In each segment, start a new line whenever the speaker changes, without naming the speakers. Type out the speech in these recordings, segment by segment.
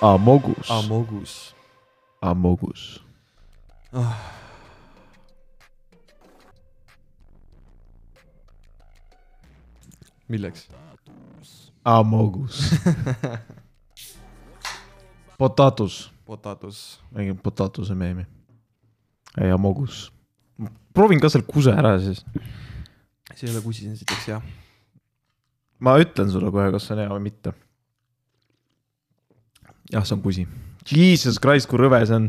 Amogus.
Amogus .
Amogus .
milleks ?
Amogus . Potatus ,
Potatus .
mängin potatuse meemi . ei , Amogus . proovin ka selle kuse ära siis .
see ei ole kusis esiteks jah .
ma ütlen sulle kohe , kas see on hea või mitte . jah , see on kusi . Jesus Christ , kui rõve see on .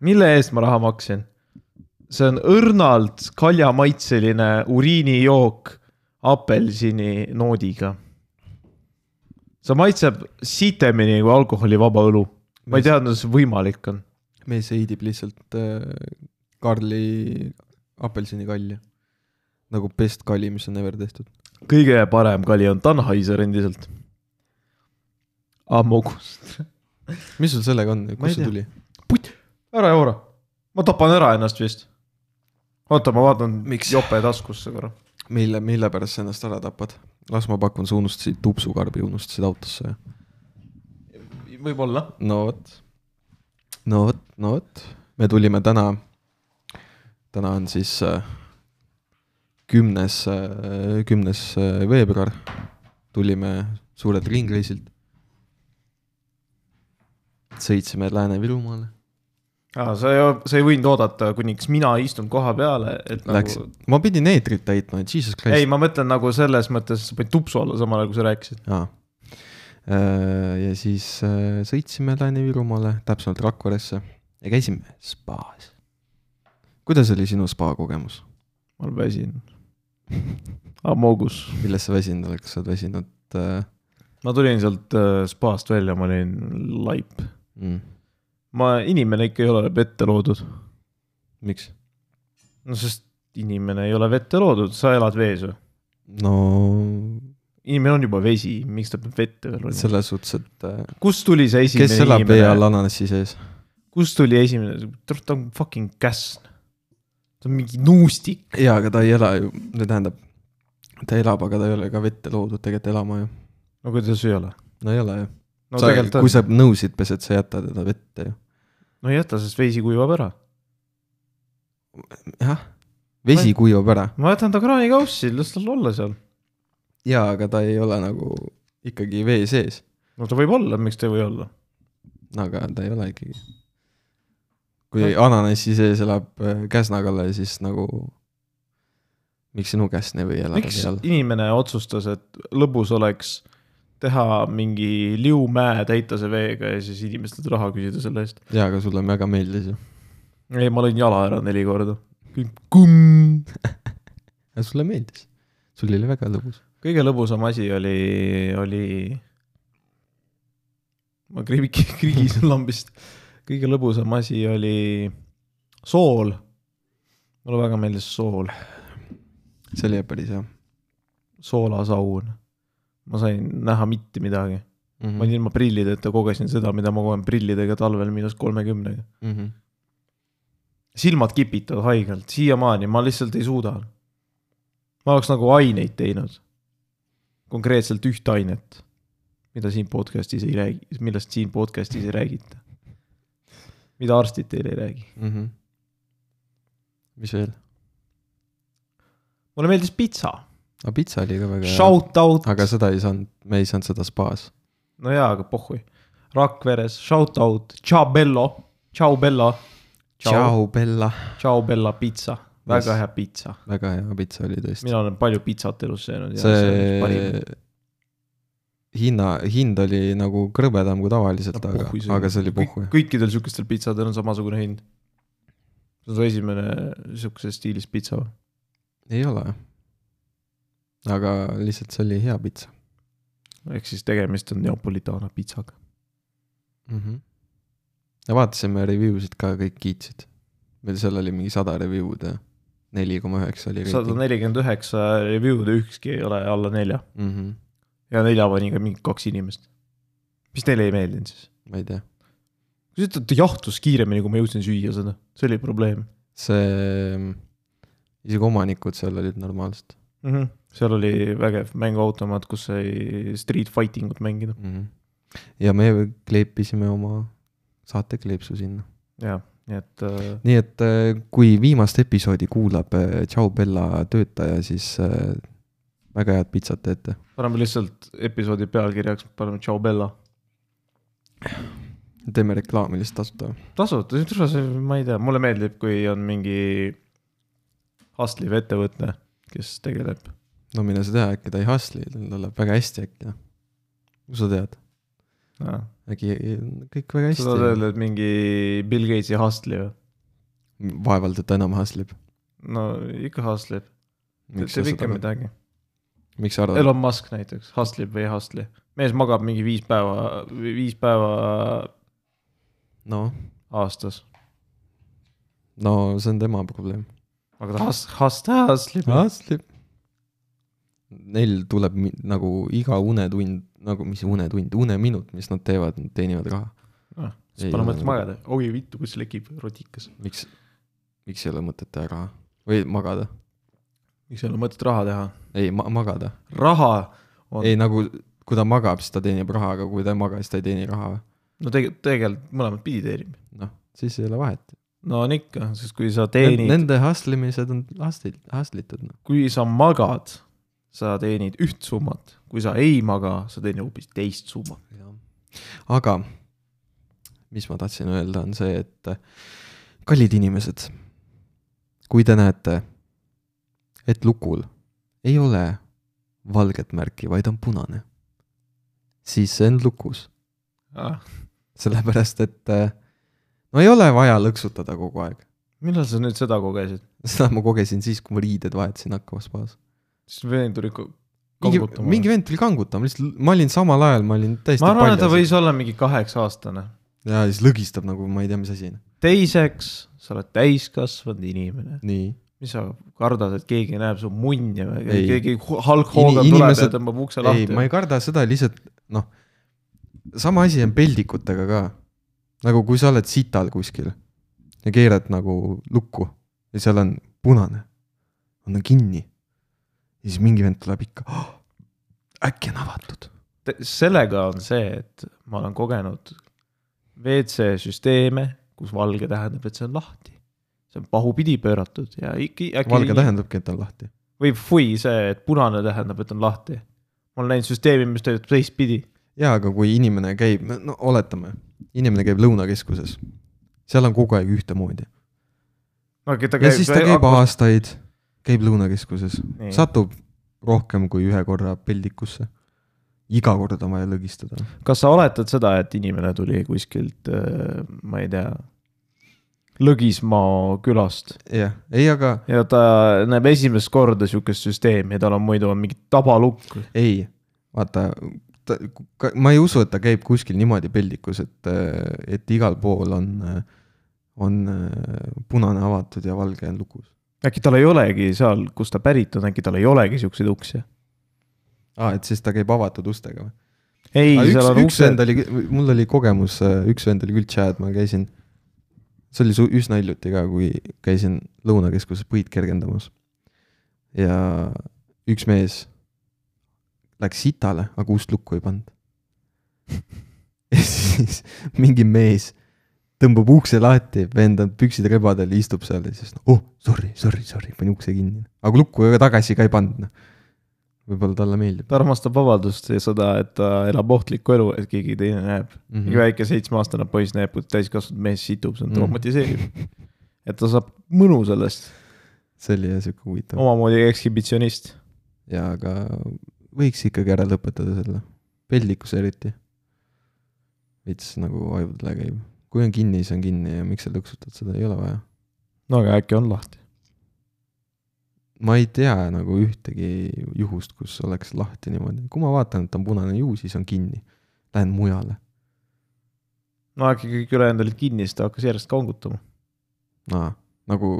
mille eest ma raha maksin ? see on õrnalt kaljamaitseline uriinijook apelsini noodiga . see maitseb sitemini kui alkoholivaba õlu . ma ei teadnud , et see võimalik on .
mees heidib lihtsalt äh, Karli apelsinikalja . nagu best kali , mis on ever tehtud .
kõige parem kali on Tannhaiser endiselt . Amogus .
mis sul sellega on ,
Ma ei
kust see
tea.
tuli ?
putt , ära jaura . ma tapan ära ennast vist . oota , ma vaatan
Miks?
jope taskusse korra .
mille , mille pärast sa ennast ära tapad ? las ma pakun , sa unustasid tupsukarbi , unustasid autosse ja
võib-olla .
no vot . no vot , no vot , me tulime täna , täna on siis äh, kümnes , kümnes äh, veebruar . tulime suurelt ringreisilt . sõitsime Lääne-Virumaale ,
aa , sa ei , sa ei võinud oodata , kuniks mina istun koha peale , et
läks
nagu ,,
ma pidin eetrit täitma , jesus
ei ,
christ .
ma mõtlen nagu selles mõttes , sa panid tupsu alla samal ajal , kui sa rääkisid .
jaa . ja siis äh, sõitsime Lääne-Virumaale , täpsemalt Rakveresse ja käisime spaas . kuidas oli sinu spa kogemus ?
ma olen väsinud . Ah, Amogus .
millest sa väsinud oled , kas sa oled väsinud äh, ?
ma tulin sealt äh, spaast välja , ma olin laip .
Mm.
ma , inimene ikka ei ole vette loodud .
miks ?
no sest inimene ei ole vette loodud , sa elad vees ju .
no
inimene on juba vesi , miks ta peab vette veel olema ?
selles suhtes , et äh,
kust tuli see esimene
kes elab vee all
inimene ,
ananassi sees ?
kust tuli esimene , ta on fucking käsn . ta on mingi nuustik ,
jaa , aga ta ei ela ju , no tähendab , ta elab , aga ta ei ole ka vette loodud tegelikult elama ju .
no kuidas ei ole ?
no ei ole ju
no
sa, .
tegelikult
kui
on ,
sa nõusid pesed , sa ei jäta teda vette ju .
no ei jäta , sest veisi kuivab ära .
jah , vesi
Ma-
kuivab ära .
ma jätan ta kraanikaussi , las tal olla seal .
jaa , aga ta ei ole nagu ikkagi vee sees ,
no ta võib olla , miks ta ei või olla ?
aga ta ei ole ikkagi . kui ananassi sees elab äh, käsnakalla , siis nagu miks sinu käsn ei või elada
miks
vee all ?
inimene otsustas , et lõbus oleks teha mingi liumäe , täita see veega ja siis inimestelt raha küsida selle eest ?
jaa , aga sulle väga meeldis ju .
ei , ma lõin jala ära neli korda . kumm .
ja sulle meeldis . sul oli väga lõbus .
kõige lõbusam asi oli , oli . ma kriibiki , krigisin lambist . kõige lõbusam asi oli sool . mulle väga meeldis sool ,
see oli päris hea mm .
soolasaun . ma sain näha mitte midagi ,
-hmm.
ma olin ilma prillideta , kogesin seda , mida ma kogen prillidega talvel miinus kolmekümnega .
mm -hmm.
silmad kipitavad haigelt , siiamaani ma lihtsalt ei suuda . ma oleks nagu aineid teinud . konkreetselt üht ainet , mida siin podcast'is ei räägi , millest siin podcast'is ei räägita . mida arstid teile ei räägi .
Mm -hmm. mis veel ?
mulle meeldis pitsa ,
aga pitsa oli ka väga
shout out ,
aga seda ei saanud , me ei saanud seda spaas .
no jaa , aga pohhui . Rakveres , shout out , tšau bello , tšau bella , tšau ,
tšau , Bella .
tšau bella pitsa , väga
Yes.
hea pitsa .
väga hea pitsa oli tõesti .
mina olen palju pitsat elus söönud ja see on üks parim .
see hinna , hind oli nagu krõbedam kui tavaliselt ,
No
aga
puhhu , see
aga see oli
kõik
puhku ,.
kõikidel sihukestel pitsadel on samasugune hind . see on su esimene sihukeses stiilis pitsa või ?
ei ole . aga lihtsalt see oli hea pitsa
ehk siis tegemist on Neapolitana pitsaga .
mm . -hmm. ja vaatasime review sid ka , kõik kiitsid . meil seal oli mingi sada review'd ja neli koma üheksa oli
sada
reiting .
nelikümmend üheksa review'd ja ükski ei ole alla nelja
Mm -hmm.
ja nelja pani ka mingi kaks inimest . mis teile ei meeldinud siis ?
ma ei tea ,
kas ütlete , ta jahtus kiiremini , kui ma jõudsin süüa seda , see oli probleem
see , isegi omanikud seal olid normaalsed
mm . -hmm. seal oli vägev mänguautomaat , kus sai street fighting ut mängida .
mm . -hmm. ja me kleepisime oma saatekleepsu sinna .
jah , nii et äh,
nii et äh, kui viimast episoodi kuulab äh, Tšau Bella töötaja , siis äh, väga head pitsat teete .
paneme lihtsalt episoodi pealkirjaks , paneme Ciao Bella .
teeme reklaami lihtsalt tasuta .
tasuta , ma ei tea , mulle meeldib , kui on mingi hustlev ettevõte , kes tegeleb .
no mine sa tea , äkki ta ei hustle'i , tal läheb väga hästi äkki , noh . sa tead , äkki e, kõik väga
noh. sa tahad
hästi .
öelda , et mingi Bill Gatesi hustle'i või ?
vaevalt , et ta enam hustleb .
no ikka hustleb , teeb ikka
miks
midagi .
sa arvad ?
Elon Musk näiteks , hustleb või ei hustle'i . mees magab mingi viis päeva , viis päeva
noh ,
aastas ,
no see on tema probleem .
aga ta hust- , hust- , hustleb .
hustleb . Neil tuleb mi- nagu iga unetund , nagu mis unetund , uneminut , mis nad teevad , nad teenivad raha . Ei
siis pole
ole
mõtet
nagu-
magada , oi vittu , kus lekib rotikas .
miks , miks ei ole mõtet teha raha või magada ?
miks ei ole mõtet raha teha ?
ei ma, , magada .
raha on-
ei nagu , kui ta magab , siis ta teenib raha , aga kui ta ei maga , siis ta ei teeni raha .
no tegelikult , tegelikult mõlemat pidi teenib .
noh , siis ei ole vahet .
no on ikka , sest kui sa teenid ,
Nende hustle imised on hustled , hustletud noh. no. .
kui sa magad , sa teenid üht summat , kui sa ei maga , sa teenid hoopis teist summat .
aga mis ma tahtsin öelda , on see , et äh, kallid inimesed , kui te näete , et lukul ei ole valget märki , vaid on punane , siis see on lukus ,
Ah,
sellepärast et äh, no ei ole vaja lõksutada kogu aeg .
millal sa nüüd seda kogesid ?
seda ma kogesin siis , kui ma riided vahetasin hakkavas baas .
siis vend tuli ko-
mingi ,
kangutama .
mingi vend tuli kangutama , lihtsalt ma olin samal ajal , ma olin täiesti
ma arvan , et ta
paljas.
võis olla mingi kaheksa aastane .
ja siis lõgistab nagu ma ei tea , mis asi .
teiseks , sa oled täiskasvanud inimene ,
nii
mis sa kardad , et keegi näeb su munni või
Ei.
keegi hu- Hulk Hogan
Ini-
tuleb
inimesed-
ja tõmbab ukse
ei ,
lahti
ma . ei karda seda , lihtsalt noh , sama asi on peldikutega ka . nagu kui sa oled sital kuskil ja keerad nagu lukku ja seal on punane , on kinni . ja siis mingi vend tuleb ikka oh, , äkki on avatud .
Te- sellega on see , et ma olen kogenud WC süsteeme , kus valge tähendab , et see on lahti . see on pahupidi pööratud ja ikka äkki
valge tähendabki , et ta on lahti .
või fui see , et punane tähendab , et on lahti . ma olen näinud süsteemi , mis töötab teistpidi .
jaa , aga kui inimene käib , no oletame , inimene käib Lõunakeskuses , seal on kogu aeg ühtemoodi .
no aga ta
ja siis ta käib
akna-
aastaid , käib Lõunakeskuses ,
Nii.
satub rohkem kui ühe korra peldikusse . iga kord on vaja lõgistada .
kas sa oletad seda , et inimene tuli kuskilt , ma ei tea , Lõgismaa külast
jah , ei , aga
ja ta näeb esimest korda sihukest süsteemi , tal on muidu on mingi tabalukk .
ei , vaata , ta , ma ei usu , et ta käib kuskil niimoodi peldikus , et , et igal pool on , on äh, punane avatud ja valge on lukus .
äkki tal ei olegi seal , kust ta pärit on , äkki tal ei olegi siukseid uksi ?
aa , Ah, et siis ta käib avatud ustega või ?
ei ,
Aga
seal
üks ,
on
üks vend
uksed ,
oli , mul oli kogemus , üks vend oli küll tšääd , ma käisin , see oli su- üsna hiljuti ka , kui käisin Lõunakeskuses puid kergendamas . ja üks mees läks sitale , aga ust lukku ei pannud . ja siis mingi mees tõmbab ukse lahti , vend on püksid rebadel , istub seal ja siis oh sorry , sorry , sorry , panin ukse kinni . aga lukku ega tagasi ka ei pannud , noh . võib-olla talle meeldib
ta armastab vabadust ja seda , et ta elab ohtlikku elu , et keegi teine näeb mm .
mm
-hmm. mingi väike seitsmeaastane poiss näeb , kuidas täiskasvanud mees situb , see on
Mhm.
traumatiseeriv mm . -hmm. et ta saab mõnu sellest ,
see oli jah sihuke huvitav .
omamoodi ekshibitsionist .
jaa , aga võiks ikkagi ära lõpetada selle , peldikus eriti . veits nagu ajudele käib , kui on kinni , siis on kinni ja miks sa lõksutad , seda ei ole vaja .
no aga äkki on lahti .
ma ei tea nagu ühtegi juhust , kus oleks lahti niimoodi , kui ma vaatan , et on punane juu , siis on kinni . Lähen mujale ,
no äkki kõik ülejäänud olid kinni , siis ta hakkas järjest kangutama .
aa , nagu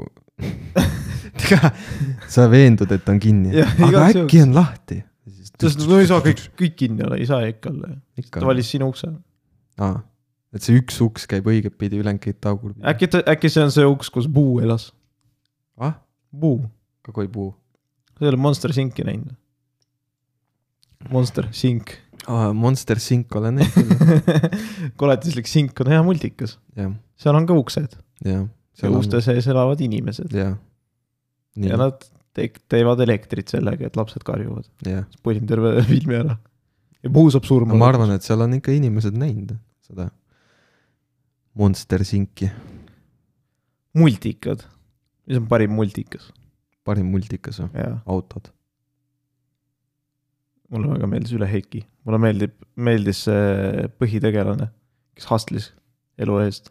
ega sa veendud , et on kinni ,
Jah,
aga
igaks
äkki on lahti .
ta ütles , et no ei saa kõik , kõik kinni olla , ei saa ikka olla . ta
ikka ,
valis sinu ukse .
aa , et see üks uks käib õiget pidi , ülejäänud käib tagurpidi .
äkki ta , äkki see on see uks , kus Buu elas ?
ah ,
Buu
kakoi puu .
sa ei ole Monster Sinki näinud ? Monster Sink ,
Ah, Monster Sync olen näinud ,
koletislik sink on hea multikas ,
jah ,
seal on ka uksed
jah .
ja uste sees elavad inimesed
jah . nii
ja , nad te teevad elektrit sellega , et lapsed karjuvad .
jah .
põlin terve filmi ära ja puu saab surma .
ma arvan , et seal on ikka inimesed näinud seda Monster Synci ,
multikad , mis on parim multikas ,
parim multikas või ,
jaa .
autod .
mulle väga meeldis Üle Heiki , mulle meeldib , meeldis see põhitegelane , kes hustlis elu eest .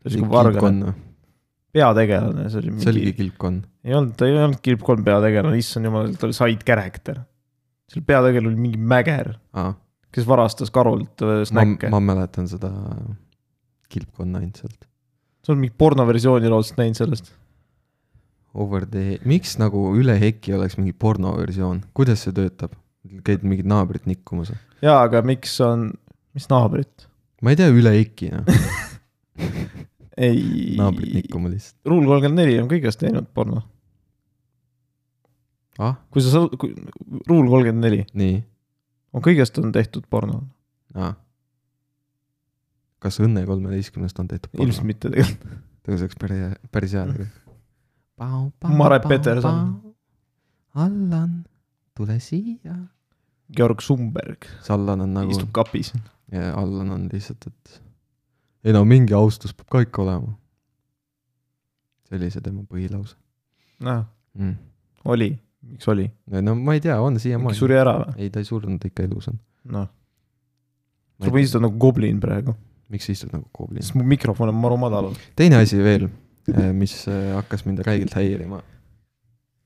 ta oli siuke vargane , peategelane , see oli
see oligi
mingi ,
kilpkonn ,
ei olnud , ta ei olnud Kilp kolm peategelane , issand jumal , ta oli side character . seal peategelane oli mingi mäger ,
aa ,
kes varastas Karult äh,
ma ,
snäkke .
ma mäletan seda kilpkonna ainult sealt .
sa oled mingit pornoversiooni loodetavasti näinud sellest ?
Over the , miks nagu üle heki oleks mingi pornoversioon , kuidas see töötab ? käid mingid naabrid nikkumas või ?
jaa , aga miks on , mis naabrit ?
ma ei tea , üle heki noh ,
ei ,
naabrid nikkuma lihtsalt .
Rule kolmkümmend neli on kõigest teinud porno .
ah ,
kui sa , Rule kolmkümmend neli
nii ,
on kõigest on tehtud porno
aa . kas Õnne kolmeteistkümnest on tehtud porno ?
ilmselt mitte tegelikult .
ta oleks päris , päris hea tegelikult .
Mare Peterson. .
Allan , tule siia .
Georg Sumberg
see Allan on
nagu...
nagu
istub , kapis .
Allan on lihtsalt , et ei no mingi austus peab ka ikka olema . see oli see tema põhilause
noh ,
mm. .
oli , miks oli ?
no ma ei tea , on
suri
siiamaani .
ära või ?
ei , ta ei surnud , ta ikka elus on .
noh , sa mõistad nagu goblin praegu ,
miks sa istud nagu kooblin ?
sest mu mikrofon on maru madalal .
teine asi veel , mis eh, hakkas mind räigelt häirima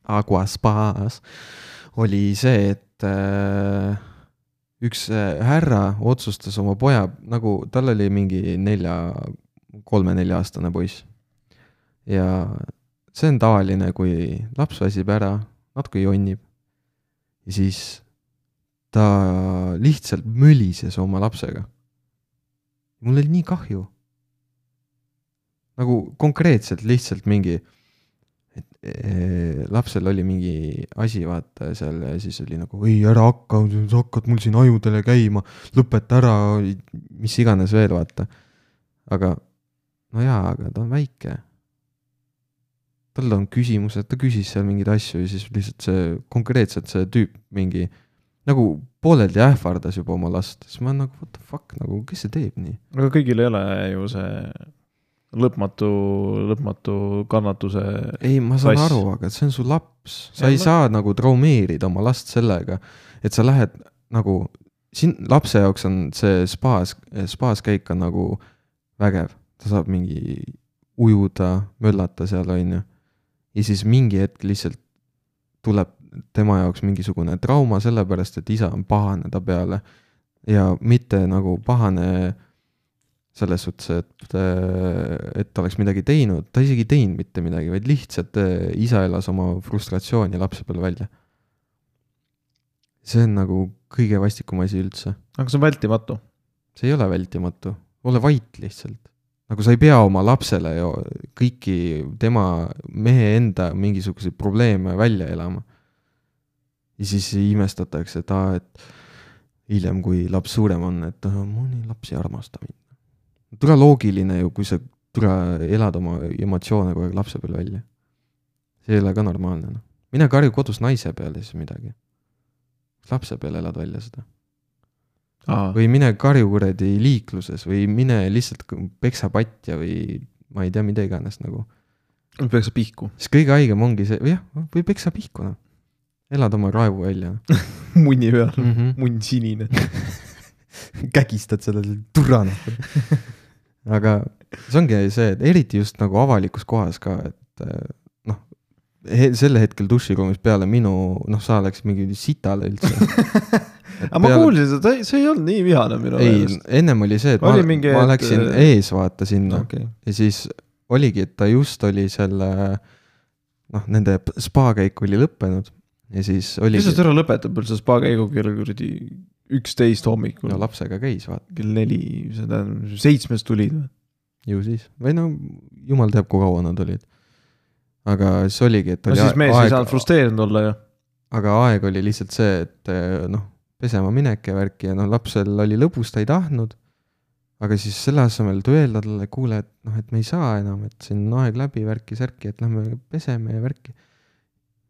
Aguaspas oli see , et eh, üks eh, härra otsustas oma poja , nagu tal oli mingi nelja , kolme-nelja-aastane poiss . ja see on tavaline , kui laps väsib ära , natuke jonnib ja siis ta lihtsalt mölises oma lapsega . mul oli nii kahju nagu konkreetselt lihtsalt mingi , et eh, lapsel oli mingi asi , vaata seal ja siis oli nagu ei ära hakka , sa hakkad mul siin ajudele käima , lõpeta ära , mis iganes veel , vaata . aga no jaa , aga ta on väike . tal on küsimused , ta küsis seal mingeid asju ja siis lihtsalt see konkreetselt see tüüp mingi nagu pooleldi ähvardas juba oma last , siis ma olen nagu what the fuck nagu , kes see teeb nii ?
aga kõigil ei ole ju see lõpmatu , lõpmatu kannatuse ,
ei , ma
Kass.
saan kass. aru , aga see on su laps , sa
Ja
ei
ma-
saa nagu traumeerida oma last sellega , et sa lähed nagu , siin lapse jaoks on see spaas , spaas käik on nagu vägev , ta saab mingi ujuda , möllata seal , on ju . ja siis mingi hetk lihtsalt tuleb tema jaoks mingisugune trauma sellepärast , et isa on pahane ta peale ja mitte nagu pahane selles suhtes , et , et ta oleks midagi teinud , ta isegi ei teinud mitte midagi , vaid lihtsalt äh, isa elas oma frustratsiooni lapse peal välja . see on nagu kõige vastikum asi üldse ,
aga see on vältimatu .
see ei ole vältimatu , ole vait lihtsalt . nagu sa ei pea oma lapsele ju kõiki tema mehe enda mingisuguseid probleeme välja elama . ja siis imestatakse , et aa , et hiljem , kui laps suurem on , et "Ah, ma nii lapsi ei armasta mind . tule loogiline ju , kui sa tule elad oma emotsioone kogu aeg lapse peal välja . see ei ole ka normaalne noh , mine karju kodus naise peale siis midagi . lapse peale elad välja seda . või mine karju kuradi liikluses või mine lihtsalt k- peksa patja või ma ei tea , mida iganes nagu .
peaks pihku .
siis kõige haigem ongi see , või jah , või peksa pihku noh . elad oma raevu välja
munni peal ,
mm . -hmm.
munn sinine .
kägistad selle turana . aga see ongi see , et eriti just nagu avalikus kohas ka , et eh, noh , sel hetkel duširuumis peale minu , noh , sa oleks mingi sitale üldse .
aga ma . kuulsin seda , see ei olnud nii vihane minu
ei
meelest .,
ennem oli see , et
Oli
ma,
mingi,
ma
et- äh,
läksin ees noh, vaata sinna
okei ,
ja siis oligi , et ta just oli selle noh , nende p- spa käik oli lõppenud ja siis
mis
oligi
sest , ära lõpetab üldse spa käigu kell kuradi üksteist hommikul
no lapsega käis vaata ,
kell neli , see tähendab seitsmest tulid või ?
ju siis , või no jumal teab , kui kaua nad olid . aga siis oligi , et
no
oli
siis mees ei saanud
aeg ,
frustreerinud olla ju .
aga aeg oli lihtsalt see , et eh, noh , pesema minek ja värki ja noh , lapsel oli lõbus , ta ei tahtnud . aga siis selle asemel , et öelda talle , kuule , et noh , et me ei saa enam , et siin on aeg läbi , värki-särki , et lähme peseme ja värki .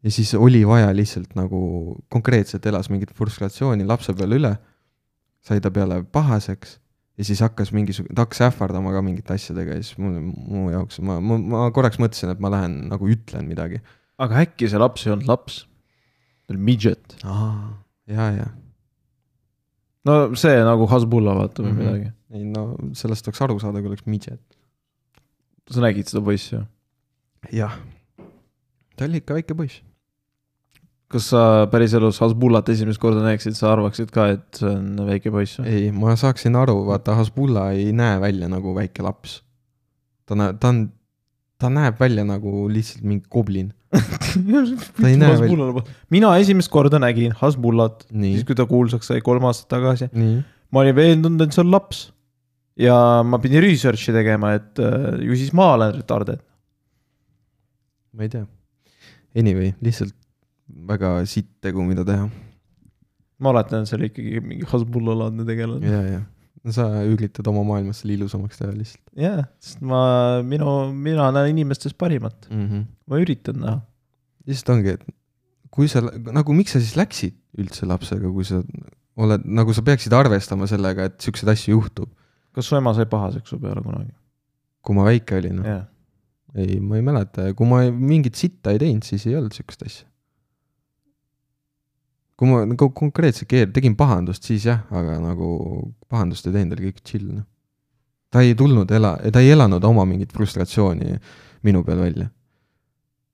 ja siis oli vaja lihtsalt nagu konkreetselt elas mingit frustratsiooni lapse peale üle , sai ta peale pahaseks ja siis hakkas mingisugune , ta hakkas ähvardama ka mingite asjadega ja siis mul , mu jaoks , ma, ma , ma korraks mõtlesin , et ma lähen nagu ütlen midagi .
aga äkki see laps ei olnud laps ? ta oli midget .
ja , ja
no see nagu Hasbulla vaata või mm
Mhm.
-hmm. midagi .
ei no sellest oleks aru saada , kui oleks midžet .
sa nägid seda poissi või ?
jah . ta oli ikka väike poiss .
kas sa päriselus Hasbullat esimest korda näeksid , sa arvaksid ka , et see on väike poiss või ?
ei , ma saaksin aru , vaata Hasbulla ei näe välja nagu väike laps . ta näeb , ta on , ta näeb välja nagu lihtsalt mingi goblin . Ta ei näe veel-
mina esimest korda nägin Hasbullat ,
nii
siis , kui ta kuulsaks sai kolm aastat tagasi .
nii ,
ma olin veendunud , et see on laps . ja ma pidin research'i tegema , et äh, ju siis ma olen retarded .
ma ei tea . Anyway , lihtsalt väga sitt tegu , mida teha .
ma oletan , et see oli ikkagi mingi Hasbulla-laadne tegelane .
ja , ja . sa üritad oma maailma selle ilusamaks teha lihtsalt
jah yeah, , sest ma , minu , mina näen inimestes parimat ,
mm . -hmm.
ma üritan näha .
lihtsalt ongi , et kui sa nagu , miks sa siis läksid üldse lapsega , kui sa oled nagu sa peaksid arvestama sellega , et siukseid asju juhtub .
kas su ema sai pahaseks su peale kunagi ?
kui ma väike olin , noh.
jah ,
ei , ma ei mäleta ja kui ma mingit sitta ei teinud , siis ei olnud siukest asja . kui ma nagu konkreetselt keer- , tegin pahandust , siis jah , aga nagu pahandust ei teinud , oli kõik chill , noh . ta ei tulnud ela- , ta ei elanud oma mingit frustratsiooni minu peal välja .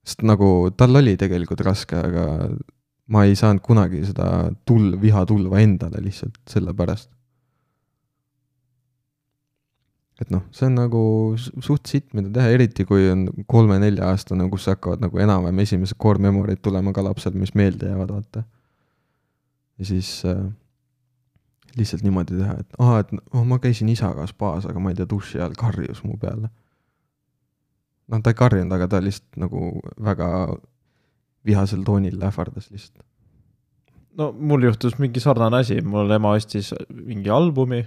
sest nagu tal oli tegelikult raske , aga ma ei saanud kunagi seda tul- , vihatulva endale lihtsalt sellepärast . et noh , see on nagu s- suht sitt , mida teha , eriti kui on kolme-nelja-aastane , kus hakkavad nagu enam-vähem esimesed core memory'd tulema ka lapsel , mis meelde jäävad , vaata . ja siis äh, lihtsalt niimoodi teha , et aa , et oh, ma käisin isaga spaas , aga ma ei tea , duši all karjus mu peale . noh , ta ei karjunud , aga ta lihtsalt nagu väga vihasel toonil ähvardas lihtsalt .
no mul juhtus mingi sarnane asi , mul ema ostis mingi albumi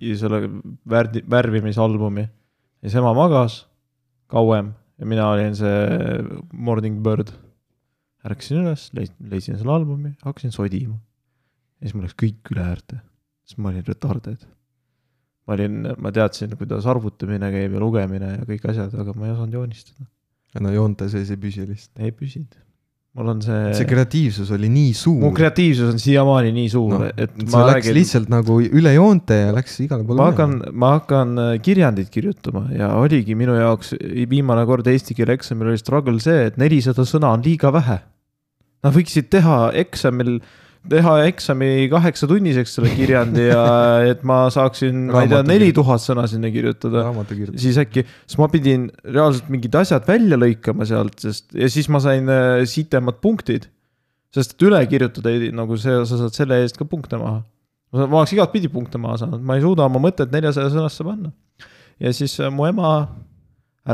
ja selle värdi , värvimisalbumi ja siis ema magas kauem ja mina olin see morning bird . ärkasin üles , leidsin selle albumi , hakkasin sodima . ja siis mul läks kõik üle äärde , siis ma olin retarded . ma olin , ma teadsin , kuidas arvutamine käib ja lugemine ja kõik asjad , aga ma ei osanud joonistada ,
no joonte sees ei püsi lihtsalt .
ei püsinud . mul on see,
see
see ,
kreatiivsus oli nii suur .
mu kreatiivsus on siiamaani nii suur
No,
no, , et
see
ma
läks
räägin
lihtsalt nagu üle joonte ja läks igale poole
ma . hakkan , ma hakkan äh, kirjandit kirjutama ja oligi minu jaoks viimane kord eesti keele eksamil oli struggle see , et nelisada sõna on liiga vähe . Nad võiksid teha eksamil , teha eksami kaheksatunniseks selle kirjandi ja et ma saaksin , ma ei tea ,
Raamatu
neli
kirjut-
tuhat sõna sinna kirjutada .
raamatukirjutus .
siis äkki , siis ma pidin reaalselt mingid asjad välja lõikama sealt , sest ja siis ma sain äh, sitemad punktid . sest et üle kirjutada ei, nagu see , sa saad selle eest ka punkte maha . ma ma oleks igatpidi punkte maha saanud , ma ei suuda oma mõtet neljasaja sõnasse panna . ja siis äh, mu ema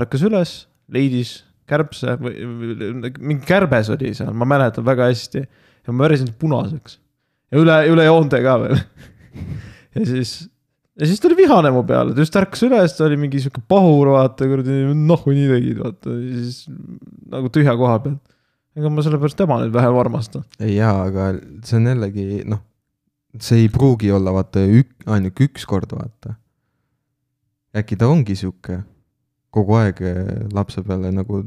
ärkas üles , leidis kärbse või või- mingi kärbes oli seal , ma mäletan väga hästi ja ma värisin punaseks ja üle , üle joonte ka veel . ja siis ja siis ta oli vihane mu peale , ta just ärkas üles , ta oli mingi sihuke pahur , vaata kuradi , noh , nii tegid , vaata , siis nagu tühja koha peal . ega ma sellepärast tema nüüd vähem armastan .
ei jaa , aga see on jällegi noh , see ei pruugi olla vaata ük, ainuke üks kord vaata . äkki ta ongi sihuke kogu aeg eh, lapse peale nagu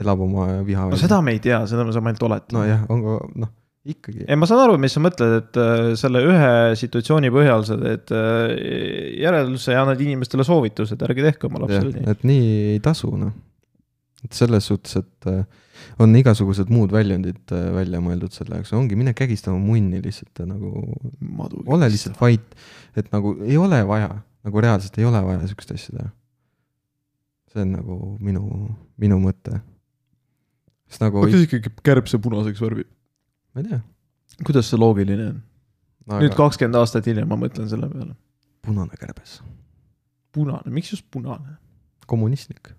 elab oma viha
no seda me ei tea , seda me saame ainult oletada
nojah , on ka noh , ikkagi .
ei , ma saan aru , mis sa mõtled , et äh, selle ühe situatsiooni põhjal sa teed äh, järelduse ja annad inimestele soovitused , ärge tehke oma lapsele nii .
et nii ei tasu noh . et selles suhtes , et eh, on igasugused muud väljundid eh, välja mõeldud selle jaoks , ongi mine kägistama munni lihtsalt eh, nagu ole . lihtsalt vait , et nagu ei ole vaja , nagu reaalselt ei ole vaja sihukest asja teha . see on nagu minu , minu mõte . sest nagu ,
ikkagi kärbse punaseks värvib ?
ma ei tea ,
kuidas see loogiline on ? nüüd
aga
kakskümmend aastat hiljem ma mõtlen selle peale .
punane kärbes ,
punane , miks just punane ?
kommunistlik ,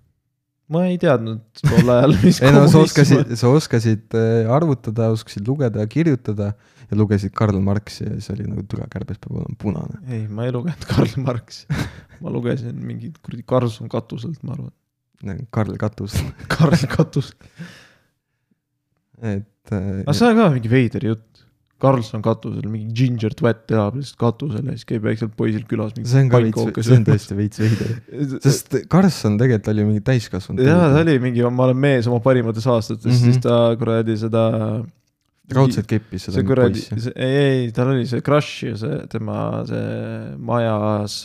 ma ei teadnud tol ajal , mis
ei no
kommunism
sa
on.
oskasid , sa oskasid äh, arvutada , oskasid lugeda , kirjutada ja lugesid Karl Marxi ja siis oli nagu türa kärbes peab olema punane .
ei , ma ei lugenud Karl Marxi . ma lugesin mingit kuradi Karlsson katuselt , ma arvan .
Karl Katus ,
Karl Katus .
et äh,
aga see on ka mingi veider jutt . Karlsson katusel , mingi ginger twat elab lihtsalt katusel ja siis käib väiksel poisil külas mingi
see on ka
pannkooke
veits , see on tõesti veits veider ,
söömas .
sest Karlsson tegelikult oli mingi täiskasvanud .
jaa , ta . oli mingi , ma olen mees oma parimates aastates mm ,
Mhm.
-hmm. siis ta kuradi seda .
raudselt keppis seda
see kuradi , ei , ei , tal oli see crush ja see tema see majas ,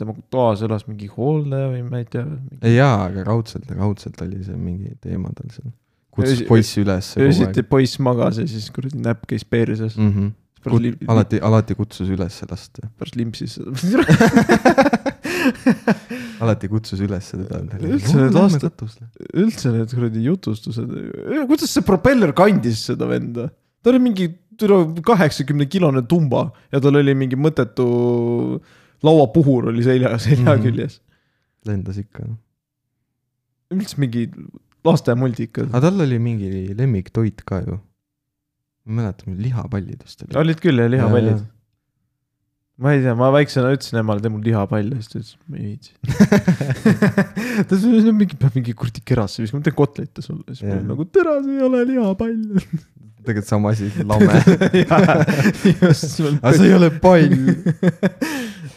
tema toas elas mingi hooldaja või ma ei tea .
jaa , aga raudselt , raudselt oli see mingi teema tal seal . kutsus
Öösi-
poissi üles kogu aeg
öösiti . poiss magas ja siis kuradi näpp käis perses mm. .
Mm -hmm. alati , alati kutsus üles last ,
pärast limpsis seda .
alati kutsus üles teda .
Üldse need aastad- üldse need kuradi jutustused , kuidas see propeller kandis seda venda ? ta oli mingi kaheksakümne kilone tumba ja tal oli mingi mõttetu lauapuhur oli selja , selja
Mhm.
mm. küljes .
lendas ikka . noh.
üldse mingi lastemultikad .
aga tal oli mingi lemmiktoit ka ju . ma ei mäleta , lihapallidest oli .
olid küll jah , lihapallid .. ma ei tea , ma väiksena ütlesin emale , tee mul lihapalle , siis ta ütles , ma ei viitsi . ta ütles , et mingi , peab mingi kuradi kerasse viskama , ma teen kotlette sulle . siis ma
Jah.
olin nagu , tere , see ei ole lihapall .
tegelikult sama asi , lame .
just .
aga see ei ole pall .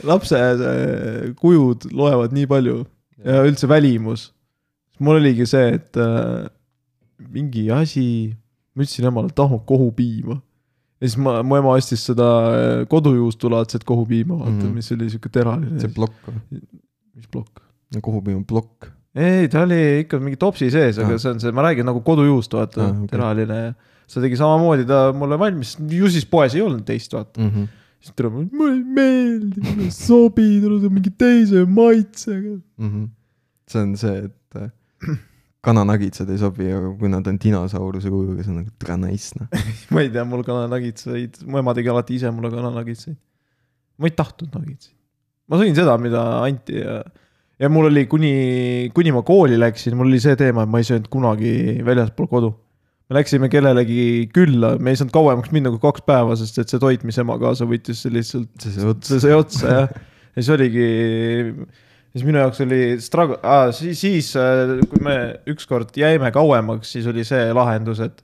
lapse see kujud loevad nii palju ja üldse välimus . mul oligi see , et äh, mingi asi , ma ütlesin emale , tahab kohupiima . ja siis ma , mu ema ostis seda äh, kodujuustulaadset kohupiima , vaata
Mhm.
mm. , mis oli sihuke teraline .
see plokk või ?
mis plokk ?
kohupiim on plokk .
ei , ta oli ikka mingi topsi sees , aga
Ah.
see on see , ma räägin nagu kodujuust , vaata
Ah,
ah, ,
okei.
okay. teraline ja see tegi samamoodi ta mulle valmis , ju siis poes ei olnud teist , vaata .
Mhm.
siis tüdruk , mulle ei meeldi , mulle ei sobi , tal on mingi teise maitsega .
Mhm. see on see , et äh, kananagitsad ei sobi , aga kui nad on dinosauruse kujuga , see on nagu väga nice noh .
ma ei tea , mul kananagitsaid , mu ema tegi alati ise mulle kananagitsaid . ma ei tahtnud nagitsaid . ma sõin seda , mida anti ja , ja mul oli kuni , kuni ma kooli läksin , mul oli see teema , et ma ei söönud kunagi väljaspool kodu . me läksime kellelegi külla , me ei saanud kauemaks minna kui kaks päeva , sest et see toit , mis ema kaasa võttis , see lihtsalt
see sai otsa .
see sai otsa jah , ja siis oligi , siis minu jaoks oli struggle ah, , siis, siis äh, kui me ükskord jäime kauemaks , siis oli see lahendus , et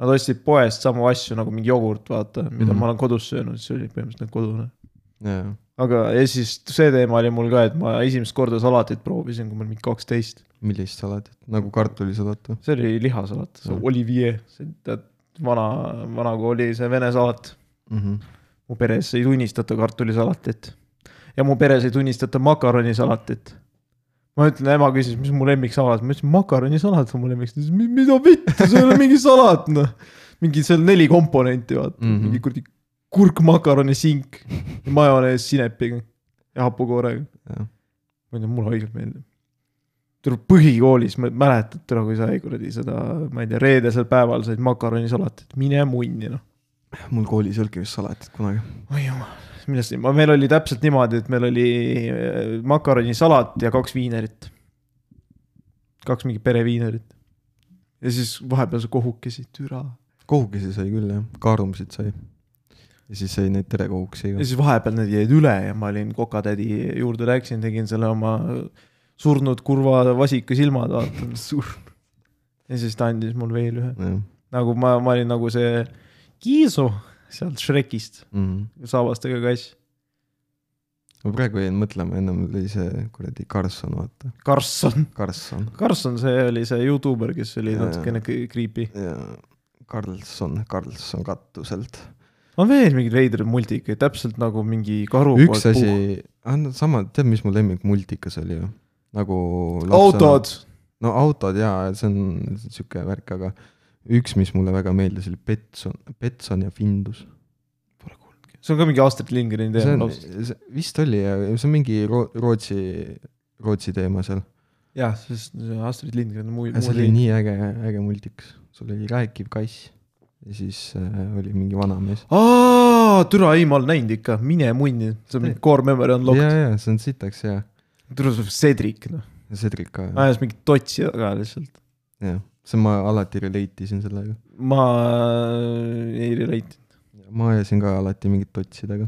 nad ostsid poest samu asju nagu mingi jogurt , vaata , mida mm
Mhm.
-hmm. ma olen kodus söönud , see oli põhimõtteliselt kodune .
jaa ,
aga , ja siis see teema oli mul ka , et ma esimest korda salatit proovisin , kui ma olin mingi kaksteist .
millist salatit , nagu kartulisalat või ?
see oli lihasalat , see
Mhm.
Olivier , see tead , vana , vana kui oli see vene salat
Mhm.
mu peres ei tunnistata kartulisalatit ja mu peres ei tunnistata makaronisalatit . ma ütlen , ema küsis , mis mu lemmiksalat , ma ütlesin makaronisalat on mu lemmik , ta ütles , mida vittu , see ei ole mingi salat noh . mingi seal neli komponenti vaata mm ,
Mhm.
-hmm. mingi kuradi kurk , makaron ja sink , majonees sinepiga ja hapukoorega .
Jah.
ma ei tea , mulle haigelt meeldib . tuleb põhikoolis , ma mäletan , tule kui sai kuradi seda , ma ei tea , reedesel päeval said makaronisalatit , mine munni noh .
mul koolis ei olnudki vist salatit kunagi .
oi jumal , millest , meil oli täpselt niimoodi , et meil oli äh, makaronisalat ja kaks viinerit . kaks mingit pereviinerit . ja siis vahepeal sa kohukesid , türa .
kohukesi sai küll jah , kaarumsid sai . ja siis sai neid terekohukesi
ja
ka .
siis vahepeal need jäid üle ja ma olin kokatädi juurde läksin , tegin selle oma äh, surnud kurva vasika silmad , vaata . surnud . ja siis ta andis mul veel ühe ,
jah ,
nagu ma , ma olin nagu see Kiisu sealt Shrekist , saabastega kass ,
Mhm. ma praegu jäin mõtlema , ennem oli see kuradi Karlsson , vaata ,
Karlsson .
Karlsson
Karlsson , see oli see Youtuber , kes oli
Jaa.
natukene kri- creepy .
ja Karlsson , Karlsson katuselt .
on veel mingeid veidraid multikaid , täpselt nagu mingi karu .
üks asi , sama , tead , mis mu lemmik multikas oli ju ? nagu ..
autod .
no autod jaa , see on sihuke värk , aga üks , mis mulle väga meeldis , oli Petson , Petson ja Findus .
see on ka mingi Astrid Lindgreni
see
teema
on ,
lausa .
see vist oli , see on mingi Ro- Rootsi , Rootsi teema seal .
jah , sest see Astrid Lindgren on muu .
see oli nii äge , äge multikas , sul oli rääkiv kass ja siis äh, oli mingi vanamees .
aa , türa ei , ma olen näinud ikka , mine munni , see on mingi core memory
ja ,
unlocked .
ja see on sitaks hea .
türa , see on Cedric , noh .
Cedric ka jah.
ajas mingit totsi taga lihtsalt .
jah , see ma alati relate isin sellega .
ma ei relate .
ma ajasin ka alati mingit totsi taga .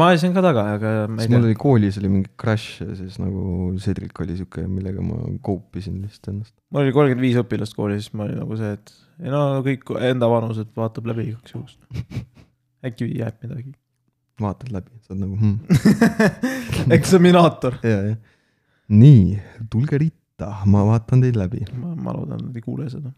ma ajasin ka taga , aga ma
siis
ei
mul
tea .
oli koolis oli mingi crash ja siis nagu Cedric oli siuke , millega ma cope isin lihtsalt ennast .
mul oli kolmkümmend viis õpilast koolis , siis ma olin nagu see , et ei no kõik enda vanused vaatab läbi igaks juhuks . äkki jääb midagi .
vaatad läbi , saad nagu hmm. .
eksaminaator .
ja , ja . nii , tulge ritta , ma vaatan teid läbi .
ma , ma loodan , nad ei kuule seda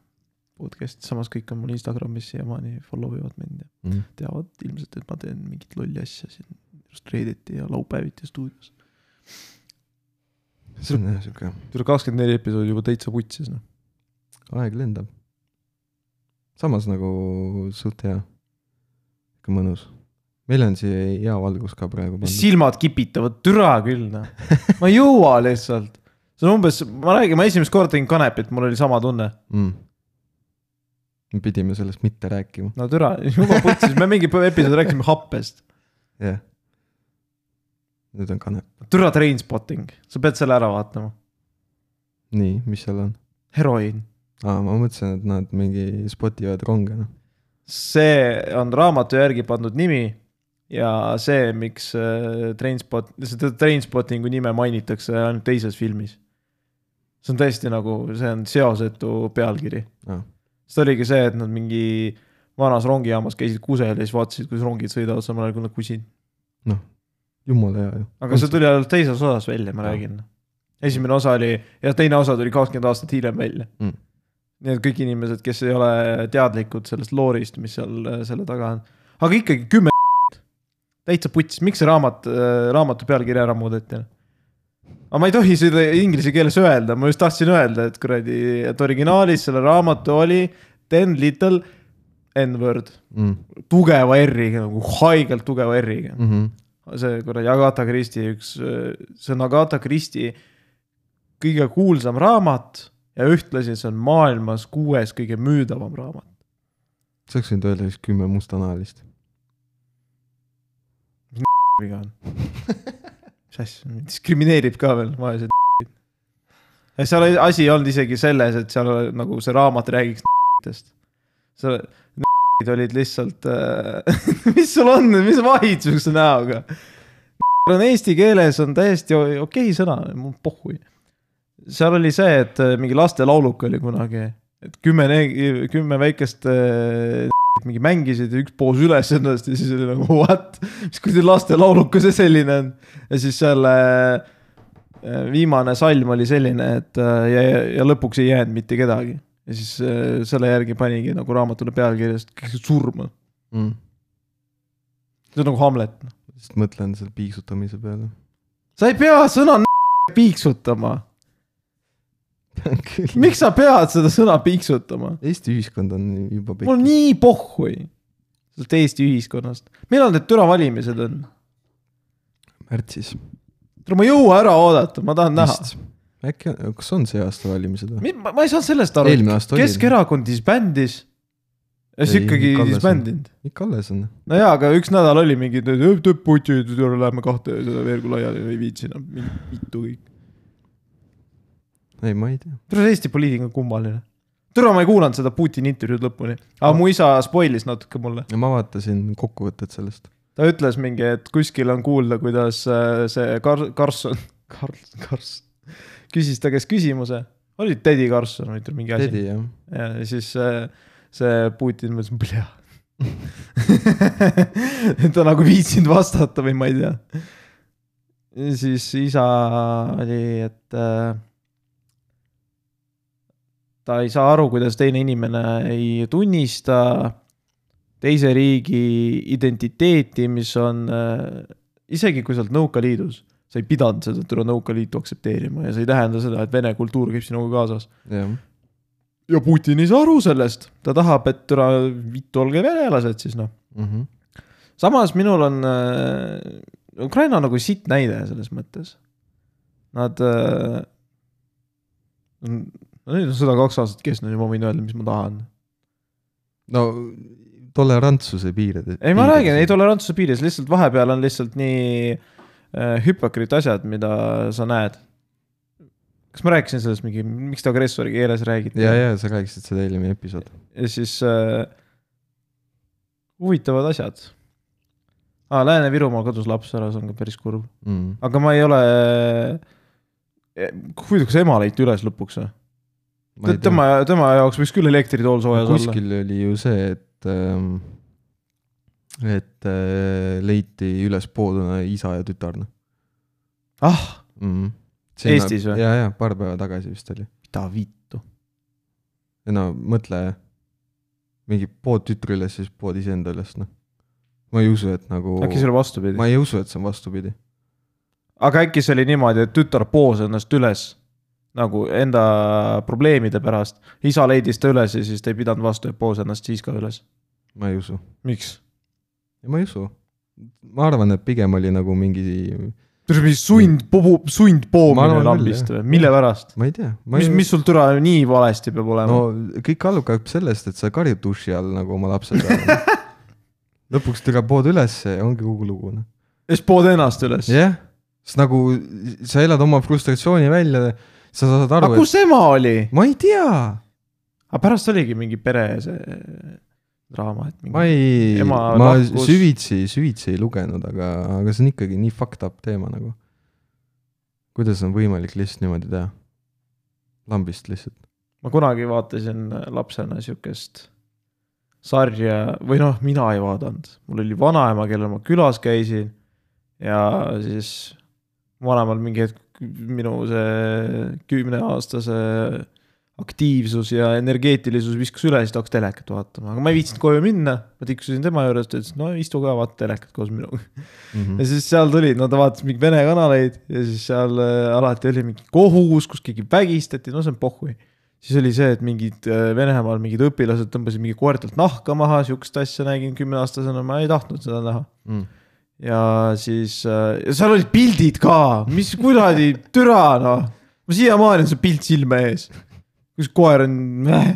podcast'i , samas kõik on mul Instagramis siiamaani follow ivad mind ja
Mm.
teavad ilmselt , et ma teen mingit lolli asja siin just reedeti ja laupäeviti stuudios .
see on jah siuke ,
tule kakskümmend neli episoodi juba täitsa vutsis noh .
aeg lendab . samas nagu suht hea , ikka mõnus . meil on siia hea valgus ka praegu pandud .
silmad kipitavad , türa küll noh , ma ei jõua lihtsalt . see on umbes , ma räägin , ma esimest korda tegin kanepit , mul oli sama tunne .
Mm. me pidime sellest mitte rääkima ,
no türa , juba vutsis , me mingi episood rääkisime happest .
jah yeah. . nüüd on kanep ,
türa Trainspotting , sa pead selle ära vaatama ,
nii , mis seal on
heroiin .
ah, ? ma mõtlesin , et nad mingi spotivad ronge , noh .
see on raamatu järgi pandud nimi ja see , miks äh, Trainspot , seda Trainspottingu nime mainitakse ainult teises filmis . see on tõesti nagu , see on seosetu pealkiri
Aa. .
see oligi see , et nad mingi vanas rongijaamas käisid kusel ja siis vaatasid , kuidas rongid sõidavad samal ajal , kui nad kusid .
noh, jumala hea ju .
aga see tuli ainult teises osas välja , ma
Jah.
räägin . esimene osa oli ja teine osa tuli kakskümmend aastat hiljem välja
Mm.
nii et kõik inimesed , kes ei ole teadlikud sellest loorist , mis seal äh, selle taga on , aga ikkagi kümme täitsa putsis , miks see raamat , raamatu pealkiri ära muudeti ? aga ma ei tohi seda inglise keeles öelda , ma just tahtsin öelda , et kuradi , et originaalis selle raamatu oli Ten Little N-word ,
mm. .
tugeva R-iga nagu haigelt tugeva R-iga .
Mm -hmm.
see kuradi Agatha Christie üks , see on Agatha Christie kõige kuulsam raamat ja ühtlasi see on maailmas kuues kõige müüdavam raamat .
sa oleks võinud öelda siis kümme mustanahalist .
viga on . mis asja , diskrimineerib ka veel vaesed . ja seal ei- asi ei olnud isegi selles , et seal nagu see raamat räägiks n-idest. seal n-id olid lihtsalt äh, , mis sul on , mis vahid sihukese näoga ? on eesti keeles on täiesti o- okei sõna , mul pohhui . seal oli see , et äh, mingi lastelauluke oli kunagi , et kümme , kümme väikest äh, n-id mingi mängisid ja üks poos üles ennast ja siis oli nagu what ? siis kui see lastelauluke see selline on ja siis selle äh, viimane salm oli selline , et äh, ja , ja lõpuks ei jäänud mitte kedagi . ja siis äh, selle järgi panigi nagu raamatule pealkirjast kõik said surma ,
mm. .
see on nagu Hamlet .
just mõtlen selle piiksutamise peale .
sa ei pea sõna n- piiksutama ,
küll .
miks sa pead seda sõna piiksutama ?
Eesti ühiskond on juba
mul on
pikk .
nii pohhui sellest Eesti ühiskonnast , millal need türa valimised on ?
märtsis .
ma ei jõua ära oodata , ma tahan näha .
vist . äkki , kas on see aasta valimised või ?
ma ma ei saanud sellest aru ,
eelmine aasta oli .
Keskerakond disbändis . ja siis
Ei,
ikkagi
Kallas on.
disbändinud .
ikka alles on .
no jaa , aga üks nädal oli mingi , putid , lähme kahte seda veergu laiali , ei viitsi enam , mitu kõik .
ei , ma ei tea .
tule Eesti poliitika on kummaline . tule , ma ei kuulanud seda Putini intervjuud lõpuni , aga mu isa spoilis natuke mulle .
ma vaatasin kokkuvõtet sellest .
ta ütles mingi , et kuskil on kuulda , kuidas äh, see Kar- , Karlsson , Karl , Karlsson küsis ta käest küsimuse , oli Teddy Karlsson või mingi asi .
Teddy jah .
ja siis äh, see Putin mõtles , plea . ta nagu viitsinud vastata või ma ei tea . siis isa oli , et äh, ta ei saa aru , kuidas teine inimene ei tunnista teise riigi identiteeti , mis on äh, isegi kui sa oled Nõukaliidus , sa ei pidanud seda türa Nõukaliitu aktsepteerima ja see ei tähenda seda , et vene kultuur käib sinuga kaasas
jah .
ja Putin ei saa aru sellest , ta tahab , et türa , vitt olge venelased siis noh .
Mhm.
samas minul on äh, , Ukraina on nagu sitt näide selles mõttes . Nad äh, . no nüüd on sõda kaks aastat kestnud ja ma võin öelda , mis ma tahan .
no tolerantsuse piirid .
ei , ma räägin , ei . tolerantsuse piires , lihtsalt vahepeal on lihtsalt nii äh, hüpokriit asjad , mida sa näed . kas ma rääkisin sellest mingi , miks te agressori keeles räägite ?
ja , ja sa rääkisid seda eelmine episood .
ja siis äh, huvitavad asjad ah, . Lääne-Virumaal kadus laps ära , see on ka päris kurb ,
Mm.
aga ma ei ole . huvitav , kas ema leiti üles lõpuks või ?
ma ei tea.
tema , tema jaoks võiks küll elektritool soojas olla .
kuskil oli ju see , et ähm, , et äh, leiti üles pooduna isa ja tütar , noh
ah ,
mm. .
Eestis või?
ja , ja paar päeva tagasi vist oli .
mida vittu .
no mõtle , mingi pood tütre üles , siis pood iseenda üles , noh . ma ei usu , et nagu ,
äkki see oli vastupidi ?
ma ei usu , et see on vastupidi .
aga äkki see oli niimoodi , et tütar poos ennast üles nagu enda probleemide pärast , isa leidis ta üles ja siis ta ei pidanud vastu ja poos ennast siis ka üles .
ma ei usu .
miks ?
ma ei usu . ma arvan , et pigem oli nagu mingi ,
tead , mis sund ,
Ma arvan
sundpoomine
küll,
lambist
jah.
või , mille pärast ?
ma ei tea .
mis , mis sul türa nii valesti peab olema
no
no. ?
kõik algab sellest , et sa karjud duši all nagu oma lapse peale . lõpuks tõrjub pood ülesse ja ongi kogu lugu , noh .
ja siis pood ennast üles
jah , sest nagu sa elad oma frustratsiooni välja , sa saad
aga
aru ,
kus ema oli ?
et ma ei tea ,
aga pärast oligi mingi pere see draama , et
ma
mingi ei...
ei ,
Ema
ma
lahkus-
süvitsi , süvitsi ei lugenud , aga , aga see on ikkagi nii fucked up teema nagu . kuidas on võimalik lihtsalt niimoodi teha ? lambist lihtsalt .
ma kunagi vaatasin lapsena siukest sarja või noh , mina ei vaadanud , mul oli vanaema , kellel ma külas käisin ja siis vanemal mingi hetk minu see kümneaastase aktiivsus ja energeetilisus viskas üle , siis ta hakkas telekat vaatama , aga ma ei viitsinud koju minna , ma tiksusin tema juures , ta ütles , no istu ka , vaata telekat koos minuga .
Mhm.
ja siis seal tulid , no ta vaatas mingi vene kanaleid ja siis seal äh, alati oli mingi kohus , kus keegi vägistati , no see on pohhui . siis oli see , et mingid äh, Venemaal mingid õpilased tõmbasid mingi koertelt nahka maha , sihukest asja nägin kümneaastasena , ma ei tahtnud seda näha .
Mm-hmm.
ja siis äh, ja seal olid pildid ka , mis kuradi türa noh , ma siiamaani on see pilt silme ees , kus koer on äh,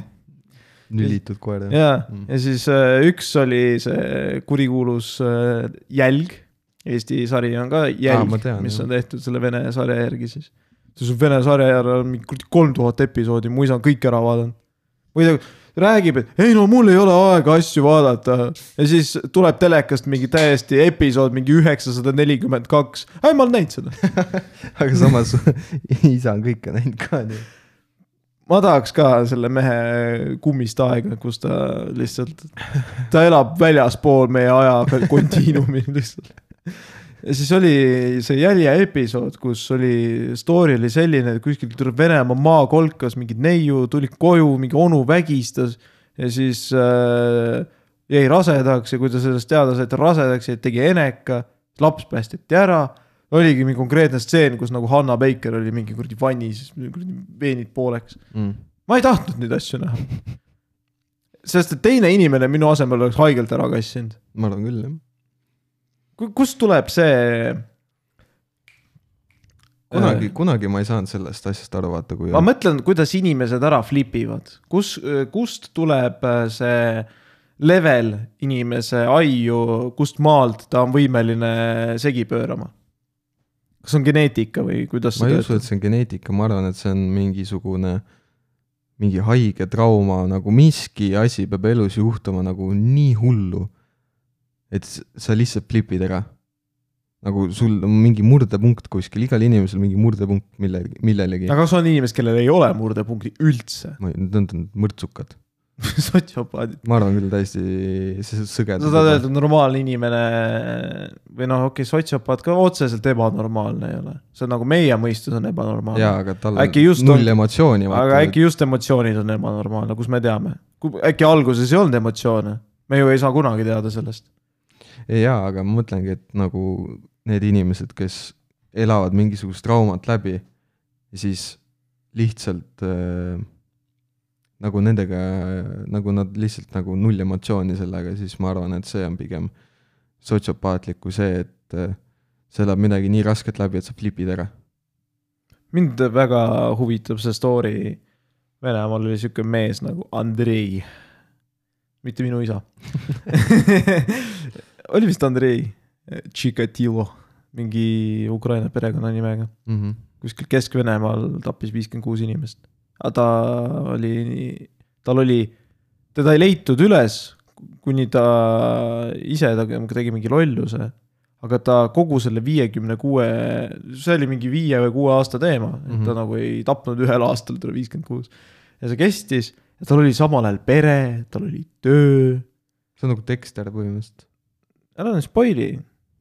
nülitud koer jah ?
ja
Mm. ,
ja siis äh, üks oli see kurikuulus äh, Jälg . Eesti sari on ka
Aa,
Jälg
ma , tean,
mis
jah.
on tehtud selle vene sarja järgi siis . siis on vene sarja järel on mingi kuradi kolm tuhat episoodi , mu isa on kõik ära vaadanud . või ta räägib , et ei no mul ei ole aega asju vaadata ja siis tuleb telekast mingi täiesti episood , mingi üheksasada nelikümmend kaks , ei ma olen näinud seda .
aga samas isa on kõike näinud ka .
ma tahaks ka selle mehe kummist aega , kus ta lihtsalt , ta elab väljaspool meie aja kontiinumi lihtsalt . ja siis oli see jälje episood , kus oli , story oli selline , et kuskilt tuleb Venemaa maakolkas mingi neiu , tuli koju , mingi onu vägistas ja siis äh, jäi rasedaks ja kui ta sellest teada sai , et ta rasedaks jäi , tegi eneka , laps päästeti ära oligi mingi konkreetne stseen , kus nagu Hanna Baker oli mingi kuradi vannis , kuradi veenid pooleks . ma ei tahtnud neid asju näha . sest et teine inimene minu asemel oleks haigelt ära kassinud .
ma arvan küll jah .
kust tuleb see ?
kunagi , kunagi ma ei saanud sellest asjast aru , vaata kui .
Äh. ma mõtlen , kuidas inimesed ära flip ivad , kus , kust tuleb äh, see level inimese aiu , kust maalt ta on võimeline segi pöörama ? kas on geneetika või kuidas
ma
see
ei usu , et see on geneetika , ma arvan , et see on mingisugune , mingi haige trauma nagu miski asi peab elus juhtuma nagu nii hullu , et s- sa lihtsalt flipid ära . nagu sul on mingi murdepunkt kuskil , igal inimesel mingi murdepunkt mille , millelegi .
aga kas on inimesed , kellel ei ole murdepunkti üldse ?
Need on mõrtsukad ,
sotsiopaadid .
ma arvan küll täiesti s-
sa tahad
sõgedad .
öelda , et normaalne inimene või noh , okei okay, , sotsiopaat ka otseselt ebanormaalne ei ole , see on nagu meie mõistus on ebanormaalne .
jaa , aga tal
Äkki just
on null emotsiooni ,
aga
vaata ,
äkki just emotsioonid on ebanormaalne , kus me teame , äkki alguses ei olnud emotsioone , me ju ei saa kunagi teada sellest .
jaa , aga ma mõtlengi , et nagu need inimesed , kes elavad mingisugust traumat läbi ja siis lihtsalt äh, nagu nendega , nagu nad lihtsalt nagu null emotsiooni sellega , siis ma arvan , et see on pigem sotsiopaatlik kui see , et äh, sa elad midagi nii rasket läbi , et sa flipid ära .
mind väga huvitab see story , Venemaal oli sihuke mees nagu Andrei , mitte minu isa . oli vist Andrei , Tšikatilo , mingi Ukraina perekonnanimega
Mm -hmm.
kuskil Kesk-Venemaal tappis viiskümmend kuus inimest . aga ta oli , tal oli , teda ei leitud üles , kuni ta ise ta tegi mingi lolluse . aga ta kogu selle viiekümne kuue , see oli mingi viie või kuue aasta teema , et ta
Mhm.
nagu ei tapnud ühel aastal tule viiskümmend kuus . ja see kestis , tal oli samal ajal pere , tal oli töö ,
see on nagu Dexter põhimõtteliselt .
ära nüüd spoil'i ,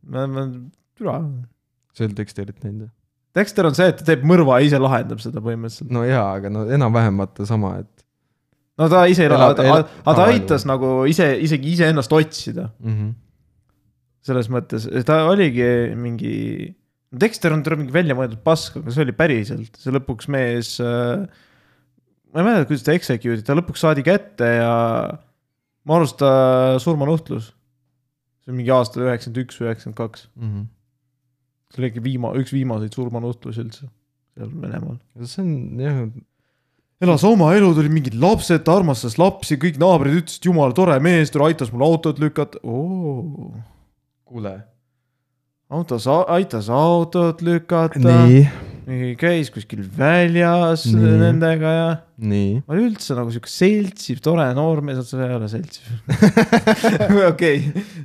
ma , ma , türa
sa ei ole Dexterit näinud või ?
Dexter on see , et ta teeb mõrva ja ise lahendab seda põhimõtteliselt .
no jaa , aga no enam-vähem vaata sama , et
no ta ise ei
Elab-
lahenda ,
elab-
aga ta
aa,
aitas nagu ise , isegi iseennast otsida .
mm . -hmm.
selles mõttes , ta oligi mingi , Dexter on terve mingi väljamõeldud pask , aga see oli päriselt , see lõpuks mees äh, . ma ei mäleta , kuidas ta execute'i , ta lõpuks saadi kätte ja ma arvan , et ta surmanuhtlus . see on mingi aasta üheksakümmend üks või üheksakümmend kaks ,
Mm -hmm.
see oli ikka viima- , üks viimaseid surmanuhtlusi üldse seal Venemaal .
see on jah ,
elas oma elu , tuli mingid lapsed , ta armastas lapsi , kõik naabrid ütlesid , jumala tore mees , tule aitas mul autot lükata .
kuule .
autos , aitas autot lükata ,
nii ,
käis kuskil väljas
Nii.
nii. nendega ja
nii .
ma olin üldse nagu sihuke seltsiv , tore noormees , sa ei ole seltsiv . okei ,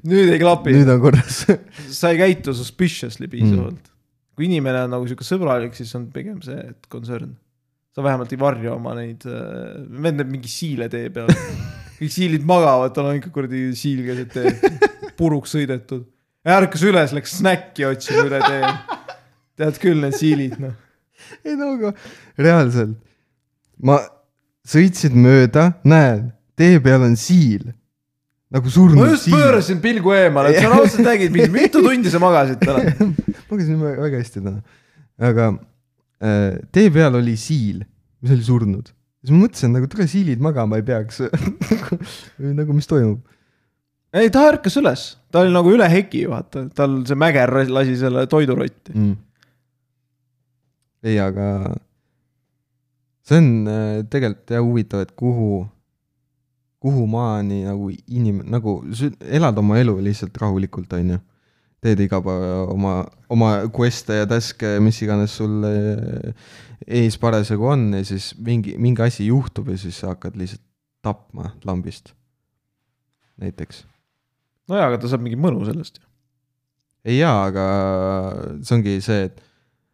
nüüd ei klapi ,
nüüd on korras .
sa ei käitu suspiciously piisavalt mm. . kui inimene on nagu sihuke sõbralik , siis on pigem see , et concern . sa vähemalt ei varja oma neid , vend teeb mingi siile tee peal . kõik siilid magavad , tal on ikka kuradi siil keset teed , puruks sõidetud . ärkas üles , läks snäkki otsima üle tee . tead küll , need siilid , noh .
ei no aga reaalselt , ma sõitsin mööda , näen , tee peal on siil . nagu
ma
surnud
just pöörasin pilgu eemale , et sa raudselt nägid , mingi mitu tundi sa magasid täna .
magasin vä- väga hästi täna , aga äh, tee peal oli siil , mis oli surnud . siis ma mõtlesin nagu tule siilid magama ei peaks . nagu mis toimub ,
ei , ta ärkas üles , ta oli nagu üle heki , vaata , tal see mäger lasi selle toidurotti .
mm. . ei , aga see on äh, tegelikult jah huvitav , et kuhu , kuhu maani nagu inim- , nagu sü- elad oma elu lihtsalt rahulikult , on ju . teed iga päev oma , oma quest'e ja task'e , mis iganes sul äh, ees parasjagu on ja siis mingi , mingi asi juhtub ja siis sa hakkad lihtsalt tapma lambist . näiteks .
nojaa , aga ta saab mingi mõnu sellest .
ei jaa , aga see ongi see , et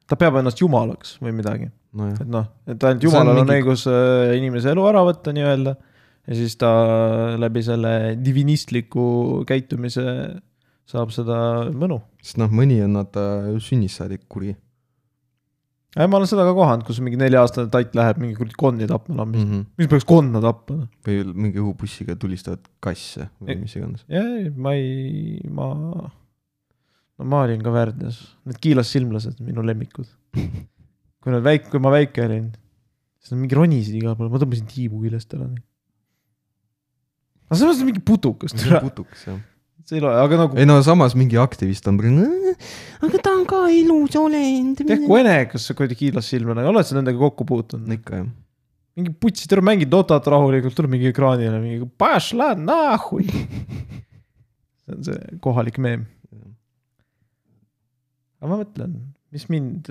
ta peab ennast jumalaks või midagi ,
nojah .
et noh , et ainult
See on
jumalal on, on
mingi-
õigus äh, inimese elu ära võtta nii-öelda . ja siis ta läbi selle divinistliku käitumise saab seda mõnu .
sest noh , mõni on vaata sünnist saadik kuri
ei , Äh, ma olen seda ka kohanud , kus mingi nelja-aastane tait läheb mingi kuradi konni tapma lambist mm. ,
-hmm.
mis peaks konna noh. tapma ?
või mingi õhupussiga tulistavad kasse või
Ei.
mis iganes .
ei , ma ei , ma , no ma olin ka värdjas , need kiilassilmlased , minu lemmikud . kui nad väike , kui ma väike olin , siis nad mingi ronisid igal pool , ma tõmbasin tiibu küljest ära . aga see on mingi putukas ,
see on putukas jah .
see ei ole , aga nagu ,
ei no samas mingi aktivist on , aga ta on ka ilus olend .
tead kui enekas see kuradi kiilassilmlane , oled sa nendega kokku puutunud ?
ikka jah .
mingi putsi , tuleb mängid Dotat rahulikult , tuleb mingi ekraanile mingi , pašla nahui . see on see kohalik meem . aga ma mõtlen , mis mind ,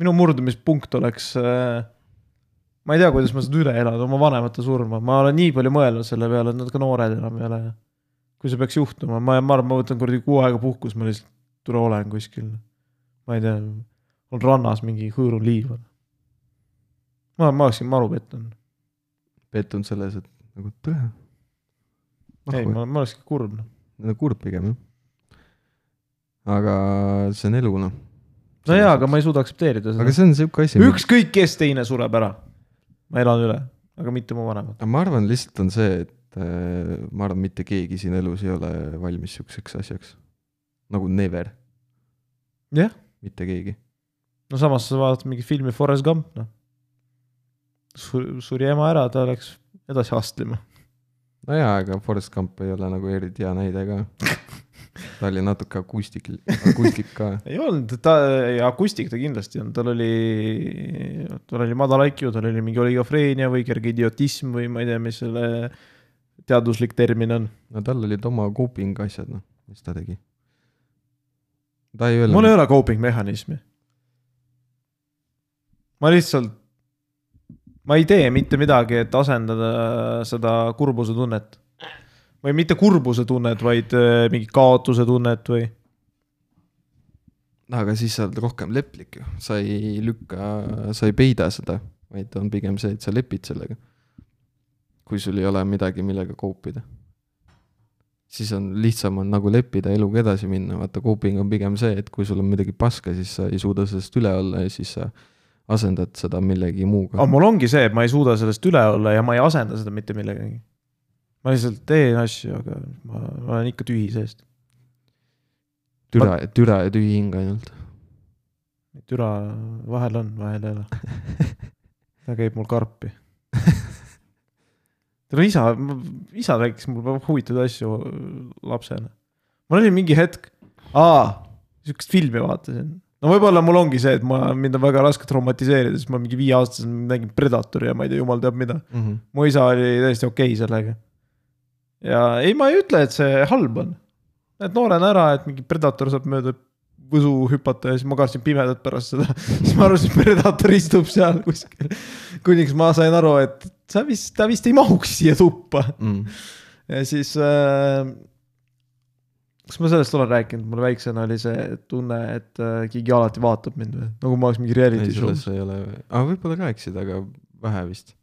minu murdumispunkt oleks . ma ei tea , kuidas ma seda üle elan , oma vanemate surma , ma olen nii palju mõelnud selle peale , et nad ka noored enam ei ole . kui see peaks juhtuma , ma , ma arvan , ma võtan kuradi kuu aega puhkust , ma lihtsalt tule olen kuskil . ma ei tea , on rannas mingi hõõrun liiva . ma , ma oleksin maru pettunud ,
pettunud selles , et nagu tõe .
ei , ma , ma olekski kurb . noh.
no nagu kurb pigem jah . aga see on elu noh .
no jaa , aga ma ei suuda aktsepteerida
aga
seda ,
see on siuke asi .
ükskõik kes teine sureb ära . ma elan üle , aga mitte mu vanemad .
aga ma arvan , lihtsalt on see , et äh, ma arvan , mitte keegi siin elus ei ole valmis siukseks asjaks . nagu never .
Jah. .
mitte keegi .
no samas sa vaatad mingit filmi Forrest Gump , noh . suri ema ära , ta läks edasi astlema .
nojaa , aga Forest Gump ei ole nagu eriti hea näide ka . ta oli natuke akustik , akustik ka .
ei olnud , ta , akustik ta kindlasti on , tal oli , tal oli madal IQ , tal oli mingi oligofreenia või kerge idiotism või ma ei tea , mis selle teaduslik termin on .
no tal olid oma coping asjad , noh , mis ta tegi . ta ei
mul ei
öelnud ,
ole coping mehhanismi . ma lihtsalt , ma ei tee mitte midagi , et asendada seda kurbuse tunnet . või mitte kurbuse tunnet , vaid äh, mingi kaotuse tunnet või ,
aga siis sa oled rohkem leplik ju , sa ei lükka , sa ei peida seda , vaid on pigem see , et sa lepid sellega . kui sul ei ole midagi , millega koopida . siis on , lihtsam on nagu leppida , eluga edasi minna , vaata kooping on pigem see , et kui sul on midagi paska , siis sa ei suuda sellest üle olla ja siis sa asendad seda millegi muuga
aga . mul ongi see , et ma ei suuda sellest üle olla ja ma ei asenda seda mitte millegagi . ma lihtsalt teen asju , aga ma ma olen ikka tühi seest .
türa , türa ja tühi hing ainult .
türa vahel on , vahel ei ole . ta käib mul karpi . tal on isa , isa rääkis mulle väga huvitavaid asju lapsena . mul oli mingi hetk , aa , sihukest filmi vaatasin . no võib-olla mul ongi see , et ma , mind on väga raske traumatiseerida , sest ma mingi viieaastaselt nägin Predatori ja ma ei tea , jumal teab mida .
Mm -hmm.
mu isa oli täiesti okei okay sellega . ja ei , ma ei ütle , et see halb on . et noorena ära , et mingi predator saab mööda võsu hüpata ja siis magasin pimedat pärast seda . siis ma arvasin , et predator istub seal kuskil . kuniks ma sain aru , et sa vist , ta vist ei mahuks siia tuppa .
Mm.
ja siis äh, . kas ma sellest olen rääkinud , mul väiksena oli see tunne , et äh, keegi alati vaatab mind või , nagu ma oleks mingi
ei ,
reality show .
selles ei ole , aga võib-olla rääkisid , aga vähe vist .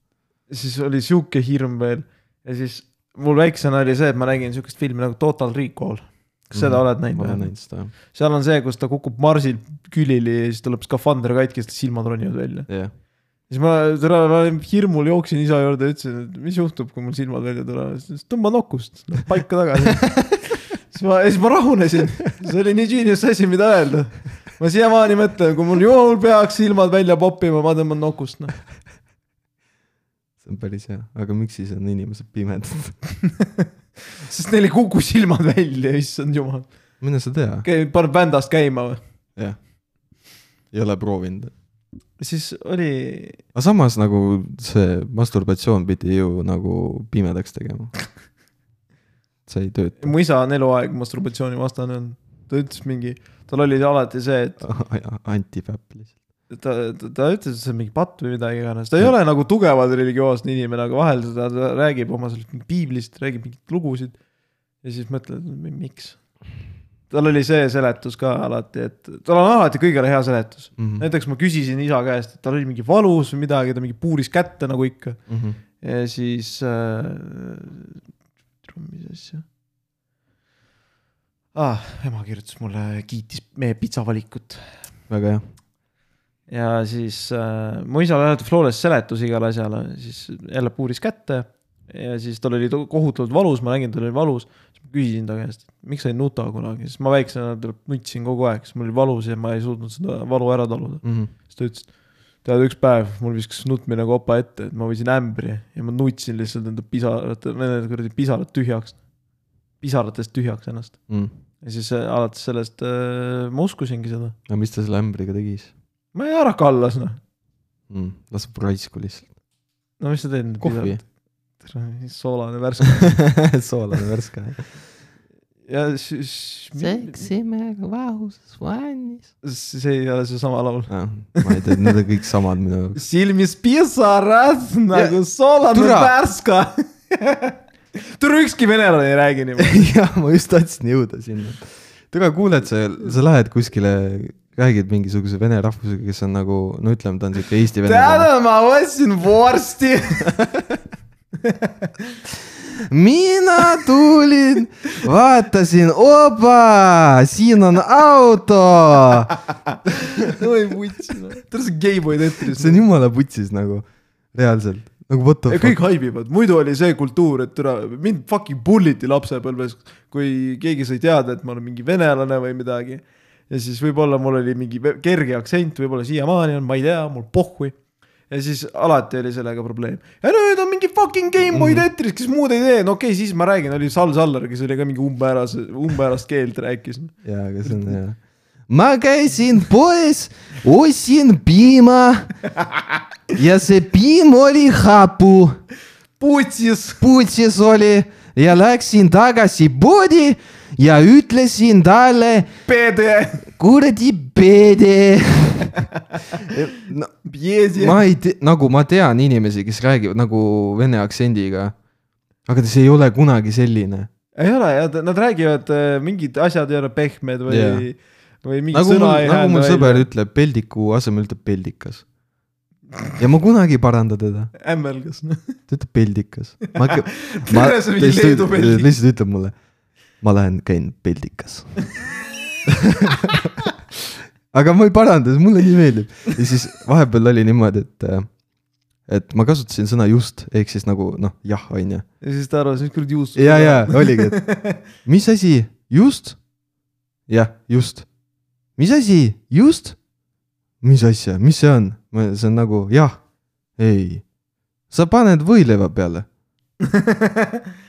siis oli sihuke hirm veel ja siis mul väiksena oli see , et ma nägin sihukest filmi nagu Total Recall . kas seda mm, oled
ma olen
näinud või ?
näinud seda ,
seal on see , kus ta kukub Marsil külili ja siis ta lööb skafander katki ja siis silmad ronivad välja .
jah .
siis ma, täna, ma olin hirmul jooksin isa juurde ja ütlesin , et mis juhtub , kui mul silmad välja tulevad , siis ta ütles tõmba nokust , paika tagasi . siis ma , siis ma rahunesin , see oli nii genius asi , mida öelda . ma siiamaani mõtlen , kui mul juhul peaks silmad välja popima , ma tõmban nokust , noh .
see on päris hea , aga miks siis on inimesed pimedad ?
sest neil ei kuku silmad välja , issand jumal .
mine sa tea ,
käib , paneb bändast käima või ?
jah . ei ole proovinud .
siis oli ,
aga samas nagu see masturbatsioon pidi ju nagu pimedaks tegema . see ei tööta .
mu isa on eluaeg masturbatsiooni vastane olnud . ta ütles mingi , tal oli alati see , et
antipäpp lihtsalt .
ta, ta , ta ütles , et see on mingi patt või midagi iganes , ta ei ole nagu tugevalt religioosne inimene , aga vahel ta, ta räägib oma sellest mingi piiblist , räägib mingeid lugusid . ja siis mõtled , miks . tal oli see seletus ka alati , et tal on alati kõigele hea seletus .
Mhm.
näiteks ma küsisin isa käest , et tal oli mingi valus või midagi , ta mingi puuris kätte nagu ikka .
Mhm.
ja siis äh, . mis asja ah, ? ema kirjutas mulle , kiitis meie pitsavalikut
väga hea .
ja siis äh, mu isal oli alati Flores seletus igale asjale , siis jälle puuris kätte . ja siis tal oli to- kohutavalt valus , ma nägin , tal oli valus . siis ma küsisin ta käest , miks sa ei nuta kunagi , sest ma väiksena nutsin kogu aeg , sest mul oli valus ja ma ei suutnud seda valu ära taluda .
Mhm.
siis ta ütles , tead üks päev mul viskas nutmine kopa ette , et ma võtsin ämbri ja ma nutsin lihtsalt nende pisarate , need kuradi pisarad tühjaks . pisaratest tühjaks ennast
Mhm.
ja siis äh, alates sellest äh, ma uskusingi seda ,
aga mis ta selle ämbriga tegi siis
ma ei ära kallas noh ,
mm. ? las praisku lihtsalt .
no mis sa teed nüüd
kohvi
pisarad- . soolane värske
soolane värske .
ja siis .
mehega vahuses vannis .
see ei ole seesama laul .
ma ei tea , need on kõik samad minu jaoks .
silmis pisarad nagu soolane
türa.
värske . tule ükski venelane ei räägi niimoodi .
jah , ma just tahtsin jõuda sinna . tule kuule , et sa , sa lähed kuskile , räägid mingisuguse vene rahvusega , kes on nagu , no ütleme , ta on siuke eesti venelane .
täna ma ostsin vorsti
mina tulin , vaatasin , opa , siin on auto .
oi vutsi noh , tal see Gameboy tetris .
see on jumala putsis nagu , reaalselt , nagu what the fuck .
kõik haibivad , muidu oli see kultuur , et türa , mind fucking bulliti lapsepõlves , kui keegi sai teada , et ma olen mingi venelane või midagi . ja siis võib-olla mul oli mingi ve- kerge aktsent , võib-olla siiamaani on , ma ei tea , mul pohhui . ja siis alati oli sellega probleem . ja nüüd on mingi fucking Gameboy
Mhm.
tetris , kes muud ei tee , no okei okay, , siis ma räägin , oli Sal Sallar , kes oli ka mingi umbmäärase , umbmäärast keelt rääkis
jaa , aga see on hea . ma käisin poes , ostsin piima ja see piim oli hapu
putsis ,
putsis oli ja läksin tagasi poodi ja ütlesin talle
pede
kuradi peede . no, ma ei tea , nagu ma tean inimesi , kes räägivad nagu vene aktsendiga . aga see ei ole kunagi selline .
ei ole ja nad räägivad äh, mingid asjad ei ole pehmed või
Jah.
yeah. , või mingi
nagu
sõna
mul ,
ei
nagu mul
välja.
sõber ütleb , peldiku asemel ütleb peldikas . ja ma kunagi ei paranda teda ,
ämmelgas .
ta ütleb peldikas . ma hakkan , ma ,
tere , see on
ta
mingi
lihtsalt
Leedu
ütleb-
peldik .
lihtsalt ütleb mulle , ma lähen käin peldikas . aga ma ei paranda , mulle nii meeldib ja siis vahepeal oli niimoodi , et , et ma kasutasin sõna just ehk siis nagu noh , jah , on ju .
ja siis ta arvas , mis kuradi juust .
ja , ja oligi , et mis asi , just ? jah , just . mis asi , just ? mis asja , mis see on ? see on nagu jah , ei . sa paned võileiva peale .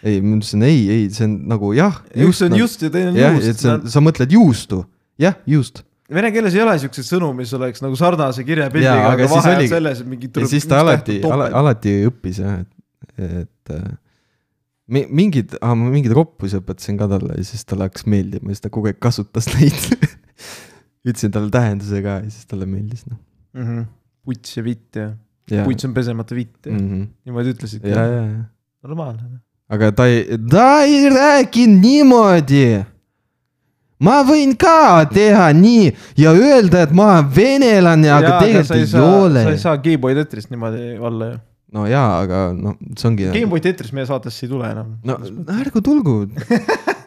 ei , ma ütlesin ei , ei , see on nagu jah ,
üks
just .
on just ja teine on
jah , et
juust
see on , sa mõtled juustu , jah , juust .
vene keeles ei ole siukseid sõnu , mis oleks nagu sarnase
Jaa,
kirjapildiga ,
aga
aga
siis
vahe on
oligi-
selles , et mingi
ja siis ta alati , alati õppis jah , et , et äh, mi- mingid , mingeid roppusi õpetasin ka talle ja siis talle hakkas meeldima ja siis ta kogu aeg kasutas neid . ütlesin talle tähenduse ka ja siis talle meeldis noh .
Mhm. puts ja vitt ja ,
ja ,
puts on pesemata vitt
Mm.
ja
ja ,
niimoodi ütlesid .
ja , ja ,
normaalne .
aga ta ei , ta ei rääkinud niimoodi . ma võin ka teha nii ja öelda , et ma olen venelane , aga tegelikult ei ole
sa ei . saa Gameboy Tetris niimoodi olla ju .
no jaa , aga noh , see ongi .
Gameboy Tetris meie saatesse ei tule enam .
no ärgu tulgu .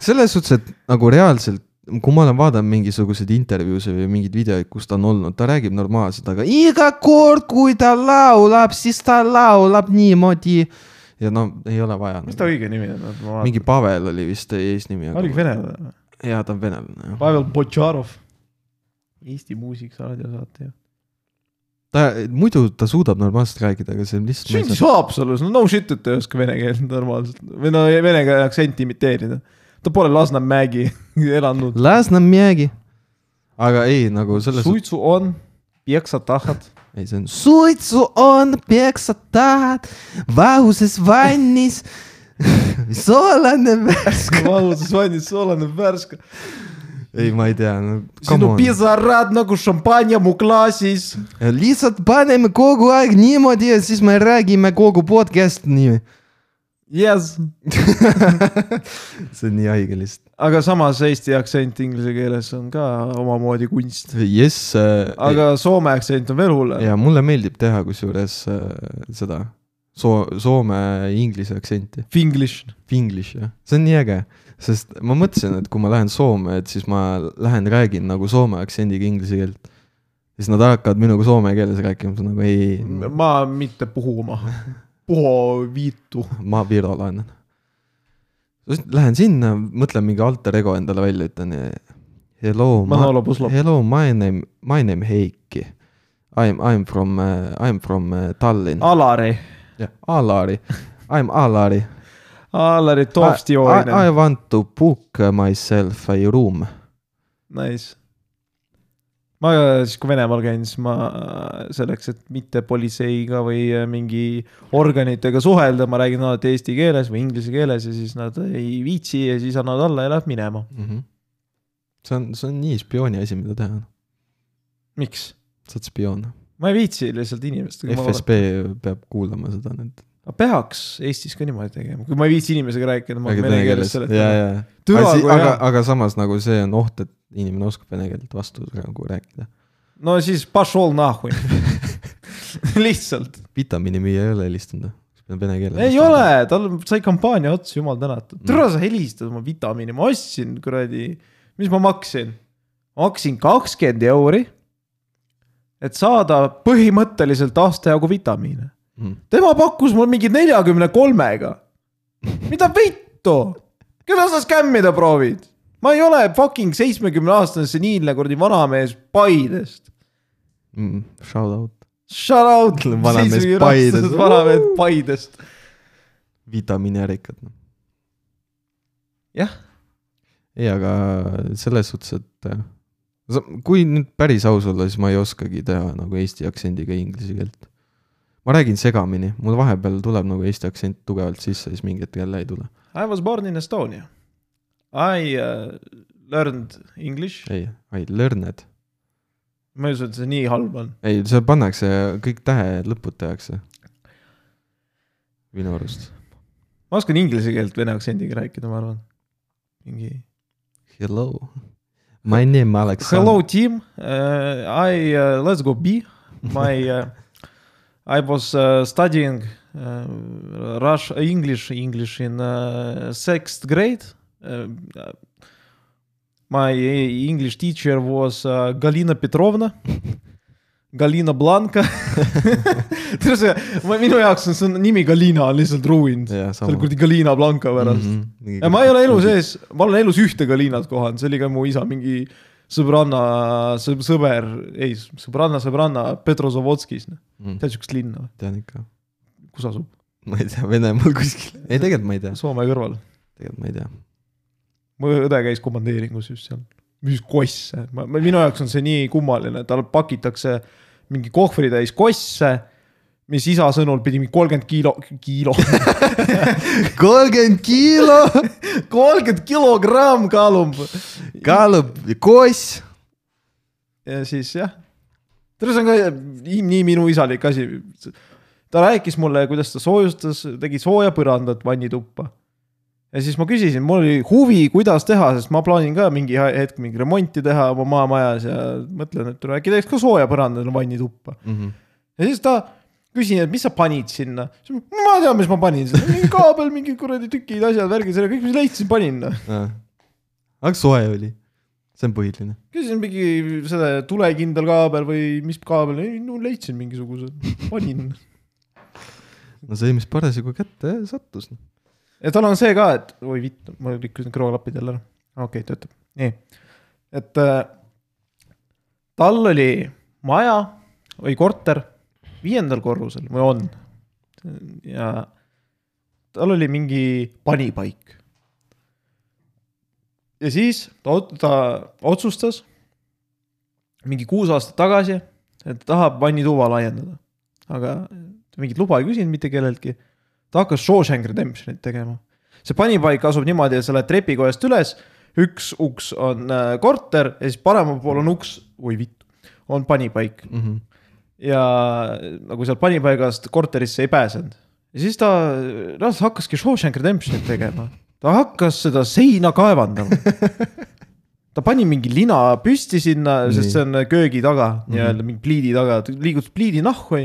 selles suhtes , et nagu reaalselt , kui ma olen vaadanud mingisuguseid intervjuusid või mingeid videoid , kus ta on olnud , ta räägib normaalselt , aga iga kord , kui ta laulab , siis ta laulab niimoodi . ja no ei ole vaja .
mis ta õige nimi on ?
mingi Pavel oli vist eesnimi .
oligi venelane või ?
jaa , ta on venelane jah .
Nagu Pavel Botšarov . Eesti muusik , raadiosaate ju .
ta , muidu ta suudab normaalselt rääkida , aga see on
sündis
lihtsalt .
Haapsalus , no no shit , et ta ei oska vene keelt normaalselt või no vene keele aktsenti imiteerida . ta pole Lasnamägi elanud .
Lasnamägi . aga ei , nagu selles .
suitsu on , pieksa tahad .
ei , see on suitsu on , peksa tahad , vahuses vannis , soolane värske .
valuses vannis soolane värske .
ei , ma ei tea no, .
sinu pisarad nagu šampanja mu klaasis .
lihtsalt paneme kogu aeg niimoodi ja siis me räägime kogu podcast'i nii .
Yes .
see on nii haige lihtsalt .
aga samas eesti aktsent inglise keeles on ka omamoodi kunst .
jess äh, ,
aga soome aktsent on veel hullem .
ja mulle meeldib teha kusjuures äh, seda soo- , soome-inglise aktsenti .
Finglish .
Finglish jah , see on nii äge , sest ma mõtlesin , et kui ma lähen Soome , et siis ma lähen räägin nagu soome aktsendiga inglise keelt . siis nad hakkavad minuga soome keeles rääkima , siis nagu ei ,
Mm. ma mitte puhuma . puho viitu .
ma virolane . Lähen sinna , mõtlen mingi alter ego endale välja , ütlen hello ,
Manolo Puslov.
hello , my name , my name Heiki . I am , I am from , I am from uh, Tallinn ah. ,
Alari
Alari , I am Alari .
Alari
I, I
Tovstioinen ,
want to book myself a room
nice . ma siis , kui Venemaal käin , siis ma äh, selleks , et mitte politseiga või äh, mingi organitega suhelda , ma räägin alati eesti keeles või inglise keeles ja siis nad ei viitsi ja siis annavad alla ja läheb minema .
mm . -hmm. see on , see on nii spiooni asi , mida teha .
miks ?
sa oled spioon .
ma ei viitsi lihtsalt inimestega .
FSB peab kuulama seda nüüd .
ma peaks Eestis ka niimoodi tegema , kui ma ei viitsi inimesega rääkida , ma
räägid
hakkan vene keeles
ja ,
seletama .
ja .
Türa,
aga, si-
kui
aga
hea. ,
aga samas nagu see on oht , et inimene oskab vene keelt vastu nagu rääkida .
no siis pašol nahui . lihtsalt ,
vitamiini müüja ei ole helistanud või ? peab vene keeles .
ei . ole , tal sai kampaania otsa , jumal tänatud . türa , sa helistad oma vitamiini , ma ostsin kuradi , mis ma maksin ? maksin kakskümmend euri , et saada põhimõtteliselt aasta jagu vitamiine .
Mm,
tema pakkus mulle mingi neljakümne kolmega . mida vittu , keda sa skämmida proovid ? ma ei ole fucking seitsmekümne aastane seniilne kuradi vanamees Paidest .
mm. Shout out .
Shout out ,
Vanamees Paidest.
vanamees Paidest .
vitamiiniärikad .
jah ,
ei , aga selles suhtes , et äh, sa- kui nüüd päris aus olla , siis ma ei oskagi teha nagu eesti aktsendiga inglise keelt . ma räägin segamini , mul vahepeal tuleb nagu eesti aktsent tugevalt sisse , siis mingi hetk jälle ei tule .
I was born in Estonia . I uh, learned English
ei , I learned .
ma ei usu , et see nii halb on .
ei , see pannakse , kõik tähe lõpud tehakse . minu arust .
ma oskan inglise keelt vene aktsendiga rääkida , ma arvan . mingi
Hello . My name Aleksandr .
hello team uh, I uh, let's go B my uh, I was uh, studying uh, Rush English English in uh, sixth grade uh, my uh, English teacher was uh, Galina Petrovna Galina Blanka tead sa ma minu jaoks on see on- nimi Galina on lihtsalt ruind
jah ,
selle
sama . Mhm.
kuradi Galina Blanka pärast ja ma ei ole elu . sees , ma olen elus ühte Galinat kohanud , see oli ka mu isa mingi sõbranna sõ, , sõber , ei , sõbranna , sõbranna Petrozavodskis , tead siukest linna ,
Mhm. tean ikka .
kus asub ,
ma ei tea , Venemaal kuskil . ei , tegelikult ma ei tea ,
Soome kõrval .
tegelikult ma ei tea .
mu õde käis komandeeringus just seal , müüs kosse , ma , ma , minu jaoks on see nii kummaline , tal pakitakse mingi kohvritäis kosse , mis isa sõnul pidi mingi kolmkümmend kilo , kilo ,
kolmkümmend kilo
kolmkümmend kilogramm kaalub
kaalub koss .
ja siis jah , selles on ka eh, nii nii minu isalik asi . ta rääkis mulle , kuidas ta soojustas , tegi sooja põrandat vannituppa . ja siis ma küsisin , mul oli huvi , kuidas teha , sest ma plaanin ka mingi he- hetk mingi remonti teha oma maamajas ja mõtlen , et äkki teeks ka sooja põranda vannituppa .
Mhm,
ja siis ta küsin , et mis sa panid sinna , ma tean , mis ma panin sinna , mingi kaabel , mingid kuradi tükid , asjad , värgid , selle kõik , mis leidsin , panin noh .
aga soe oli , see on põhiline .
küsisin mingi selle tulekindel kaabel või mis kaabel , ei no leidsin mingisuguse , panin .
no see , mis parasjagu kätte sattus .
ja tal on see ka , et oi vitt , ma rikkusin kõrvaklapid jälle ära , okei okay, , töötab , nii . et äh, tal oli maja või korter viiendal korrusel või on . ja tal oli mingi panipaik . ja siis ta, ot- ta otsustas mingi kuus aastat tagasi , et tahab vannituba laiendada . aga ta mingit luba ei küsinud mitte kelleltki . ta hakkas Shawshank Redemptionit tegema . see panipaik asub niimoodi , et sa lähed trepikojast üles , üks uks on äh, korter ja siis paremal pool on uks , oi vittu , on panipaik
Mhm,
ja nagu sealt panipaigast korterisse ei pääsenud . ja siis ta , noh , ta hakkaski Shawshank Redemptionit tegema . ta hakkas seda seina kaevandama . ta pani mingi lina püsti sinna ,
Nii.
sest see on köögi taga mm -hmm.
Mhm.
nii-öelda , mingi pliidi taga , liigutas pliidi nahku ,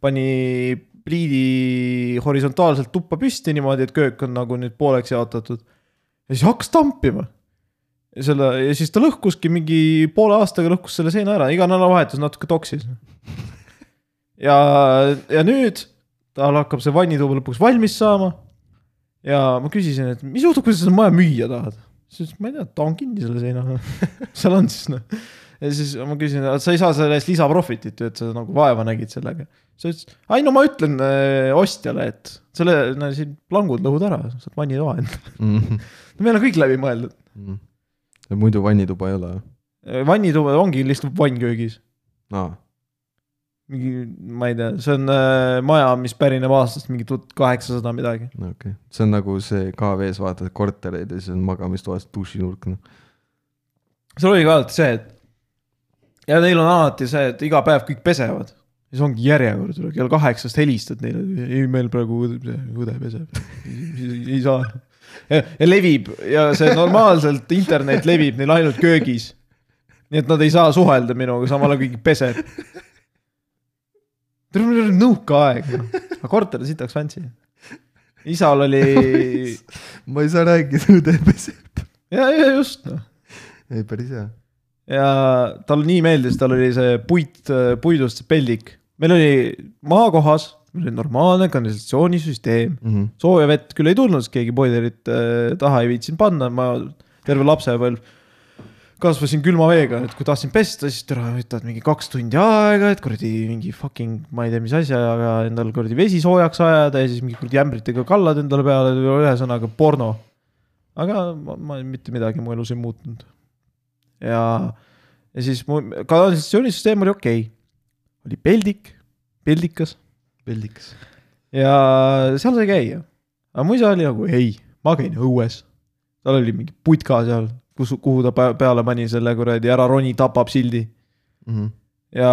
pani pliidi horisontaalselt tuppa püsti niimoodi , et köök on nagu nüüd pooleks jaotatud . ja siis hakkas tampima Ja selle ja siis ta lõhkuski mingi poole aastaga lõhkus selle seina ära , iga nädalavahetus natuke toksis . ja , ja nüüd tal hakkab see vannituba lõpuks valmis saama . ja ma küsisin , et mis juhtub , kui sa seda maja müüa tahad ? siis ta ütles , ma ei tea , ta on kinni selle seinaga , seal on siis noh . ja siis ma küsisin , et sa ei saa selle eest lisaprofitit ju , et sa nagu vaeva nägid sellega . siis ta ütles , ei no ma ütlen äh, ostjale , et selle , no siin plangud lõhud ära , saad vannitoa endale . meil on kõik läbi mõeldud .
mhm, muidu vannituba ei ole või ?
vannituba ongi lihtsalt vann köögis ,
aa ,
mingi , ma ei tea , see on äh, maja , mis pärineb aastast mingi tuhat kaheksasada midagi .
okei okay. , see on nagu see KV-s vaatad kortereid ja siis on magamistoas dušinurk , noh .
seal oli ka alati see , et ja neil on alati see , et iga päev kõik pesevad . siis ongi järjekord , kell kaheksast helistad neile , ei meil praegu õde, õde peseb , ei saa . ja levib ja see normaalselt internet levib neil ainult köögis . nii et nad ei saa suhelda minuga , samal ajal kõik peseb . terve meil oli nõukaaeg , aga korter on sitaks fancy . isal oli ,
ma ei saa rääkida , õde peseb .
ja , ja just noh ,
ei , päris hea .
ja talle nii meeldis , tal oli see puit , puidust see peldik . meil oli maakohas , meil oli normaalne kanalisatsioonisüsteem ,
Mhm,
sooja Mm. vett küll ei tulnud , sest keegi boilerit äh, taha ei viitsinud panna , ma terve lapsepõlv kasvasin külma veega , et kui tahtsin pesta , siis tere , võtad mingi kaks tundi aega , et kuradi mingi fucking , ma ei tea , mis asjaga endal kuradi vesi soojaks ajada ja siis mingi kuradi ämbritega kallad endale peale , ühesõnaga porno . aga ma, ma mitte midagi mu elus ei muutnud . ja , ja siis mu kanalisatsioonisüsteem oli okei okay. , oli peldik , peldikas ,
peldiks .
ja seal sai käia . aga mu isa oli nagu ei , ma käin õues . tal oli mingi
mhm.
putka seal , kus , kuhu ta pä- peale pani selle kuradi ära roni tapab sildi . ja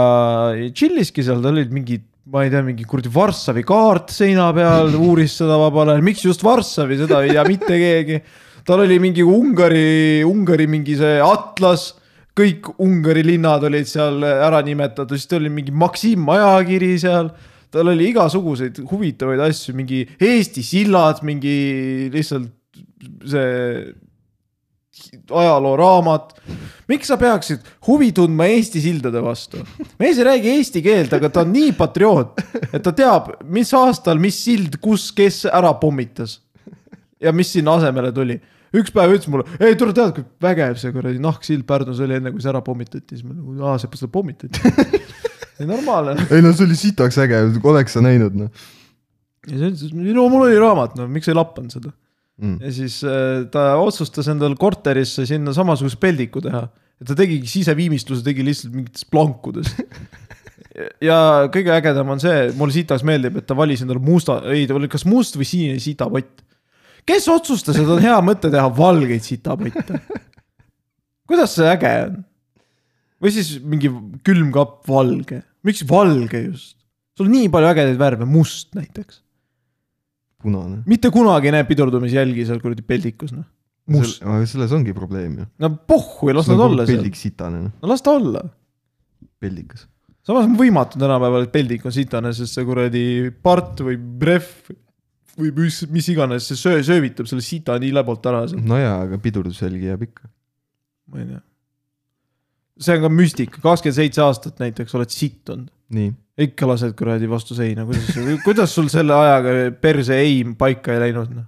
chill'iski seal , tal olid mingid , ma ei tea , mingi kuradi Varssavi kaart seina peal , uuris seda vabal ajal , miks just Varssavi , seda ei tea mitte keegi . tal oli mingi Ungari , Ungari mingi see atlas , kõik Ungari linnad olid seal ära nimetatud , siis tal oli mingi Maksim ajakiri seal tal oli igasuguseid huvitavaid asju , mingi Eesti sillad , mingi lihtsalt see ajalooraamat . miks sa peaksid huvi tundma Eesti sildade vastu ? mees ei räägi eesti keelt , aga ta on nii patrioot , et ta teab , mis aastal , mis sild , kus , kes ära pommitas . ja mis sinna asemele tuli . üks päev ütles mulle , ei tule tead , kui vägev see kuradi nahksild Pärnus oli enne , kui see ära pommitati , siis ma nagu , aa , seepärast seda pommitati . normaalne .
ei no see oli sitaks äge , oleks sa näinud noh
ja siis ütles , et no mul oli raamat , no miks ei lappanud seda .
mm. .
ja siis äh, ta otsustas endal korterisse sinna samasuguse peldiku teha . ta tegigi siseviimistluse , tegi lihtsalt mingites plankudest . ja kõige ägedam on see , mulle sitaks meeldib , et ta valis endale musta , ei ta oli kas must või sinine sitapott . kes otsustas , et on hea mõte teha valgeid sitapotte ? kuidas see äge on ? või siis mingi külmkapp valge , miks valge just ? sul on nii palju ägedaid värve , must näiteks .
punane .
mitte kunagi ei näe pidurdumisjälgi seal kuradi peldikus , noh . must ,
aga selles ongi probleem ju .
no pohhu ja las nad olla seal ,
peldik sitane noh ,
no las ta olla .
peldikas .
samas on võimatu tänapäeval , et peldik on sitane , sest see kuradi part või ref või mis , mis iganes , see söö , söövitab selle sita nii läbalt ära seal ,
no jaa , aga pidurdusjälgi jääb ikka .
ma ei tea . see on ka müstika , kakskümmend seitse aastat näiteks oled sitt olnud ,
nii ,
ikka lased kuradi vastu seina , kuidas , kuidas sul selle ajaga perse eim paika ei läinud , noh .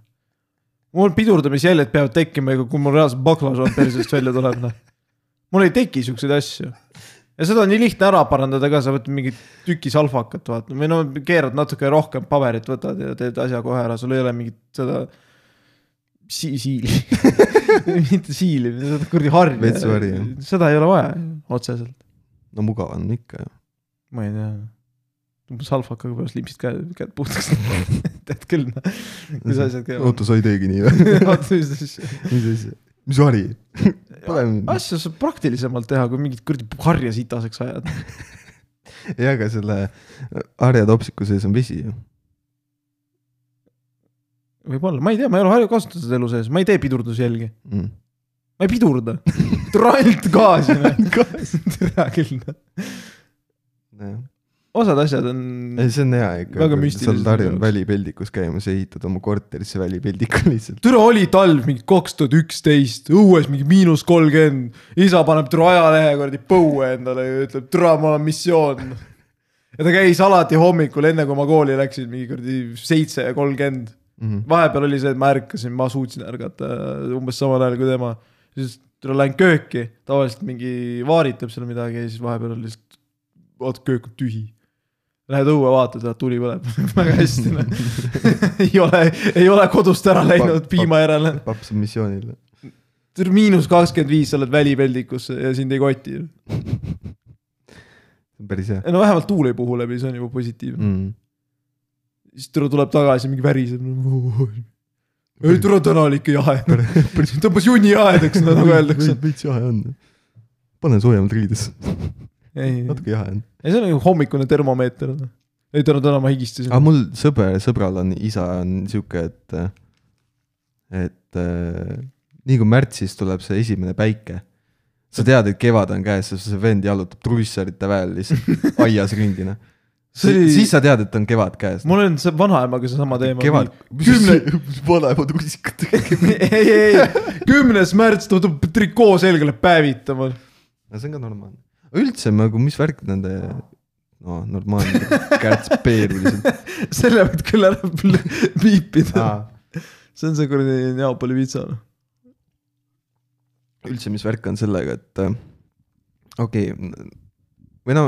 mul pidurdamisjäljed peavad tekkima , kui mul reaalselt baklažaan persest välja tuleb , noh . mul ei teki siukseid asju . ja seda on nii lihtne ära parandada ka , sa võtad mingi tüki salfakat , vaata , või no keerad natuke rohkem paberit , võtad ja teed asja kohe ära , sul ei ole mingit seda si . siili , mitte siili , seda kuradi harja
Vetsu harja. .
seda ei ole vaja otseselt ,
no mugav on ikka ju .
ma ei tea . salfakaga pärast limpsid käed , käed puhtaks . tead küll , mis asjad käivad .
oota , sa ei teegi nii või ?
vaata , mis asja .
mis asi , mis vari ? Pole ,
asju saab praktilisemalt teha , kui mingit kuradi harja sitaseks ajad .
jaa , aga selle harjatopsiku sees on vesi ju .
võib-olla , ma ei tea , ma ei ole harju kasutanud seda elu sees , ma ei tee pidurdusjälgi ,
Mm.
ma ei pidurda . noh. trall gaasi , tere küll .
jah.
osad asjad on ,
ei , see on hea ikka .
Väga müstilised
sa oled harjunud
minu jaoks.
välipeldikus käimas ja ehitad oma korterisse välipeldiku lihtsalt .
türa oli talv mingi kaks tuhat üksteist , õues mingi miinus kolmkümmend , isa paneb türa ajalehe kuradi põue endale ja ütleb , türa , mul on missioon . ja ta käis alati hommikul , enne kui ma kooli läksin , mingi kuradi seitse ja kolmkümmend vahepeal oli see , et ma ärkasin , ma suutsin ärgata äh, umbes samal ajal kui tema . siis tule lähen kööki , tavaliselt mingi vaaritab seal midagi ja siis vahepeal on lihtsalt , vaata köök on tühi . Lähed õue , vaatad , tuli põleb väga hästi no. . ei ole , ei ole kodust ära läinud
Papp-
piima järele .
paps on missioonil .
miinus kakskümmend viis , sa oled välipeldikusse ja sind ei koti .
päris hea
no vähemalt tuul ei puhu läbi , see on juba positiivne .
mm. .
siis tule tuleb tagasi , mingi väriseb . ei tule täna oli ikka jahe . tõmbas junni jahedaks , nagu öeldakse .
veits jahe on . pane soojemad riidesse ,
ei ,
natuke jahe on .
ei , see on nagu hommikune termomeeter . ei täna , täna ma higistasin
aga . mul sõber , sõbral on isa on sihuke , et , et äh, nii kui märtsis tuleb see esimene päike , sa tead , et kevad on käes , sest see vend jalutab trussarite väel lihtsalt aias ringi , noh .
See oli-
siis sa tead , et on kevad käes .
mul on see vanaemaga seesama teema .
kevad .
Kümne- ,
vanaemad rusikatega .
ei , ei , kümnes märts ta tuleb trikoo selga läheb päevitama .
no see on ka normaalne . üldse nagu , mis värk nende , no normaalne , kärts peeruliselt .
selle võid küll ära pl- piipida . see on see kuradi Neapoli pitsa .
üldse , mis värk on sellega , et äh, okei okay, , või no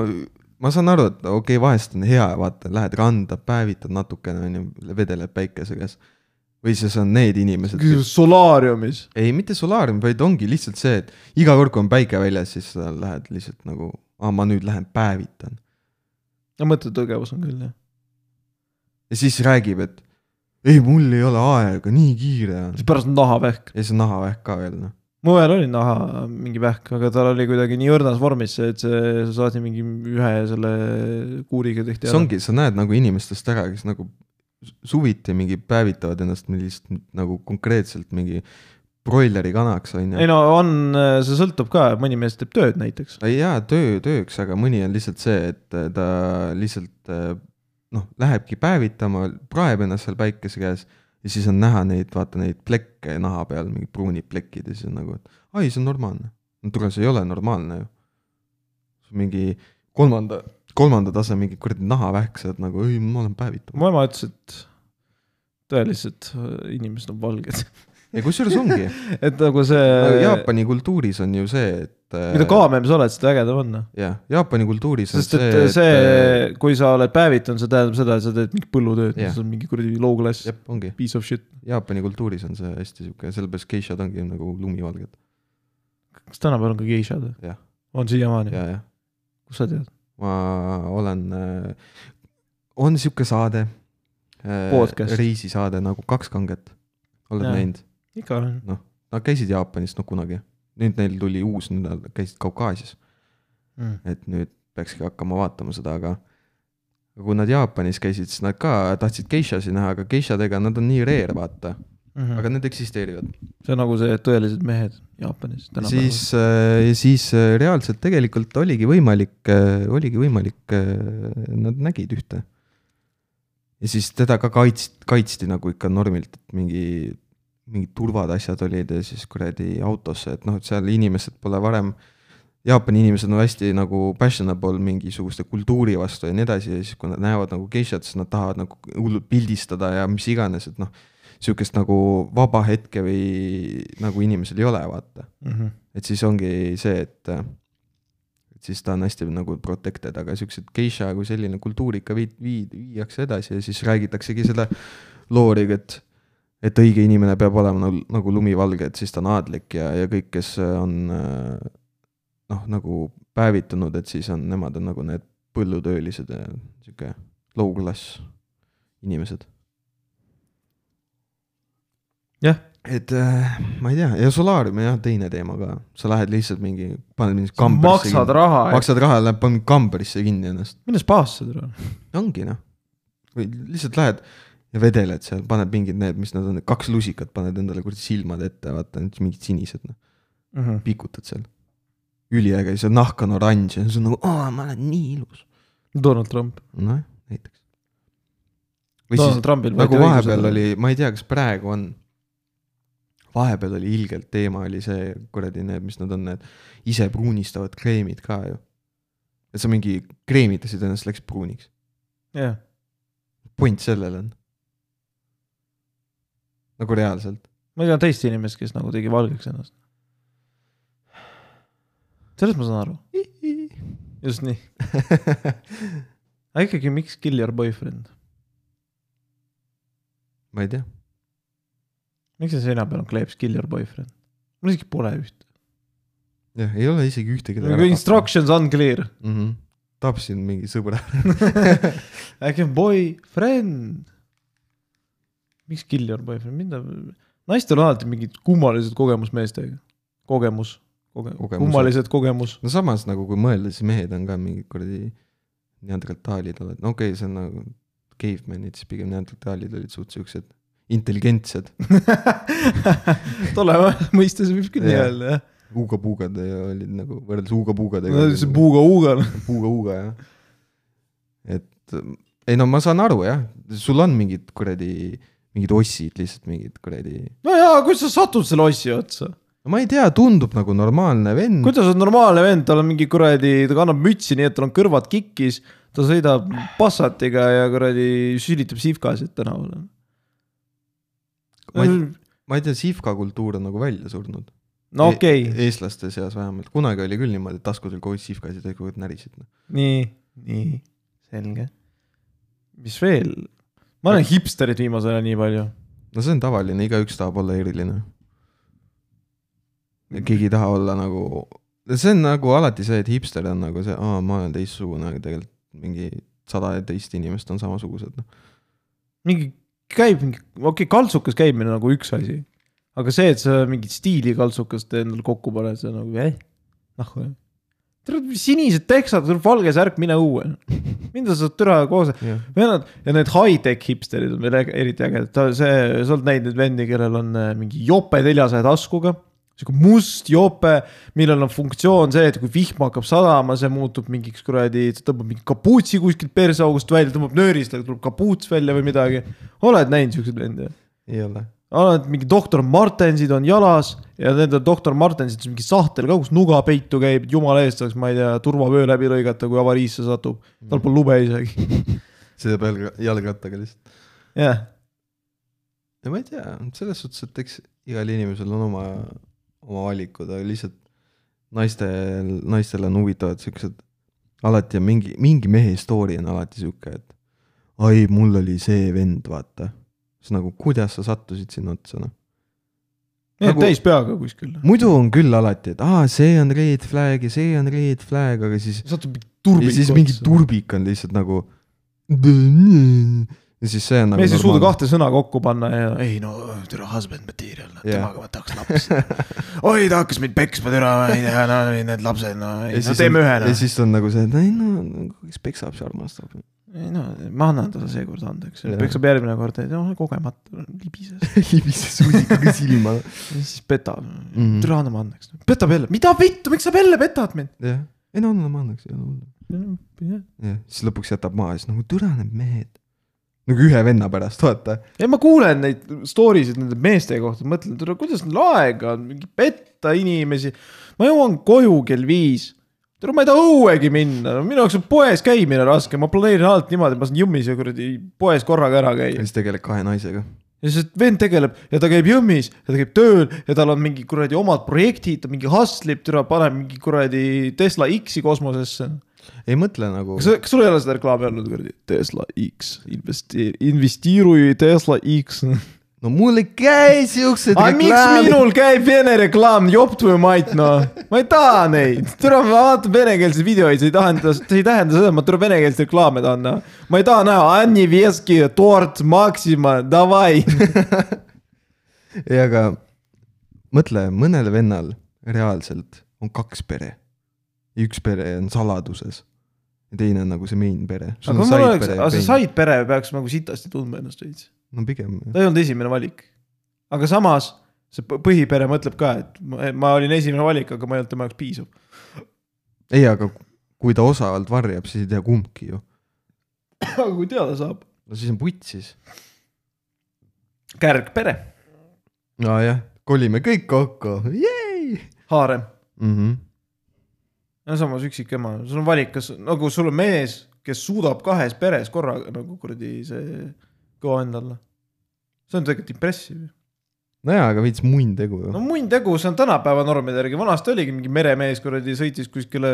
ma saan aru , et okei okay, , vahest on hea , vaata , lähed randa , päevitad natukene , onju , vedeleb päikese käes . või siis on need inimesed ,
solaariumis .
ei , mitte solaarium , vaid ongi lihtsalt see , et iga kord , kui on päike väljas , siis sa lähed lihtsalt nagu , aa , ma nüüd lähen päevitan .
no mõttetõgevus on küll jah .
ja siis räägib , et ei , mul ei ole aega , nii kiire on .
siis pärast on nahavähk .
ja siis on nahavähk ka veel noh .
mu õel oli naha mingi vähk , aga tal oli kuidagi nii õrnas vormis , et see sa saad siin mingi ühe selle kuuriga tihti
see . ongi , sa näed nagu inimestest ära , kes nagu su- suviti mingi päevitavad ennast millist nagu konkreetselt mingi broileri kanaks onju
ei . no on , see sõltub ka , mõni mees teeb tööd näiteks .
jaa , töö tööks , aga mõni on lihtsalt see , et äh, ta lihtsalt äh, noh , lähebki päevitama , praeb ennast seal päikese käes ja siis on näha neid , vaata neid plekke naha peal , mingid pruunid plekid ja siis on nagu , et ai , see on normaalne . no tule , see ei ole normaalne ju . mingi kolmanda , kolmanda tase mingi kuradi nahavähk , sa oled nagu , ei , ma olen päevitav .
mu ema ütles , et tõeliselt inimesed on valged ,
ja kusjuures ongi ,
et nagu see ,
Jaapani kultuuris on ju see , et .
mida ? kaamem sa oled , seda ägedam on .
jah , Jaapani kultuuris on
sest et äh,
see , äh,
see , kui sa oled päevitunud , see tähendab seda , et sa teed mingit põllutööd ,
Jah.
see on mingi kuradi low class ,
jah , ongi .
piece of shit .
Jaapani kultuuris on see hästi sihuke , sellepärast geishad ongi nagu lumivalged
kas tänapäeval on ka geishad või
Jah. ?
on siiamaani ,
ja , ja
kust sa tead ?
ma olen , on sihuke saade .
Podcast.
reisisaade nagu Kaks kanget , oled
Jaa.
ja. näinud ?
ikka on .
Nad käisid Jaapanis , no kunagi , nüüd neil tuli uus , nüüd nad käisid Kaukaasias , et nüüd peakski hakkama vaatama seda , aga . aga kui nad Jaapanis käisid , siis nad ka tahtsid geishasi näha , aga geishadega nad on nii rare , vaata , aga
aga
need eksisteerivad .
Mhm. see on nagu see tõelised mehed Jaapanis tänapäeval
siis , siis äh, reaalselt tegelikult oligi võimalik , oligi võimalik , nad nägid ühte . ja siis teda ka kaitst- , kaitsti nagu ikka normilt , et mingi , mingid turvad , asjad olid ja siis kuradi autosse , et noh , et seal inimesed pole varem . Jaapani inimesed on hästi nagu passionable mingisuguste kultuuri vastu ja nii edasi ja siis , kui nad näevad nagu geishat , siis nad tahavad nagu hullult pildistada ja mis iganes , et noh . sihukest nagu vaba hetke või nagu inimesel ei ole , vaata
mm . -hmm.
et siis ongi see , et äh, et siis ta on hästi nagu protected , aga siuksed geisha kui selline kultuur ikka viid- , viid- , viiakse edasi ja siis räägitaksegi selle looriga , et et õige inimene peab olema nagu, nagu lumivalge , et siis ta on aadlik ja , ja kõik , kes on äh, noh , nagu päevitunud , et siis on , nemad on nagu need põllutöölised ja sihuke low class inimesed .
Jah. .
et äh, ma ei tea , ja Solarium on jah teine teema ka , sa lähed lihtsalt mingi , paned mingi kambrisse
maksad
kinni ,
raha , eks ,
maksad raha , lähed paned kambrisse kinni ennast ,
mine spaasse tule .
ongi noh . või lihtsalt lähed ja vedeled seal , paned mingid need , mis nad on , kaks lusikat paned endale kuradi silmad ette , vaata need mingid sinised noh , pikutad seal . üliäge , siis see nahk on oranž ja siis on nagu , aa , ma olen nii ilus .
Donald Trump ,
nojah , näiteks . või siis
Donald Trumpil
nagu vahepeal . oli , ma ei tea , kas praegu on . vahepeal oli ilgelt teema oli see kuradi need , mis nad on , need ise pruunistavad kreemid ka ju . et sa mingi kreemitasid ennast , läks pruuniks .
jah ,
point sellel on . nagu reaalselt .
ma tean teist inimest , kes nagu tegi valgeks ennast . sellest ma saan aru , just nii , aga ikkagi , miks kill your boyfriend ,
ma ei tea ,
miks see seina peal on kleeps kill your boyfriend ? mul isegi pole üht ,
jah , ei ole isegi
Nagu
ühtegi .
instructions unclear ,
tapsin mingi sõbra .
äkki on boyfriend . miks kill your boyfriend , mida , naistel on alati mingid kummalised kogemus meestega , kogemus , kogemus ,
Kogemused.
kummalised kogemus ,
no samas nagu kui mõelda , siis mehed on ka mingid kuradi neandertaalid oled , no okei okay, , see on nagu caveman'id , siis pigem neandertaalid olid suht siuksed intelligentsed ,
tolle mõistes võib küll nii
Jah.
öelda jah ,
huugapuugad ja olid nagu võrreldes huugapuugadega nagu
no see . puuga-huuga noh ,
puuga-huuga jah . et ähm, ei no ma saan aru jah , sul on mingid kuradi , mingid ossid lihtsalt mingid kuradi ,
no jaa , kuidas sa satud selle ossi otsa ,
ma ei tea , tundub nagu normaalne vend .
kuidas on normaalne vend , tal on mingi kuradi , ta kannab mütsi nii , et tal on kõrvad kikkis , ta sõidab Passatiga ja kuradi sülitab sihvkasid tänavale .
Ma ei- ma ei tea , sihvka kultuur on nagu välja surnud .
no okei okay. ,
e . eestlaste seas vähemalt , kunagi oli küll niimoodi , et taskutel koos sihvkasid ja kõik närisid . noh.
nii , nii , selge . mis veel ? ma olen hipsterid viimasel ajal nii palju .
no see on tavaline , igaüks tahab olla eriline . keegi ei taha olla nagu , see on nagu alati see , et hipster on nagu see , aa , ma olen teistsugune , aga tegelikult mingi sada teist inimest on samasugused , noh .
mingi käib mingi , okei okay, , kaltsukas käimine on nagu üks asi . aga see , et sa mingit stiilikaltsukast endale kokku paned , see on nagu eh , nahku jah . sinised teksad , valge särk , mine õue . mida sa saad türa koos ,
jah ,
vennad ja need high-tech hipsterid on veel äge- eriti ägedad , ta see , sa oled näinud neid vendi , kellel on äh, mingi jope neljasaja taskuga . sihuke must jope , millel on funktsioon see , et kui vihma hakkab sadama , see muutub mingiks kuradi , tõmbab mingi kapuutsi kuskilt perseaugust välja , tõmbab nöörist , tuleb kapuuts välja või midagi . oled näinud siukseid vendi ?
ei ole .
alati mingi doktor Martensid on jalas ja nendel doktor Martensid on mingi sahtel ka , kus nuga peitu käib , et jumala eest saaks , ma ei tea , turvavöö läbi lõigata , kui avariisse satub . tal pole lube isegi ,
sõidab jalg , jalgrattaga lihtsalt .
jah .
ja ma ei tea , selles suhtes , et eks igal inimesel on oma , oma valikud , aga lihtsalt naistel , naistel on huvitavad siuksed , alati on mingi , mingi mehe story on alati sihuke , et ai , mul oli see vend , vaata . siis nagu , kuidas sa sattusid sinna otsa , noh .
Need
Nagu- Mm.
nagu... täis peaga kuskil .
muidu on küll alati , et aa , see on red flag ja see on red flag , aga siis
satub mingi
ja
turbik .
siis mingi turbik on lihtsalt nagu . ja siis see on nagu .
mees ei suuda . kahte sõna kokku panna ja ei no türa husband material , no
Jah.
temaga ma tahaks lapsi . oi , ta hakkas mind peksma türa , ma ei tea , no ei, need lapsed , no ei, no teeme ühe noh.
ja
no .
siis on nagu see , et ei no , kes peksab , see armastab .
ei no ma annan talle seekord andeks ,
Jah.
peksab järgmine kord , et noh kogemata libises ,
libise suusikaga nagu silma .
siis petab
Mhm.
mm. , türa anname andeks , petab jälle , mida vittu , miks sa jälle petad mind ?
jah , ei no anname andeks , ei ole hullu . jah , siis lõpuks jätab maha ja siis nagu türa need mehed . nagu ühe venna pärast , vaata .
ei , ma kuulen neid story sid nende meeste kohta , mõtlen , et tule, kuidas neil aega on , mingi petta inimesi . ma jõuan koju kell viis . tule , ma ei taha õuegi minna , minu jaoks on poes käimine raske , ma planeerin alati niimoodi , et ma saan Jõmmis ja kuradi poes korraga ära
ja
käia .
siis tegeleb kahe naisega .
ja see vend tegeleb ja ta käib Jõmmis ja ta käib tööl ja tal on mingi kuradi omad projektid , ta mingi hustleb , tule paneb mingi kuradi Tesla X-i kosmosesse .
ei mõtle nagu .
kas , kas sul ei ole seda reklaami olnud kuradi Tesla X , investeeri , investeeri Tesla X
no mul ei käi siuksed
aga miks minul käib vene reklaam , jopt või mait noh , ma ei taha neid , tule ma vaatan venekeelseid videoid , see ei tähenda , see ei tähenda seda , ma tule venekeelseid reklaame tahan näha . ma ei taha näha Anni Veski , tort , Maxima , davai .
ei , aga mõtle , mõnel vennal reaalselt on kaks pere . ja üks pere on saladuses ja teine on nagu see main pere .
aga mul oleks , aga see Said pere peaks nagu sitasti tundma ennast veits ,
no pigem jah.
ta ei olnud esimene valik . aga samas see p- põhipere mõtleb ka , et ma- ma olin esimene valik , aga ma ei olnud tema jaoks piisav .
ei , aga kui ta osavalt varjab , siis ei tea kumbki ju .
aga kui teada saab ,
no siis on putsis .
kärgpere ,
nojah , kolime kõik kokku , jei
haarem
mm . -hmm.
no samas üksikema , sul on valik , kas nagu sul on mees , kes suudab kahes peres korraga nagu kuradi see kõva end alla . see on tegelikult impressive .
nojaa , aga veits muin tegu ju
no
no. .
muin tegu , see on tänapäeva normide järgi , vanasti oligi mingi meremees kuradi sõitis kuskile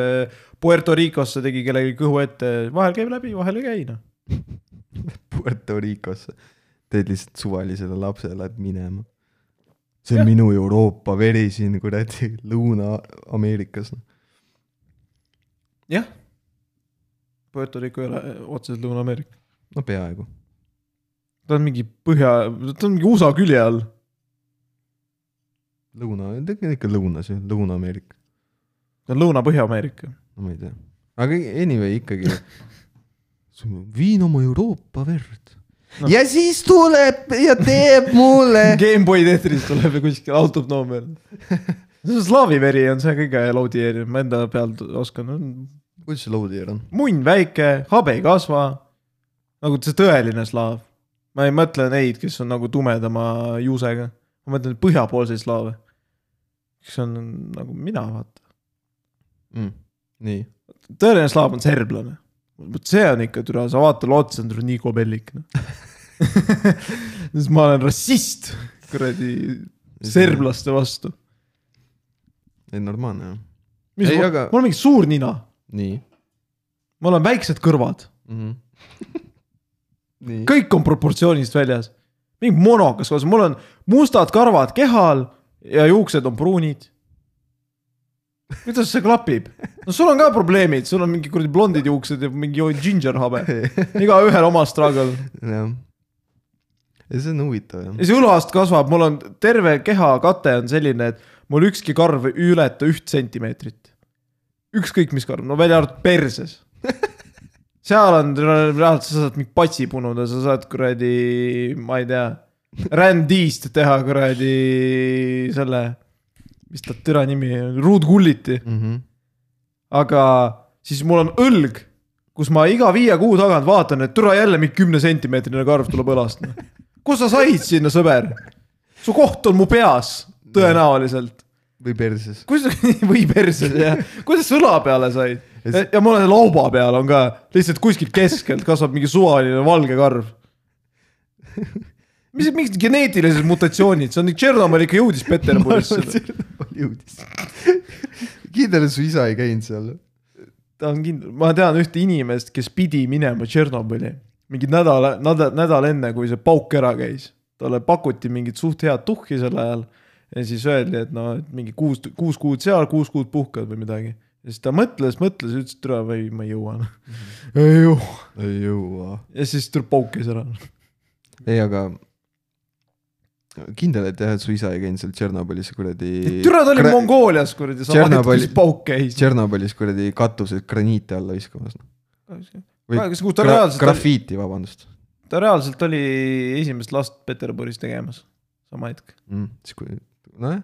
Puerto Ricosse , tegi kellelegi kõhu ette , vahel käib läbi , vahel ei käi noh .
Puerto Ricosse . teed lihtsalt suvalisele lapsele , lähed minema . see on minu Euroopa veri siin kuradi Lõuna-Ameerikas .
jah . Puerto Rico ei ole otseselt Lõuna-Ameerika ,
no peaaegu .
ta on mingi põhja , ta on mingi USA külje all .
Lõuna , tegelikult ikka lõunas ju , Lõuna-Ameerika ,
ta on Lõuna-Põhja-Ameerika .
no ma ei tea . aga anyway ikkagi . viin oma Euroopa verd no. . ja siis tuleb ja teeb mulle .
Gameboy Tetris tuleb ju kuskil autopnoomial . see slaavi veri on see kõige loadieeriv , ma enda pealt oskan .
kuidas see loadier on ?
munn väike , habe ei kasva . nagu see tõeline slaav . ma ei mõtle neid , kes on nagu tumedama juusega . ma mõtlen põhjapoolseid slaave . kes on nagu mina , vaata .
mm. . nii ,
tõeline slaav on serblane . vot see on ikka türa , sa vaata talle otsa , on türa nii kobellik no. . siis ma olen rassist , kuradi , serblaste vastu .
ei normaalne jah .
mis
Ei,
ei, ma,
aga-
aga... mul on mingi suur nina ,
nii
mul on väiksed kõrvad ,
mm . -hmm. nii Kõik... ,
kõik on proportsioonist väljas . mingi monokas kohas , mul on mustad karvad kehal ja juuksed on pruunid . kuidas see klapib ? no sul on ka probleemid , sul on mingi kuradi blondid juuksed ja mingi ginger habe , igaühel oma struggle .
jah . ja see on huvitav jah
ja . see õlast kasvab , mul on terve kehakate on selline , et mul ükski karv ei ületa üht sentimeetrit . ükskõik mis karv , no välja arvatud perses . seal on , reaalselt sa saad mingi patsi punuda , sa saad kuradi , ma ei tea , rändist teha kuradi selle , mis ta türa nimi on , ruudkulliti ,
Mm -hmm.
aga siis mul on õlg kus ma iga viie kuu tagant vaatan , et türa jälle mingi kümne sentimeetrine karv tuleb õlast . kus sa said sinna , sõber ? su koht on mu peas , tõenäoliselt .
või perses .
kus , või perses jah , kuidas sa õla peale said ? ja mul on lauba peal on ka lihtsalt kuskilt keskelt kasvab mingi suvaline valge karv . mis , mingid geneetilised mutatsioonid , see on , Tšernobõl ikka jõudis Peterburisse ,
jõudis . kindel , et su isa ei käinud seal .
ta on kindel , ma tean ühte inimest , kes pidi minema Tšernobõli mingi nädal , nädal , nädal enne , kui see pauk ära käis . talle pakuti mingit suht head tuhhi sel ajal ja siis öeldi , et no et mingi kuus , kuus kuud seal , kuus kuud puhkad või midagi . ja siis ta mõtles , mõtles ja ütles , et tule või ma ei jõua . ei jõua .
ei jõua .
ja siis tuleb pauk käis ära .
ei , aga kindel , et jah , et su isa ei käinud seal Tšernobõlis kuradi .
türa ta oli . Mongoolias kuradi , sa vahetad ,
Tšernobõli-
kus pauk käis .
Tšernobõlis kuradi katused graniite alla viskamas . või
kus ta reaalselt oli ,
grafiiti , vabandust
ta reaalselt oli esimest last Peterburis tegemas . sama hetk .
mm, . siis kui , nojah ,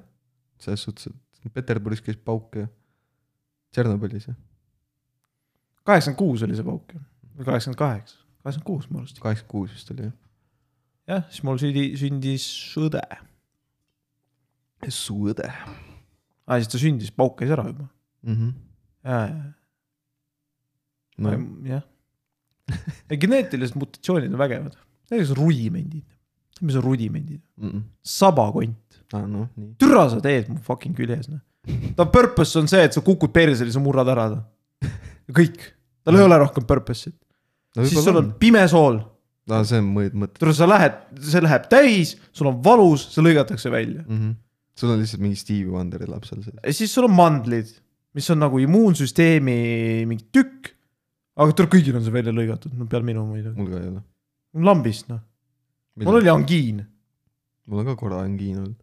selles suhtes , et Peterburis käis pauk ja Tšernobõlis jah ,
kaheksakümmend kuus oli see pauk ju , või kaheksakümmend kaheksa , kaheksakümmend kuus minu arust .
kaheksakümmend kuus vist oli jah .
jah , siis mul sündi , sündis õde .
su õde
aa , siis ta sündis , pauk käis ära juba .
mm . -hmm.
ja ,
No,
ja , jah . ja geneetilised mutatsioonid on vägevad . näiteks rudimendid . mis on rudimendid ?
mm -mm.
sabakont .
ah, no, nii.
türa sa teed mu fucking küljes , noh . ta purpose on see , et sa kukud persele , sa murrad ära ta . kõik . tal ei ole rohkem purpose'it .
no
siis sul
võib-olla
on
on ,
pime sool .
no, see on mõõt- mõte
tule , sa lähed , see läheb täis , sul on valus , see lõigatakse välja .
mm . -hmm. sul on lihtsalt mingi Stevie Wonderi laps seal sees .
ja siis sul on mandlid , mis on nagu immuunsüsteemi mingi tükk . aga tuleb , kõigil on see välja lõigatud , no peale minu muidugi ,
mul ka ei ole .
lambist noh , mul oli . angiin .
mul on ka korra angiin olnud .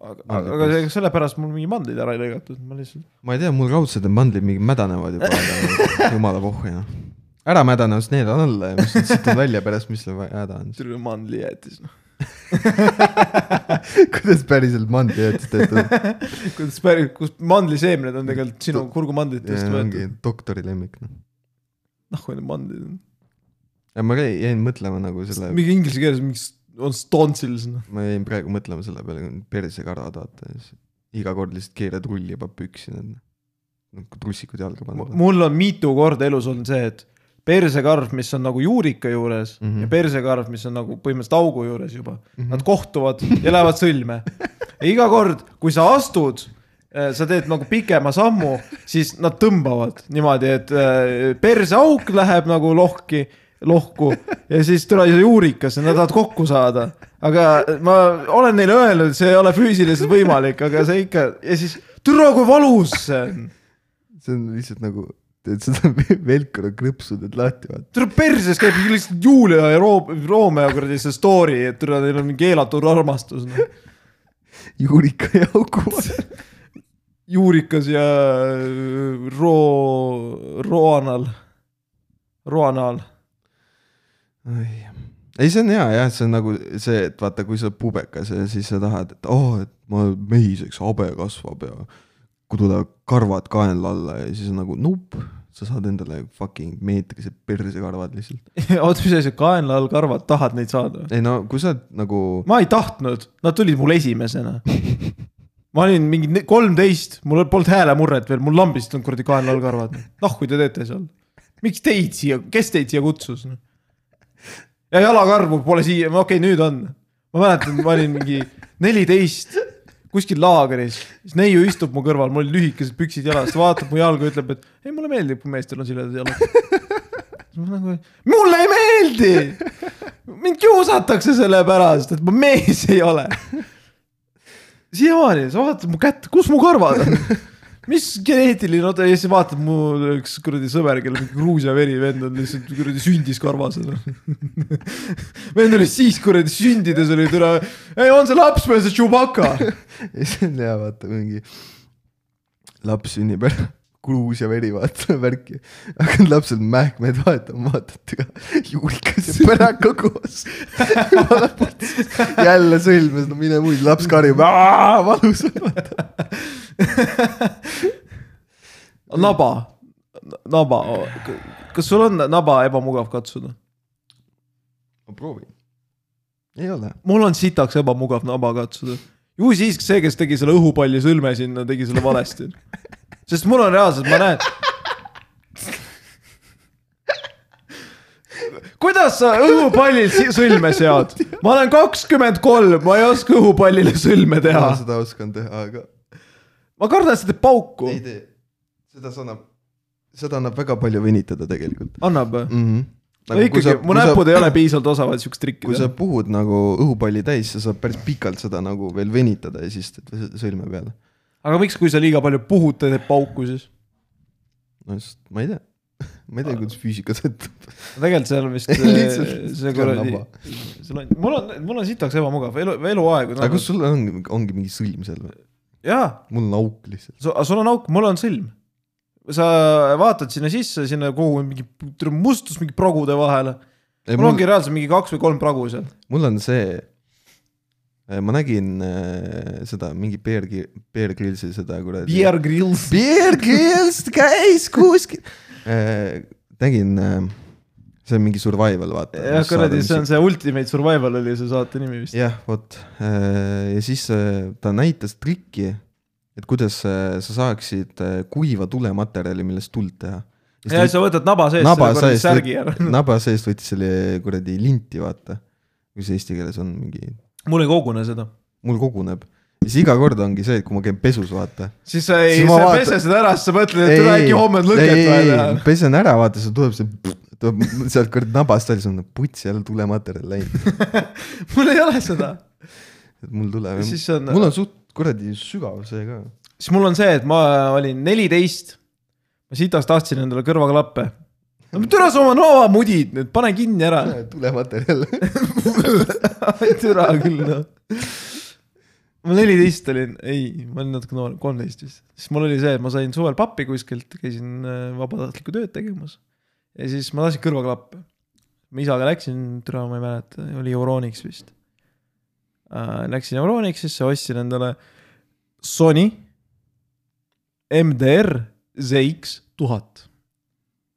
aga ,
Mandlid
aga
tõesti.
ega sellepärast mul mingi mandlid ära ei lõigatud , ma lihtsalt ,
ma ei tea , mul raudsed mandlid mingi mädanevad juba , jumala pohhu noh . ära mädane , siis need on alla ja mis nad siit on välja pärast , mis seal va- häda on siis .
tuli mandli jäätis noh .
kuidas päriselt mandlijäätis töötab ?
kuidas päris , kus mandliseemned on tegelikult sinu kurgumandlitest
ongi
võetud ,
doktori lemmik noh .
noh kui need mandlid on ,
ma ka jäin mõtlema nagu selle ,
mingi inglise keeles mingi s- on stonsils noh ,
ma jäin praegu mõtlema selle peale , kui need persekarvad vaata ja siis iga kord lihtsalt keerad rulli juba püksi need . trussikud jalga panna .
mul on mitu korda elus olnud see , et persekarv , mis on nagu juurika juures mm
Mhm.
-hmm. ja persekarv , mis on nagu põhimõtteliselt augu juures juba mm , -hmm. nad kohtuvad ja lähevad sõlme . ja iga kord , kui sa astud , sa teed nagu pikema sammu , siis nad tõmbavad niimoodi , et äh, perseauk läheb nagu lohki , lohku ja siis tule see juurikas ja nad tahavad kokku saada . aga ma olen neile öelnud , see ei ole füüsiliselt võimalik , aga see ikka ja siis türa , kui valus see on
see on lihtsalt nagu , teed seda velcro krõpsu teed lahti vaata .
tule perses käib lihtsalt Julia ja Ro- Romeo kuradi see story , et tule neil on mingi keelatud armastus noh. no. .
juurika ja augu vahel .
juurikas ja äh, Ro- , Roanal , Roanal .
ei , see on hea jah , see on nagu see , et vaata , kui sa oled pubekas ja siis sa tahad , et oo oh, , et ma mehiseks , habe kasvab ja kui tulevad karvad kaenla alla ja siis on nagu nupp , sa saad endale fucking meetrikesed persekarvad lihtsalt .
oota , mis asi , kaenla all karvad , tahad neid saada ?
ei no kui sa oled nagu ,
ma ei tahtnud , nad tulid mul esimesena . ma olin mingi kolmteist , mul polnud häälemurret veel , mul lambist on kuradi kaenla all karvad . noh , kui te teete seal . miks teid siia , kes teid siia kutsus ? ja jalakarvu pole siia , okei okay, , nüüd on . ma mäletan , ma olin mingi neliteist kuskil laagris , siis neiu istub mu kõrval , mul olid lühikesed püksid jalas , ta vaatab mu jalga , ütleb , et ei , mulle meeldib , kui meestel on siledad jalad . ma nagu , mulle ei meeldi mind kiusatakse selle pärast , et ma mees ei ole . siiamaani , sa vaatad mu kätt , kus mu karvad on ? mis geneetiline , oota ja siis vaatab mu üks kuradi sõber , kellel mingi Gruusia verivend on lihtsalt kuradi sündis karvas . vend oli siis kuradi sündides oli tule , ei on see laps või on see Chewbacca ?
ja siis on hea vaata mingi laps sünnib ära , Gruusia veri vaata värki , hakkad lapsed mähkmeid vahetama , vaatad ega juurikas ja päraku koos . jälle sõlmes , no mine muid , laps karjub , valus .
naba , naba , kas sul on naba ebamugav katsuda ?
ma proovin . ei ole ,
mul on sitaks ebamugav naba katsuda . ju siis see , kes tegi selle õhupalli sõlme sinna , tegi selle valesti . sest mul on reaalselt , ma näen . kuidas sa õhupallil si- sõlme sead ? ma olen kakskümmend kolm , ma ei oska õhupallile sõlme
ma
teha .
seda oskan teha , aga
ma kardan , et see teeb pauku
ei . tee . seda sa annab , seda annab väga palju venitada tegelikult
annab või ?
mm . -hmm.
Mhm. no ikkagi , mu näpud ei ole piisavalt osavad siukest trikki
kui sa
teha .
puhud nagu õhupalli täis , sa saad päris pikalt seda nagu veel venitada ja siis teed sõ- sõlme peale .
aga miks , kui sa liiga palju puhud , ta teeb pauku siis ?
no just , ma ei tea , ma ei tea , kuidas füüsika töötab .
tegelikult seal on vist äh,
Lihtsalt
see
on
kuradi
naba. ,
sul on , mul on , mul on sitaks ebamugav elu , eluaeg .
aga kas sul ongi , ongi mingi sõlm seal või ?
jaa ,
mul on auk lihtsalt .
sul on auk , mul on sõlm . sa vaatad sinna sisse , sinna kogu mingi tule mustus mingi progude vahele . mul
Mul,
ongi reaalselt mingi kaks või kolm pragu seal .
mul on see , ma nägin äh, seda mingi Bear , Bear Grillsi seda kuradi .
Beer Grills .
Bear Grylls käis kuskil äh, . nägin äh, , see on mingi survival vaata .
jah , kuradi , see on see Ultimate Survival oli see saate nimi vist .
jah , vot Äh, ja siis äh, ta näitas trikki , et kuidas äh, sa saaksid äh, kuiva tulematerjali , millest tuld teha .
ja siis sa võtad naba seest
naba
selle kuradi
seest ,
särgi ära .
naba seest võttis selle kuradi linti , vaata . mis eesti keeles on mingi ,
mul ei kogune seda .
mul koguneb . ja siis iga kord ongi see , et kui ma käin pesus , vaata .
siis sa ei ,
Siis ma
sa
vaatan-
pese seda ära , siis sa mõtled , et tule äkki homme on lõket vaja teha .
pesen ära , vaata , sul tuleb see , tuleb sealt kuradi nabast välja , siis on puts jälle tulematerjal läinud .
mul ei ole seda .
et mul tuleb ,
siis on ,
mul on suht kuradi sügav see ka .
siis mul on see , et ma olin neliteist . ma sitast tahtsin endale kõrvaklappe . no türa sa oma noa mudid nüüd , pane kinni ära
tulematerjal
Ai, türa küll noh . ma neliteist olin , ei , ma olin natuke noorem , kolmteist vist , siis mul oli see , et ma sain suvel pappi kuskilt , käisin äh, vabatahtlikku tööd tegemas . ja siis ma tahtsin kõrvaklappe . ma isaga läksin , türa ma ei mäleta , oli Euronics vist . Läksin Euronixisse , ostsin endale Sony MDR ZX tuhat .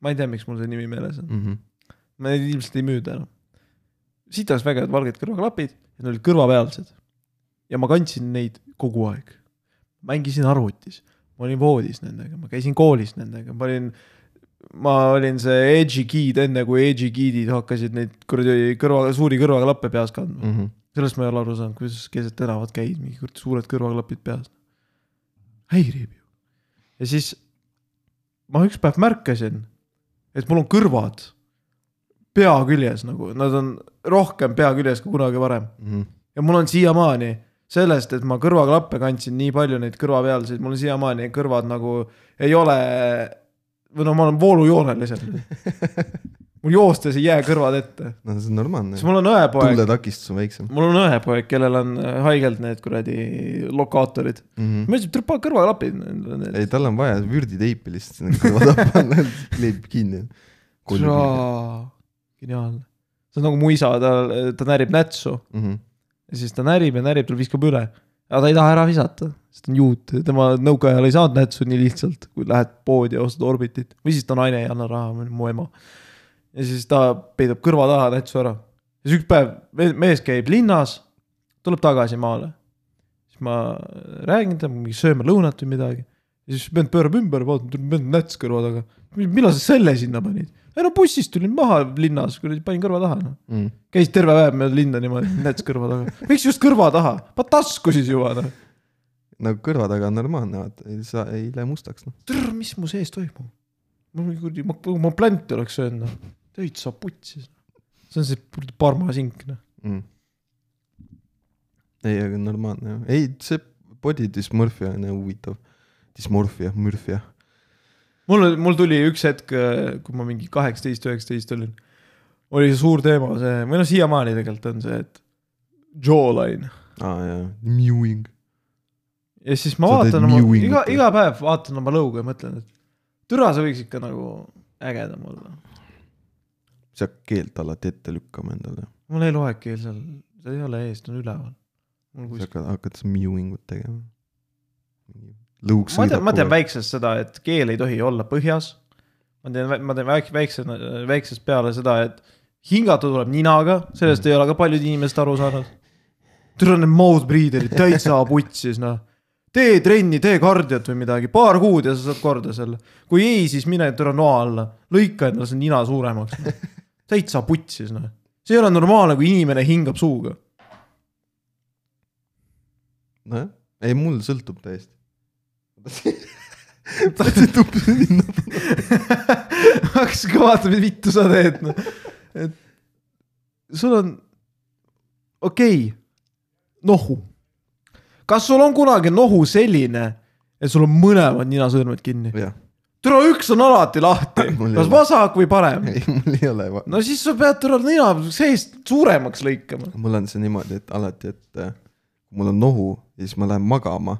ma ei tea , miks mul see nimi meeles on .
mm . -hmm.
ma neid ilmselt ei müüda enam . siit oleks väga head valged kõrvaklapid , need olid kõrvapealsed . ja ma kandsin neid kogu aeg . mängisin arvutis , ma olin voodis nendega , ma käisin koolis nendega , ma olin , ma olin see edgy kid enne , kui edgy kid'id hakkasid neid kuradi kõrva , suuri kõrvaklappe peas kandma .
Mm -hmm.
sellest ma ei ole aru saanud , kuidas keset tänavat käid , mingi kuradi suured kõrvaklapid peas . häirib ju . ja siis ma üks päev märkasin , et mul on kõrvad pea küljes nagu , nad on rohkem pea küljes kui kunagi varem .
Mm -hmm.
ja mul on siiamaani sellest , et ma kõrvaklappe kandsin nii palju neid kõrvapealseid , mul on siiamaani kõrvad nagu ei ole . või noh , ma olen voolujoonel lihtsalt . mul joostes ei jää kõrvad ette ,
no see on normaalne
siis . mul on õepoeg ,
tuuletakistus on väiksem
mul on õepoeg , kellel on äh, haigelt need kuradi lokaatorid .
mm .
ma ütlesin , et pane kõrvaklapid .
-hmm. ei , tal on vaja vürditeipi lihtsalt sinna kõrva taha panna , kleebib kinni .
geniaalne , see on nagu mu isa , ta , ta närib nätsu ja siis ta närib ja närib , ta viskab üle . aga ta ei taha ära visata , sest ta on juut , tema nõukaajal ei saanud nätsu nii lihtsalt , kui lähed poodi ja ostad orbitit või siis ta naine ei anna raha , mu ema . ja siis ta peidab kõrva taha nätsu ära . ja siis üks päev me- mees käib linnas , tuleb tagasi maale . siis ma räägin temaga , mingi sööme lõunat või midagi . ja siis vend pöörab ümber , vaatab , vend on näts kõrva taga . millal sa selle sinna panid ? ei no bussist tulin maha linnas , kuradi panin kõrva taha noh käis terve päev mööda linna niimoodi , näts kõrva taga . miks just kõrva taha ? pane tasku siis juba noh .
nagu kõrva taga on normaalne , vaata , sa ei lähe mustaks , noh .
tüdr , mis mu sees toimub ? mul oli kuradi , ma , ma plänti oleks söönud noh . täitsa putsis . noh. see on see kuradi parmasink noh .
ei , aga normaalne jah , ei see body dysmorphia on jah huvitav . dismorfia , mürfia .
mul , mul tuli üks hetk , kui ma mingi kaheksateist , üheksateist olin , oli see suur teema , see , või noh , siiamaani tegelikult on see , et jawline .
aa ah, jaa , mewing .
ja siis ma
Sa teed
vaatan oma ,
mewing
iga ,
või?
iga päev vaatan oma lõuga ja mõtlen , et türa , sa võiks ikka nagu ägedam olla .
sa hakkad keelt alati ette lükkama endale .
mul ei loe keel seal , see ei ole ees , ta on üleval . mul
sa
kuskil ,
hakkad , hakkad seda mewing ut tegema . lõug
ma tean ,
sõidab
ma tean
kogu aeg .
väiksest seda , et keel ei tohi olla põhjas . ma tean , ma tean väik- , väikse , väiksest peale seda , et hingata tuleb ninaga , sellest ei ole ka paljud inimesed aru saanud . tule need mouth breather'id täitsa putsis , noh . tee trenni , tee kardiot või midagi , paar kuud ja sa saad korda selle . kui ei , siis mine tule noa alla , lõika endale see nina suuremaks no. . täitsa putsis , noh . see ei ole normaalne , kui inimene hingab suuga .
nojah , ei mul sõltub täiesti . tahtsin tuppa minna .
hakkas ka vaatama , mis vittu sa teed , noh . et sul on , okei okay. , nohu . kas sul on kunagi nohu selline , et sul on mõlemad ninasõõrmed kinni ?
jah ,
türa , üks on alati lahti
Mul ei ,
kas
ole.
vasak või parem ?
ei mul ei ole va-
no siis sa pead türa nina seest suuremaks lõikama .
mul on see niimoodi , et alati , et äh, kui mul on nohu ja siis ma lähen magama ,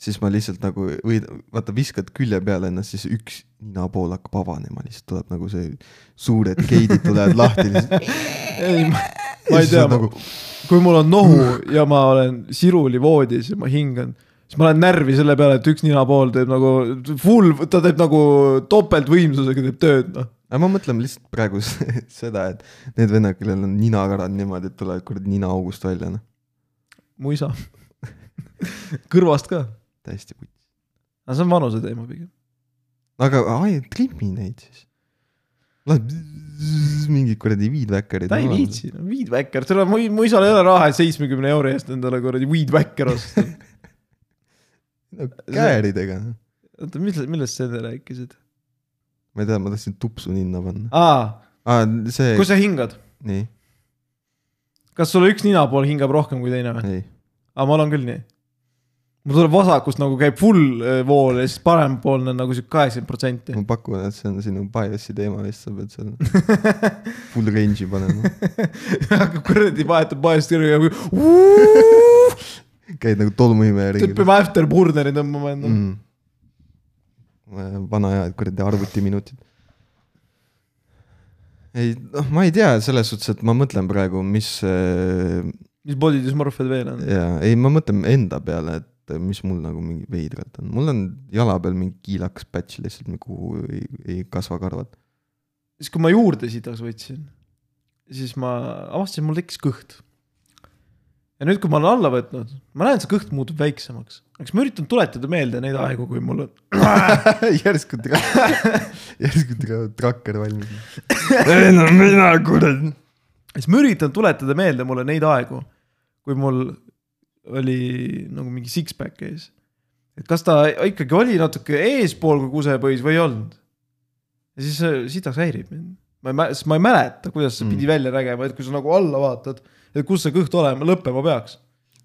siis ma lihtsalt nagu või vaata , viskad külje peale ennast , siis üks ninapool hakkab avanema , lihtsalt tuleb nagu see suured geidid tulevad lahti .
ei , ma ei tea ,
nagu, .
kui mul on nohu ja ma olen siruli voodis ja ma hingan , siis ma olen närvi selle peale , et üks ninapool teeb nagu full , ta teeb nagu topeltvõimsusega teeb tööd , noh .
aga ma mõtlen lihtsalt praegu s- seda , et need vennad , kellel on ninakarad niimoodi , et tulevad kuradi ninaaugust välja , noh ,
mu isa . kõrvast ka ,
täiesti putt .
aga see on vanuse teema pigem .
aga ai , trimmi neid siis . mingid kuradi weedwackerid .
ta ei viitsi , no weed whacker , tal on , mu , mu isal ei ole raha , et seitsmekümne euro eest endale kuradi weed whacker osta .
no kääridega , noh
oota , millest , millest sa enne rääkisid ?
ma ei tea , ma tahtsin tupsu ninna panna .
aa ,
aa , see ,
kui sa hingad ,
nii ,
kas sul üks ninapool hingab rohkem kui teine või ?
ei ,
aga ma olen küll nii . mul tuleb vasakust nagu käib full äh, vool ja siis parempoolne nagu sihuke kaheksakümmend protsenti .
ma pakun , et see on sinu bias'i teema vist , sa pead seal full range'i panema .
hakkab kuradi vahetub vaest kirja ja
käid nagu tolmuimeja ringi .
tüüpime afterburgeri tõmbama endale mm. .
Mm. vana hea , et kuradi arvutiminutid . ei , noh , ma ei tea , selles suhtes , et ma mõtlen praegu , mis äh,
mis body dysmorphiad veel on ?
jaa , ei , ma mõtlen enda peale , et mis mul nagu mingi veidralt on , mul on jala peal mingi kiilakas patch lihtsalt , kuhu ei, ei kasva karvad .
siis kui ma juurde sitaks võtsin , siis ma avastasin , mul tekkis kõht . ja nüüd , kui ma olen alla võtnud , ma näen , see kõht muutub väiksemaks . eks ma üritan tuletada meelde neid aegu , kui mul on ,
järsku tra- , järsku tra- , trakker valmis . ei no mina kuradi .
siis ma üritan tuletada meelde mulle neid aegu , kui mul oli nagu mingi six-pack ees . et kas ta ikkagi oli natuke eespool kui kusepõis või ei olnud . ja siis see sitaks häirib mind . ma ei mä- , sest ma ei mäleta , kuidas see
Mm.
pidi välja nägema , et kui sa nagu alla vaatad , et kus see kõht olema , lõppema peaks .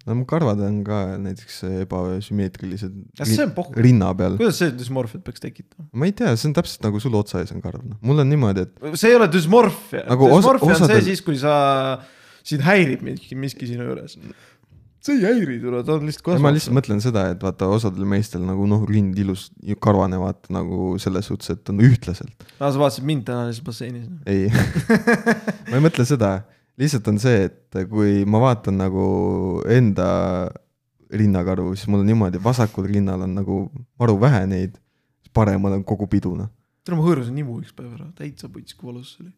no mu karvad on ka näiteks ebasümmeetrilised .
kas see on pohhu ?
rinna peal ,
kuidas see düsmorfiat peaks tekitama ?
ma ei tea , see on täpselt nagu sul otsa ees on karv , noh , mul on niimoodi , et
see ei ole düsmorfia
Nagu
nagu .
os-
düsmorfia osadel... on
osadel-
see siis , kui sa , sind häirib miski , miski sinu juures . see ei häiri , ta on lihtsalt
ma lihtsalt mõtlen seda , et vaata osadel meestel nagu noh , rind ilus ja karvane , vaata nagu selles suhtes , et on ühtlaselt .
aa , Ah, sa vaatasid mind täna lihtsalt basseinis .
ei , ma ei mõtle seda , lihtsalt on see , et kui ma vaatan nagu enda rinnakarvu , siis mul on niimoodi , vasakul rinnal on nagu maru vähe neid , paremal on kogu pidu , noh .
tule , ma hõõrusin nimu üks päev ära , täitsa puts , kui valus see oli .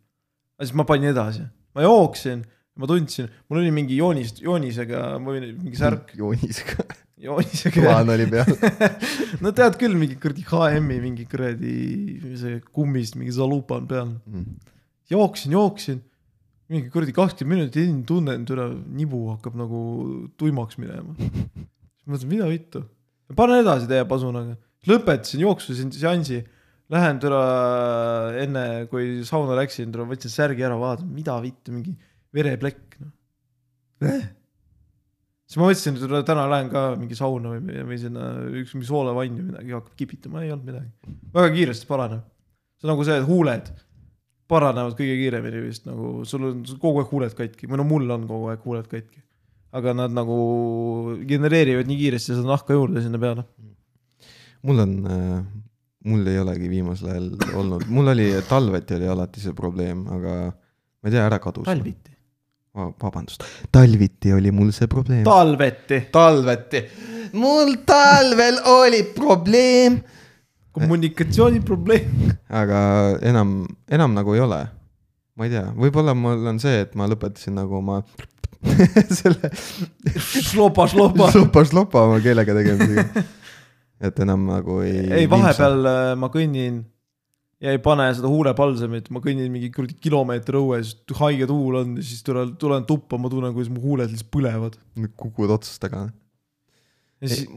aga siis ma panin edasi , ma jooksin , ma tundsin , mul oli mingi joonis , joonisega , ma võin , mingi särk
joonisega ,
joonisega .
plaan oli peal .
no tead küll , mingi kuradi HM-i mingi kuradi , see kummist mingi zalupa on peal .
Mm.
jooksin , jooksin , mingi kuradi kakskümmend minutit ja tunnen , tule nibu hakkab nagu tuimaks minema . siis mõtlesin , mida vittu , panen edasi täie pasunaga , lõpetasin jooksusin seansi , lähen tule enne kui sauna läksin , tule võtsin särgi ära , vaatasin , mida vittu , mingi vereplekk noh . Äh! siis ma mõtlesin , et täna lähen ka mingi sauna või , või sinna üks mingi soolevann või midagi hakkab kipitama , ei olnud midagi . väga kiiresti paraneb . see on nagu see , et huuled paranevad kõige kiiremini vist nagu sul on sul kogu aeg huuled katki , või no mul on kogu aeg huuled katki . aga nad nagu genereerivad nii kiiresti seda nahka juurde sinna peale .
mul on , mul ei olegi viimasel ajal olnud , mul oli äh, talveti oli alati see probleem , aga ma ei tea , ära kadus .
talviti .
vabandust , talviti oli mul see probleem .
talveti ,
talveti , mul talvel oli probleem ,
kommunikatsiooniprobleem .
aga enam , enam nagu ei ole . ma ei tea , võib-olla mul on see , et ma lõpetasin nagu oma selle
slopa , slopa .
slopa-slopa oma keelega tegemisega . et enam nagu ei .
ei , vahepeal äh, ma kõnnin ja ei pane seda huulepalsamit , ma kõnnin mingi kuradi kilomeeter õues , haige tuul on , siis tulen , tulen tuppa , ma tunnen , kuidas mu huuled lihtsalt põlevad .
kukud otsast taga .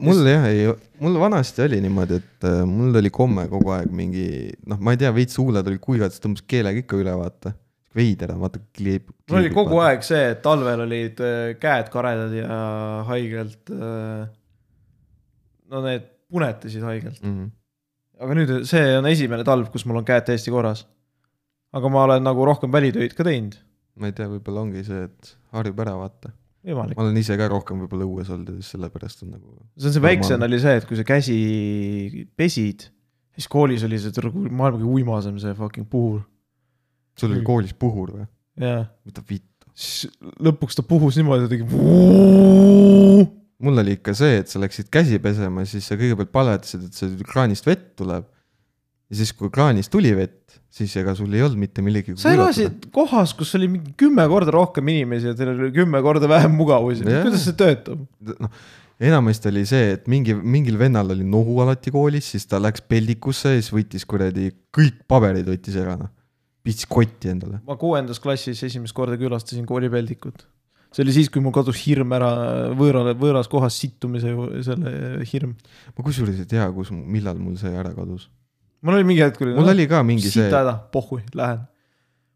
mul jah , ei , mul vanasti oli niimoodi , et äh, mul oli komme kogu aeg mingi , noh , ma ei tea , veits huuled olid kuivad , siis tõmbas keelega ikka üle , vaata . veider on , vaata kleeb .
mul oli kogu aeg see , et talvel olid äh, käed karedad ja haigelt . no need punetasid haigelt ,
mm . -hmm.
aga nüüd see on esimene talv , kus mul on käed täiesti korras . aga ma olen nagu rohkem välitöid ka teinud ,
ma ei tea , võib-olla ongi see , et harjub ära , vaata .
võimalik .
ma olen ise ka rohkem võib-olla õues olnud ja siis sellepärast on nagu .
see on see väiksem oli see , et kui sa käsi pesid , siis koolis oli see tr- maailma kõige uimasem see fucking puhur .
sul
Mm.
oli koolis puhur või ?
jaa ,
mida vittu .
siis lõpuks ta puhus niimoodi , ta tegi .
mul oli ikka see , et sa läksid käsi pesema , siis sa kõigepealt paletasid , et see kraanist vett tuleb . ja siis , kui kraanist tuli vett , siis ega sul ei olnud mitte millegi .
sa elasid kohas , kus oli mingi kümme korda rohkem inimesi ja teil oli kümme korda vähem mugavusi ,
Jaa.
kuidas see töötab ?
noh , enamasti oli see , et mingi , mingil vennal oli nohu alati koolis , siis ta läks peldikusse ja siis võttis kuradi kõik paberid võttis ära , noh . pits kotti endale .
ma kuuendas klassis esimest korda külastasin koolipeldikut . see oli siis , kui mul kadus hirm ära võõrale , võõras kohas sittumise ju- selle hirm .
ma kusjuures ei tea , kus , millal mul see ära kadus .
mul oli mingi hetk oli .
mul oli ka mingi see
sita , häda , pohhui , lähen .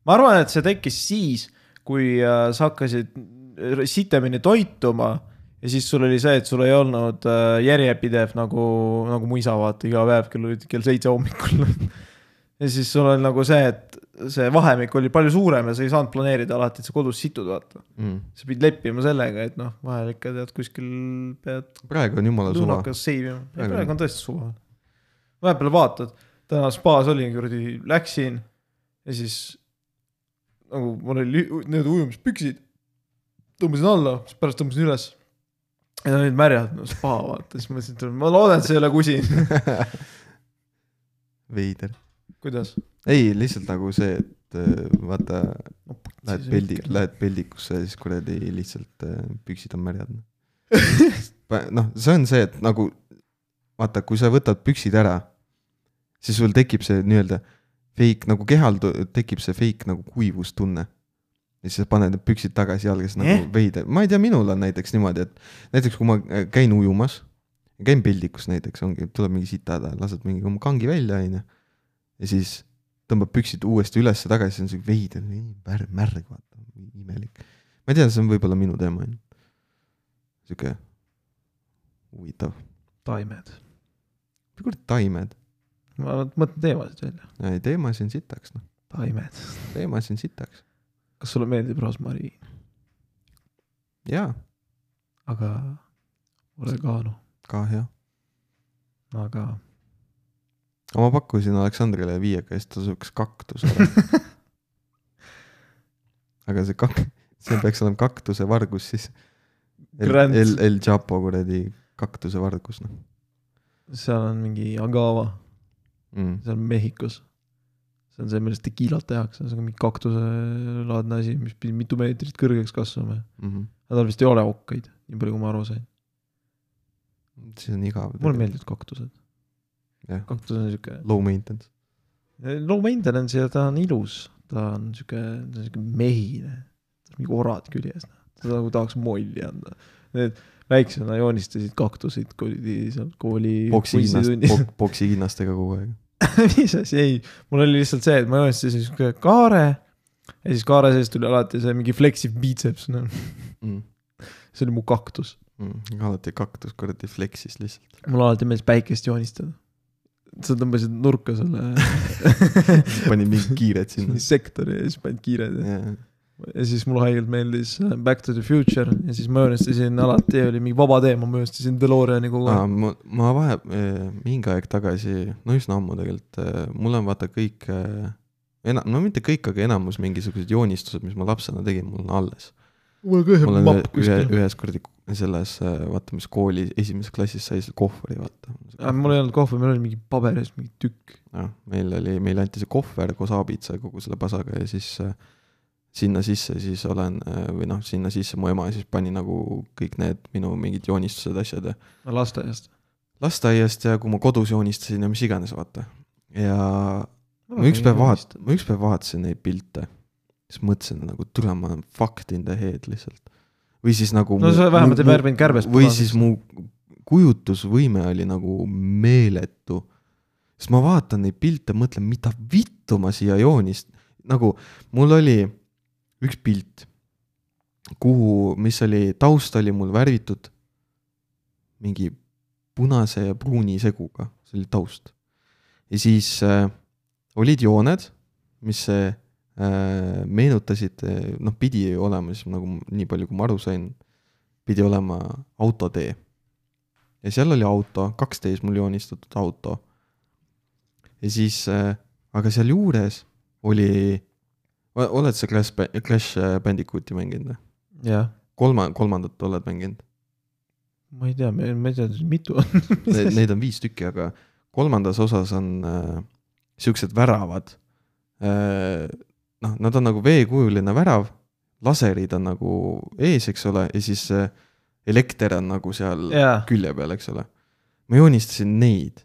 ma arvan , et see tekkis siis , kui äh, sa hakkasid äh, sitemini toituma ja siis sul oli see , et sul ei olnud äh, järjepidev nagu , nagu mu isa vaata iga päev kell , kell seitse hommikul . ja siis sul oli nagu see , et see vahemik oli palju suurem ja sa ei saanud planeerida alati , et sa kodus situd , vaata .
mm. .
sa pidid leppima sellega , et noh , vahel ikka tead kuskil pead
praegu on jumala suva .
lunakas seivima ,
Väga
praegu on tõesti suva . vahepeal vaatad , täna spaas olin kuradi , läksin ja siis nagu mul oli lü- need ujumispüksid , tõmbasin alla , siis pärast tõmbasin üles . ja nad olid märjad , no spa vaata , siis mõtlesin , et ma loodan , et see ei ole kusin .
veider .
kuidas ?
ei , lihtsalt nagu see , et äh, vaata , lähed peldi , lähed peldikusse ja siis kuradi lihtsalt äh, püksid on märjad . noh , see on see , et nagu vaata , kui sa võtad püksid ära , siis sul tekib see nii-öelda fake nagu kehal tu- tekib see fake nagu kuivustunne . ja siis sa paned need püksid tagasi jalga , siis
Eh?
nagu veider , ma ei tea , minul on näiteks niimoodi , et näiteks kui ma äh, käin ujumas , käin peldikus näiteks , ongi , tuleb mingi sita häda , lased mingi oma kangi välja , onju . ja siis tõmbab püksid uuesti ülesse tagasi , see on siuke veider , märg , märg , vaata , imelik . ma ei tea , see on võib-olla minu teema , onju . siuke huvitav ,
taimed .
kurat taimed ,
ma mõtlen teemasid välja ,
teema siin sitaks , noh ,
taimed .
teema siin sitaks ,
kas sulle meeldib rosmari ,
jaa ,
aga oregano ,
ka hea .
aga
aga ma pakkusin Aleksandrile viiega ja siis ta sööks kaktuse ära . aga see kak- , see peaks olema kaktuse vargus siis . El
Grand. ,
El , El Chapo kuradi kaktuse vargus noh
seal on mingi agava
mm. .
see on Mehhikos . see on see , millest tekiilat tehakse , see on mingi kaktuselaadne asi , mis pidi mitu meetrit kõrgeks kasvama .
Mm -hmm.
aga tal vist ei ole okkaid , nii palju , kui ma aru sain .
siis on igav .
mulle . meeldivad kaktused
Jah. .
kaktus on sihuke ,
Low maintenance .
low maintenance ja ta on ilus , ta on sihuke , ta on sihuke mehine . tal on mingi orad küljes , seda nagu tahaks molli anda . Need väiksena joonistasid kaktusid kuradi seal kooli .
poksihinnast , pok- , poksihinnastega kogu aeg .
mis asi , ei , mul oli lihtsalt see , et ma joonistasin siukse kaare ja siis kaare sees tuli alati see mingi flexiv biceps , noh .
mm. .
see oli mu kaktus .
mm, . alati kaktus kuradi flex'is lihtsalt .
mulle alati meeldis päikest joonistada . sa tõmbasid nurka selle
panin mingid kiired sinna .
sektori ja siis panid kiired ja,
jaa ,
ja siis mulle haigelt meeldis äh, Back to the Future ja siis ma joonistasin alati , oli mingi vaba tee , ma joonistasin DeLoreani kogu aeg .
ma , ma vahe , mingi aeg tagasi , no üsna ammu tegelikult , mul on vaata kõik , ena- , no mitte kõik , aga enamus mingisugused joonistused , mis ma lapsena tegin , mul on alles .
mul on ka
mul
ühe
on
mapp
ühe- ühe
kuskil .,
ühes kuradi selles , vaata mis kooli esimeses klassis sai see kohvri , vaata .
mul ei olnud kohvi , meil oli mingi paberis mingi tükk .
noh , meil oli , meile anti see kohver koos aabitsa ja kogu selle pasaga ja siis äh, sinna sisse siis olen äh, või noh , sinna sisse mu ema siis pani nagu kõik need minu mingid joonistused , asjad ja
lasteaiast .
lasteaiast ja kui ma kodus joonistasin ja mis iganes , vaata . ja ma üks päev vaat- , ma üks päev vaatasin neid pilte , siis mõtlesin nagu türa , ma olen fucked in the head lihtsalt . või siis nagu
no
mu-
sa vähemalt ei
mu- mu-
värvinud kärbest .
või siis . mu kujutusvõime oli nagu meeletu . sest ma vaatan neid pilte , mõtlen , mida vittu ma siia joonist , nagu mul oli üks pilt , kuhu , mis oli , taust oli mul värvitud mingi punase ja pruuni seguga , see oli taust . ja siis äh, olid jooned , mis äh, meenutasid , noh , pidi olema siis nagu nii palju , kui ma aru sain , pidi olema autotee . ja seal oli auto , kaksteis mul joonistatud auto . ja siis , aga sealjuures oli , oled sa Clash , Clash äh, Bandicooti mänginud või ?
jah ,
kolma , kolmandat oled mänginud ?
ma ei tea , ma ei tea , mitu on .
Neid on viis tükki , aga kolmandas osas on äh, siuksed väravad äh, . noh , nad on nagu veekujuline värav , laserid on nagu ees , eks ole , ja siis äh, elekter on nagu seal
jaa ,
külje peal , eks ole . ma joonistasin neid .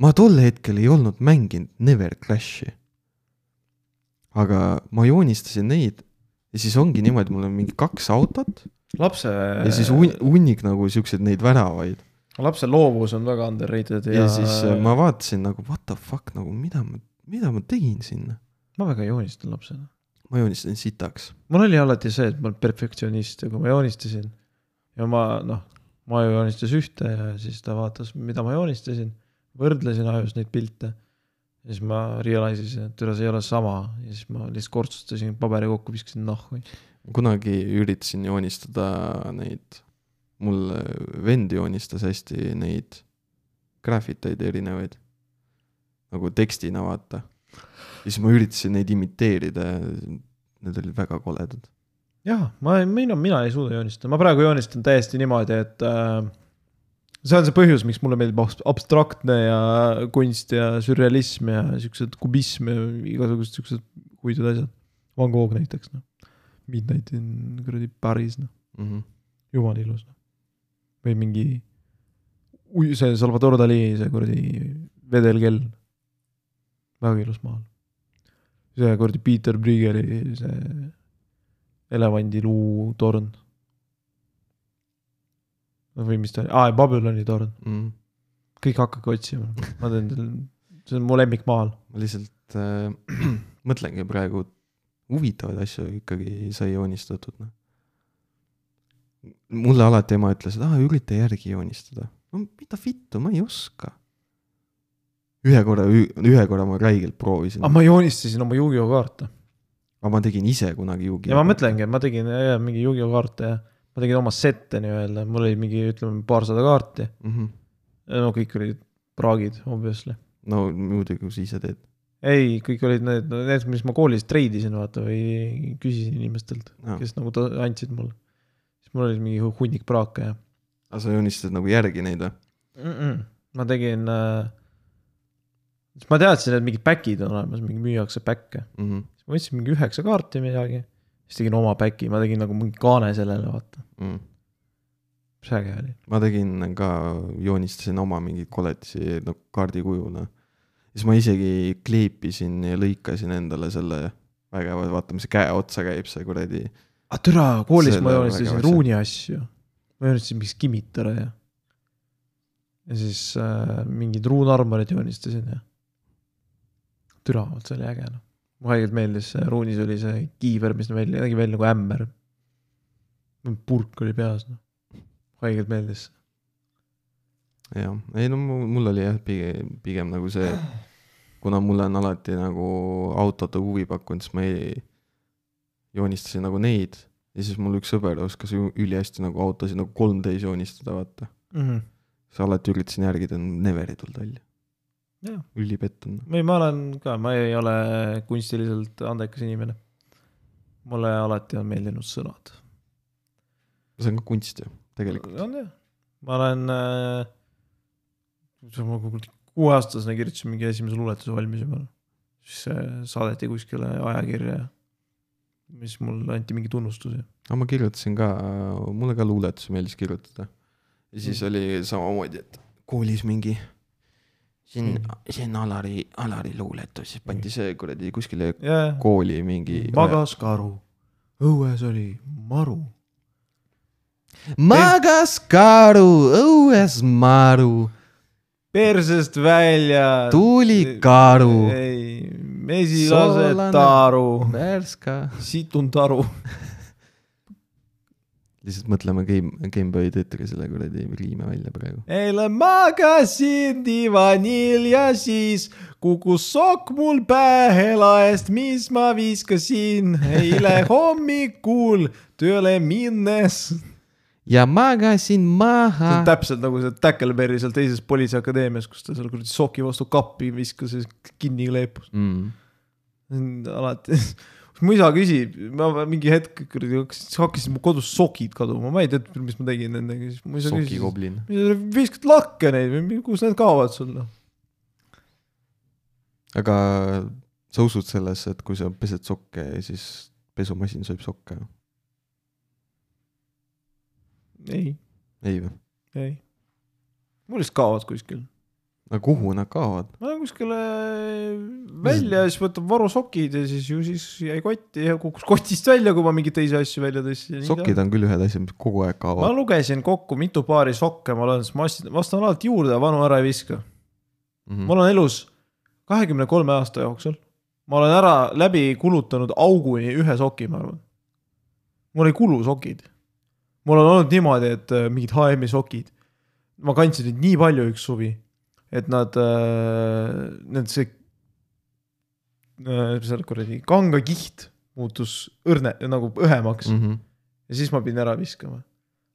ma tol hetkel ei olnud mänginud Never Clashi . aga ma joonistasin neid ja siis ongi niimoodi , mul on mingi kaks autot
lapse .
ja siis
Äh.
hun- , hunnik nagu siukseid neid väravaid .
lapse loovus on väga underrated ja,
ja siis äh, ma vaatasin nagu what the fuck nagu mida ma , mida ma tegin sinna .
ma väga ei joonista lapsena .
ma joonistasin sitaks .
mul oli alati see , et ma olen perfektsionist ja kui ma joonistasin ja ma noh , Maju joonistas ühte ja siis ta vaatas , mida ma joonistasin , võrdlesin ajus neid pilte . ja siis ma realize isin , et üle see ei ole sama ja siis ma lihtsalt kortsustasin paberi kokku , viskasin nahku .
kunagi üritasin joonistada neid , mul vend joonistas hästi neid graafiteid erinevaid . nagu tekstina vaata . ja siis ma üritasin neid imiteerida ja need olid väga koledad .
jah , ma , mina , mina ei suuda joonistada , ma praegu joonistan täiesti niimoodi , et äh, see on see põhjus , miks mulle meeldib abs- abstraktne ja kunst ja sürrealism ja siuksed kubism ja igasugused siuksed huvitavad asjad . Van Gogh näiteks noh , Midnight in kuradi Paris noh ,
Mm -hmm.
jumala ilus noh . või mingi , see Salvador Dali see kuradi vedelkell , väga ilus maal . see kuradi Peter Briegeli see elevandiluu torn . või mis ta oli , aa ja Babyloni torn ,
Mm -hmm.
kõik hakake otsima , ma teen teile , see on mu lemmikmaal .
ma lihtsalt äh, mõtlengi praegu , huvitavaid asju ikkagi sai joonistatud , noh . mulle alati ema ütles , et aa , ürita järgi joonistada . no mida vittu , ma ei oska . ühe korra , ühe korra ma räigelt proovisin ,
aga Ah, ma joonistasin oma Yu-Gi-Oh kaarte
aga ma tegin ise kunagi juugi .
ja ma mõtlengi , et ma tegin jah, jah, mingi Yu-Gi-Oh kaarte ja ma tegin oma sette nii-öelda , mul oli mingi , ütleme paarsada kaarti ,
mm . -hmm.
Äh, no kõik olid praagid obviously .
no muidugi , kui sa ise teed .
ei , kõik olid need , need , mis ma koolis treidisin , vaata või küsisin inimestelt ,
No.
kes nagu ta andsid mulle . siis mul oli mingi hu- hunnik praake ja
aga sa joonistad nagu järgi neid või ?
mm . -mm. ma tegin äh... , siis ma teadsin , et mingid back'id on olemas , mingi müüakse back'e .
Mm -hmm.
siis ma võtsin mingi üheksa kaarti midagi , siis tegin oma back'i , ma tegin nagu mingi kaane sellele , vaata ,
mm.
mis äge oli .
ma tegin ka , joonistasin oma mingeid koletisi nagu kaardi kujuna . siis ma isegi kleepisin ja lõikasin endale selle vägeva , vaata mis käe otsa käib see kuradi .
aga Ah, türa , koolis
Selle
ma
väga
joonistasin
asja.
ruuni asju . ma joonistasin mingit Kimitara ja . ja siis äh, mingid ruunarmorid joonistasin ja . türa , vot see oli äge noh . mulle haigelt meeldis , ruunis oli see kiiver , mis nägi välja , nägi välja nagu ämber . purk oli peas , noh . haigelt meeldis .
jah , ei no mu- mul oli jah , pigem , pigem nagu see , kuna mulle on alati nagu autode huvi pakkunud , siis ma ei , joonistasin nagu neid ja siis mul üks sõber oskas ju ülihästi nagu autosid nagu 3D-s joonistada , vaata .
Mm -hmm.
siis alati üritasin järgi , ta on never ei tulnud välja . noh.
Jah.
ülipettunud .
või ma olen ka , ma ei ole kunstiliselt andekas inimene . mulle alati on meeldinud sõnad .
see on ka kunst ju , tegelikult .
on jah , ma olen äh, . ma kuhugi kuueaastasena kirjutasin mingi esimese luuletuse valmis juba . siis see saadeti kuskile ajakirja . mis mulle anti mingi tunnustusi .
aga ma kirjutasin ka , mulle ka luuletusi meeldis kirjutada . ja siis mm. oli samamoodi , et koolis mingi . see on ,
Mm.
see on Alari , Alari luuletus , siis pandi see kuradi kuskile
jah ,
kooli mingi .
magas karu , õues oli maru .
magas karu , õues maru ,
persest välja .
tuli karu ,
ei , mesilase
Soolane.
taru ,
värska .
situn taru .
lihtsalt mõtleme Game , Gameboy tütre selle kuradi riime välja praegu .
eile magasin divanil ja siis kukkus sokk mul pähe laest , mis ma viskasin eile hommikul tööle minnes . see
ja magasin maha
on . täpselt nagu see Tackleberry seal teises politseiakadeemias , kus ta seal kuradi soki vastu kappi viskas ja siis kinni kleepus .
Mm.
alati mu isa küsib , ma mingi hetk kuradi hakkasin , hakkasid mu kodus sokid kaduma , ma ei tea , mis ma tegin nendega , siis mu isa küsis .
sokikoblin .
viskad lakke neid või kus need kaovad sul noh ?
aga sa usud sellesse , et kui sa pesed sokke , siis pesumasin sööb sokke ?
ei ,
ei või ?
ei . mul lihtsalt kaovad kuskil .
aga kuhu nad kaovad ?
ma lähen kuskile välja ja siis võtab varusokid ja siis ju siis jäi kotti ja kukkus kotist välja , kui ma mingeid teisi asju välja tõstsin .
sokid on küll ühed asjad , mis kogu aeg
ma
kaovad .
lugesin kokku , mitu paari sokke ma olen , siis ma ostsin , ma ostan alati juurde ja vanu ära ei viska .
Mhm.
Mm. ma olen elus kahekümne kolme aasta jooksul , ma olen ära läbi kulutanud auguni ühe soki , ma arvan . mul ei kulu sokid . mul on olnud niimoodi , et äh, mingid HM-i sokid , ma kandsin neid nii palju üks suvi , et nad , need see , seal kuradi kangakiht muutus õrne , nagu õhemaks
Mm -hmm.
ja siis ma pidin ära viskama .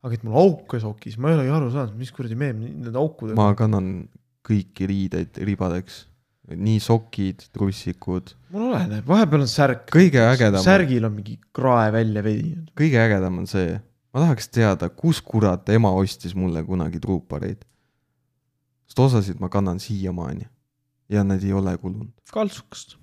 aga et mul auke sokis , ma ei olegi aru saanud , mis kuradi meem nende aukudega
ma kannan kõiki riideid ribadeks . nii sokid , trussikud ,
mul oleneb , vahepeal on särk .
Kõige ägedam-
särgil on mingi krae välja veidi .
kõige ägedam on see , ma tahaks teada , kus kurat ema ostis mulle kunagi truupareid . sest osasid ma kannan siiamaani ja need ei ole kulunud .
kaltsukast .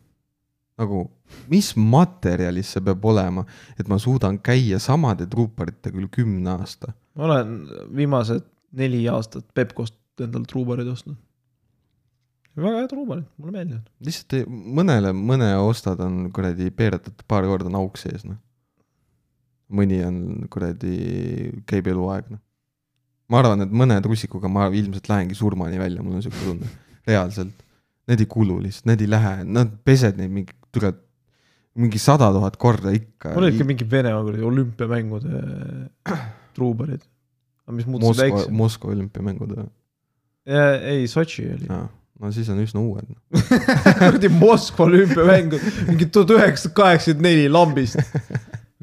nagu , mis materjalis see peab olema , et ma suudan käia samade truuparitega üle kümne aasta .
ma olen viimased neli aastat Pepkost endale truubareid ostnud . väga head truubarid , mulle meeldivad .
lihtsalt ei- mõnele , mõne ostad on kuradi peeratud paar korda on auk sees , noh . mõni on kuradi , käib eluaeg , noh . ma arvan , et mõne trussikuga ma ilmselt lähengi surmani välja , mul on siuke tunne , reaalselt . Need ei kulu lihtsalt , need ei lähe , nad pesed neid mingi , tuleb mingi sada tuhat korda ikka .
mul olid ka mingi Venemaa kuradi olümpiamängude äh, truubarid . aga mis muutusid
Moskva ,
väiksemaks .
Moskva olümpiamängud või ?
ei , Sotši oli .
jaa , no siis on üsna uued . noh.
kuradi Moskva olümpiamängud , mingi tuhat üheksasada kaheksakümmend neli lambist .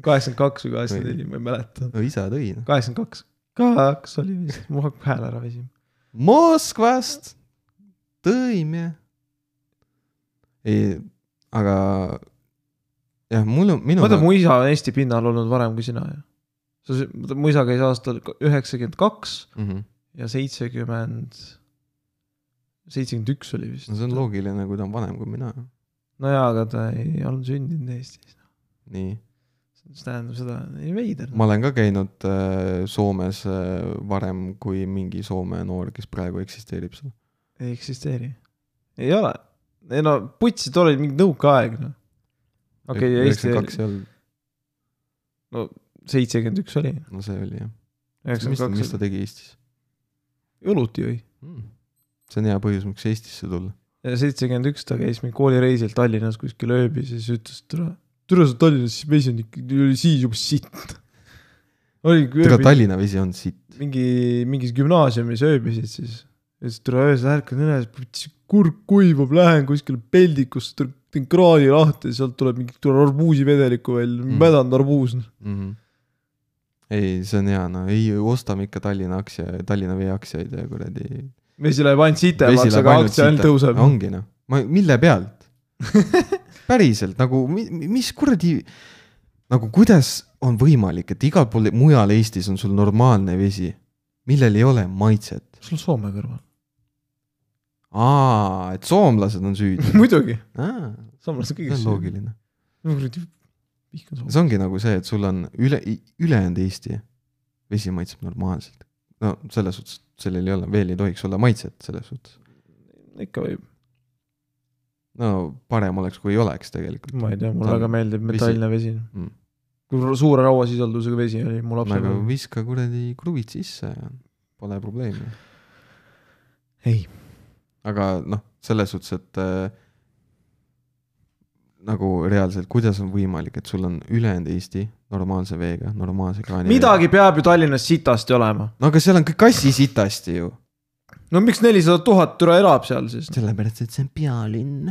kaheksakümmend kaks või kaheksakümmend neli , ma ei mäleta .
no isa tõi noh .
kaheksakümmend kaks , kaks oli vist , mul hakkab hääl ära väsima .
Moskvast tõime . ei , aga jah , mul on , minul
vaata ,
on ,
mu isa on Eesti pinnal olnud varem kui sina ju . sa , mu isa käis aastal üheksakümmend kaks
mm -hmm.
ja seitsekümmend , seitsekümmend üks oli vist
no . see on loogiline , kui ta on vanem kui mina .
nojaa , aga ta ei olnud sündinud Eestis .
nii ,
see tähendab seda , ei veider .
ma olen ka käinud äh, Soomes äh, varem kui mingi Soome noor , kes praegu eksisteerib seal .
ei eksisteeri . ei ole . ei no putsid olid mingi nõukaaeg noh . okei okay, ,
kaks
Eesti
ei olnud ,
seitsekümmend üks oli ,
no see oli jah . mis ta ,
üheksakümmend
mis
kaks
ta tegi Eestis
õlut jõi .
mm. ? see on hea põhjus , miks Eestisse tulla .
ja seitsekümmend üks ta käis meil koolireisil Tallinnas kuskil ööbis ja siis ütles , et tere , tere sa Tallinnas , siis mesindik oli siis juba sitt .
tere ,
oli ,
Tallinna vesi on siit .
mingi , mingis gümnaasiumis ööbisid siis . ja siis tule öösel ärkan üles , kurk kuivab , lähen kuskile peldikusse , tule- teen kraani lahti , sealt tuleb mingi , tuleb arbuusivedelikku välja
Mm.
mm. , mädanud arbuus .
Mhm. ei , see on hea , no ei , ostame ikka Tallinna aktsia , Tallinna Vee aktsiaid ja kuradi .
vesi läheb ainult sitemaks , aga aktsia ainult tõuseb .
ongi noh , ma , mille pealt ? päriselt nagu , mis kuradi , nagu kuidas on võimalik , et igal pool mujal Eestis on sul normaalne vesi , millel ei ole maitset ?
sul on Soome kõrval .
aa , et soomlased on süüdi .
muidugi ,
aa ,
soomlased
see
kõigest
on . loogiline .
vihkan Soome .
see ongi nagu see , et sul on üle , ülejäänud Eesti vesi maitseb normaalselt . no selles suhtes , sellel ei ole , veel ei tohiks olla maitset selles suhtes .
ikka võib ,
no parem oleks , kui ei oleks tegelikult .
ma ei tea , mulle
Ta on
väga meeldib
vesi.
metallne vesi
Mm. Nagu
mm. . kui suure rauasisaldusega vesi oli mu
aga
lapsepõlves .
viska kuradi kruvid sisse ja pole probleemi .
ei ,
aga noh , selles suhtes , et äh, nagu reaalselt , kuidas on võimalik , et sul on ülejäänud Eesti normaalse veega , normaalse kraani .
midagi peab ju Tallinnas sitasti olema .
no aga seal on kõik asi sitasti ju .
no miks nelisada tuhat türa elab seal siis ?
sellepärast , et see on pealinn .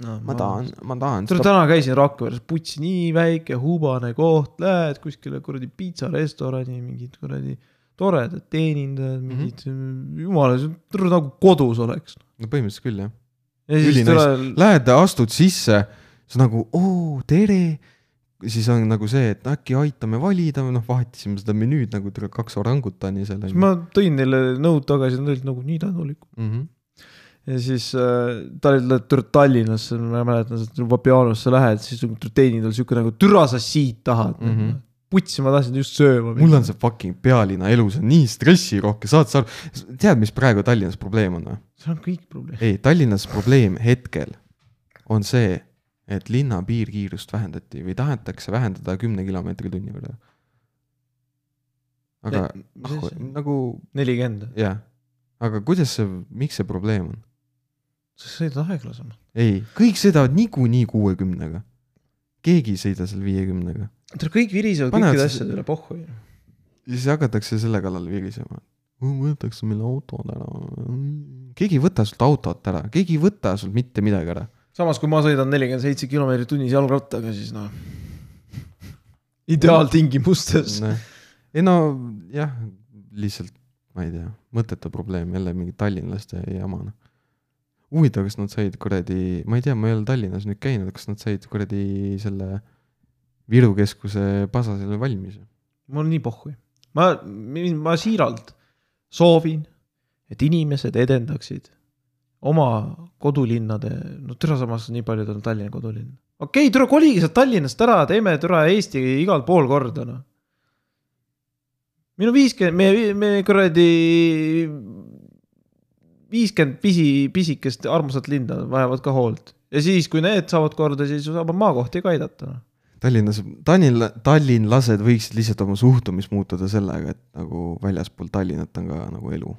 no,
ma tahan , ma tahan
tule täna käisin Rakveres , putsi nii väike hubane koht , lähed kuskile kuradi piitsarestorani , mingid kuradi toredad
Mhm.
teenindajad , mingid mm -hmm. jumala , tule nagu kodus oleks .
no põhimõtteliselt küll jah .
ja siis
Ülinais-
tule ,
Lähed , astud sisse , siis nagu oo , tere . siis on nagu see , et äkki aitame valida , noh vahetasime seda menüüd nagu tule- kaks orangutani seal
siis ma tõin neile nõud tagasi , nad olid nagu nii tänulikud .
mm . -hmm.
ja siis äh, ta oli , tuleb Tallinnasse , ma mäletan , Vapianosse lähed , siis nagu teenid on siuke nagu türa sa siit tahad mm .
Mhm.
-hmm. putsi , ma tahtsin just sööma
mul on see fucking pealinna elu , see on nii stressirohke , saad sa aru , tead , mis praegu Tallinnas probleem on või ?
see on kõik probleem .
ei , Tallinnas probleem hetkel on see , et linna piirkiirust vähendati või tahetakse vähendada kümne kilomeetri tunni võrra . aga ah, nagu
nelikümmend ,
jah , aga kuidas see , miks see probleem on ?
sa sõidad aeglasemalt .
ei , kõik sõidavad niikuinii kuuekümnega . keegi ei sõida seal viiekümnega .
tal kõik virisevad
Panevad
kõikide
siis-
asjade üle pohhu ju .
ja siis hakatakse selle kallal virisema . võetakse meil autod ära . keegi ei võta sult autot ära , keegi ei võta sult mitte midagi ära .
samas , kui ma sõidan nelikümmend seitse kilomeetrit tunnis jalgrattaga , siis noh . ideaaltingimustes .
Noh. ei no jah , lihtsalt ma ei tea , mõttetu probleem jälle mingi tallinlaste jama noh . huvitav , kas nad said kuradi , ma ei tea , ma ei ole Tallinnas nüüd käinud , kas nad said kuradi selle Viru keskuse pasa selle valmis ?
mul on nii pohhu . ma , ma siiralt soovin , et inimesed edendaksid oma kodulinnade , no türa samas nii paljud on Tallinna kodulinn . okei okay, , türa kolige sealt Tallinnast ära , teeme türa Eesti igal pool korda noh . minu viiskümmend , meie , meie kuradi viiskümmend pisi , pisikest armsat linna vajavad ka hoolt ja siis , kui need saavad korda , siis saab maakohti ka aidata noh .
Tallinnas , Tallinn , tallinlased võiksid lihtsalt oma suhtumist muutuda sellega , et nagu väljaspool Tallinnat on ka nagu elu .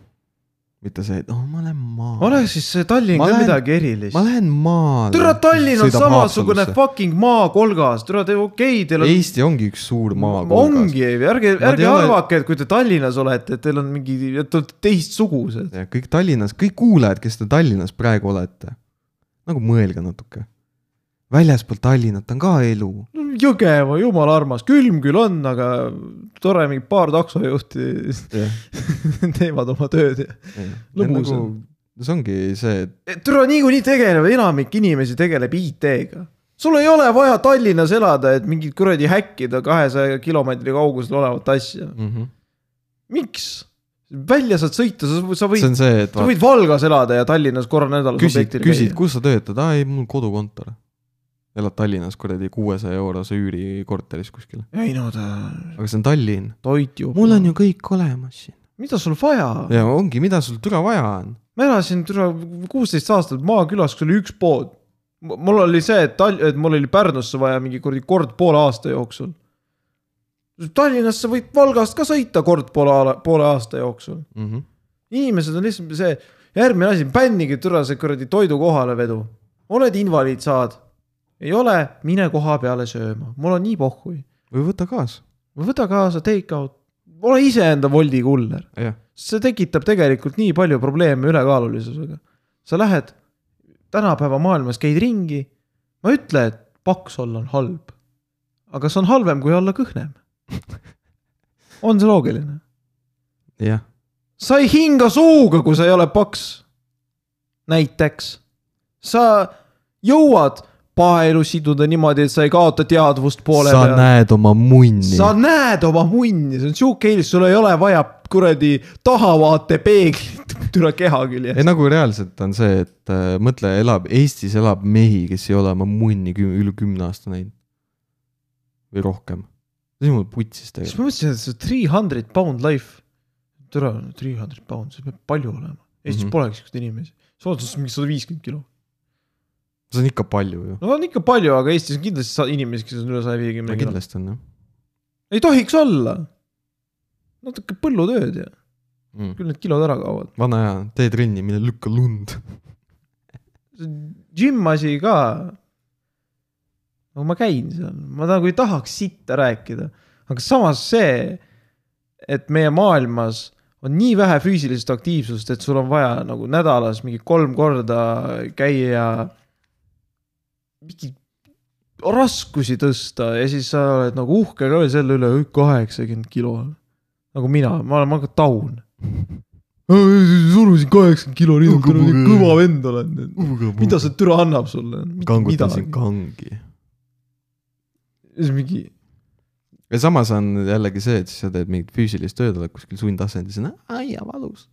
mitte see , et oh, ma lähen maale .
oleks siis see Tallinn
Ma
ka
lähen-
midagi erilist
ma . lähen maale .
türa , Tallinn on samasugune . fucking maakolgas , türa te okei okay, , teil on .
Eesti ongi üks suur maakolgas .
ongi , ärge ,
Nad ei
ärge
ole-
arvake , et kui te Tallinnas olete , et teil on mingi , et te olete teistsugused .
ja kõik Tallinnas , kõik kuulajad , kes te Tallinnas praegu olete , nagu mõelge natuke . väljaspool Tallinnat on ka elu .
Jõgeva , jumala armas , külm küll on , aga tore , mingi paar taksojuhti teevad oma tööd ja . Lõbus
nagu, see ongi see , et
türa niikuinii tegeleb , enamik inimesi tegeleb IT-ga sul ei ole vaja Tallinnas elada , et mingit kuradi häkkida kahesaja kilomeetri kaugusel olevat asja .
mm . -hmm.
miks ? välja saad sõita , sa , sa võid
see on see , et
sa võid Valgas elada ja Tallinnas korra nädalas
küsid ,
objektil
küsid , kus sa töötad , aa ei , mul kodukontor . elad Tallinnas kuradi kuuesaja eurose üürikorteris kuskil ,
käia . ei no ta ,
aga see on Tallinn .
toit ju .
mul on ju kõik olemas siin .
mida sul vaja ?
ja ongi , mida sul türa vaja on .
ma elasin türa kuusteist aastat maakülas , kus oli üks pood . mul oli see , et Tall- , et mul oli Pärnusse vaja mingi kuradi kord poole aasta jooksul . Tallinnasse võid Valgast ka sõita kord poole , poole aasta jooksul .
Mm -hmm.
inimesed on lihtsalt see , järgmine asi , bännige türa see kuradi toidu kohalevedu . oled invaliid , saad . ei ole , mine koha peale sööma , mul on nii pohhui
või võta kaasa .
võta kaasa take out , ole iseenda Woldi kuller .
jah ,
see tekitab tegelikult nii palju probleeme ülekaalulisusega . sa lähed tänapäeva maailmas , käid ringi , ma ei ütle , et paks olla on halb . aga see on halvem kui olla kõhnem . on see loogiline ?
jah ,
sa ei hinga suuga , kui sa ei ole paks . näiteks , sa jõuad paelu siduda niimoodi , et sa ei kaota teadvust poole
sa näed oma munni .
sa näed oma munni , see on sihuke eelis , sul ei ole vaja kuradi tahavaatepeeglit türa keha küljes .
ei nagu reaalselt on see , et äh, mõtle , elab , Eestis elab mehi , kes ei ole oma munni küm, üle kümne aasta näinud . või rohkem . see on mul putsis
siis
tegelikult .
ma mõtlesin , et see three hundred pound life , türa three hundred pound , see peab palju olema . Eestis mm
Mhm.
-hmm. polegi siukseid inimesi , soodustuses mingi sada viiskümmend kilo .
see on ikka palju ju .
no on ikka palju , aga Eestis on kindlasti sa- inimesi , kes on üle saja viiekümne kilo .
kindlasti on jah
ei tohiks olla . natuke põllutööd ja
mm. .
küll need kilod ära kaovad .
vana hea , tee trenni , mine lükka lund .
Gym asi ka . no ma käin seal , ma nagu ei tahaks sitta rääkida , aga samas see , et meie maailmas on nii vähe füüsilist aktiivsust , et sul on vaja nagu nädalas mingi kolm korda käia . mingi raskusi tõsta ja siis sa oled nagu uhke ka veel selle üle , kaheksakümmend kilo . nagu mina , ma olen , ma olen ka taun . surusin kaheksakümmend kilo , nüüd on kuradi kõva vend olen . mida see türa annab sulle ?
kangutasin kangi .
siis mingi ,
ja samas on jällegi see , et siis sa teed mingit füüsilist tööd , oled kuskil sundasendis , aia valus .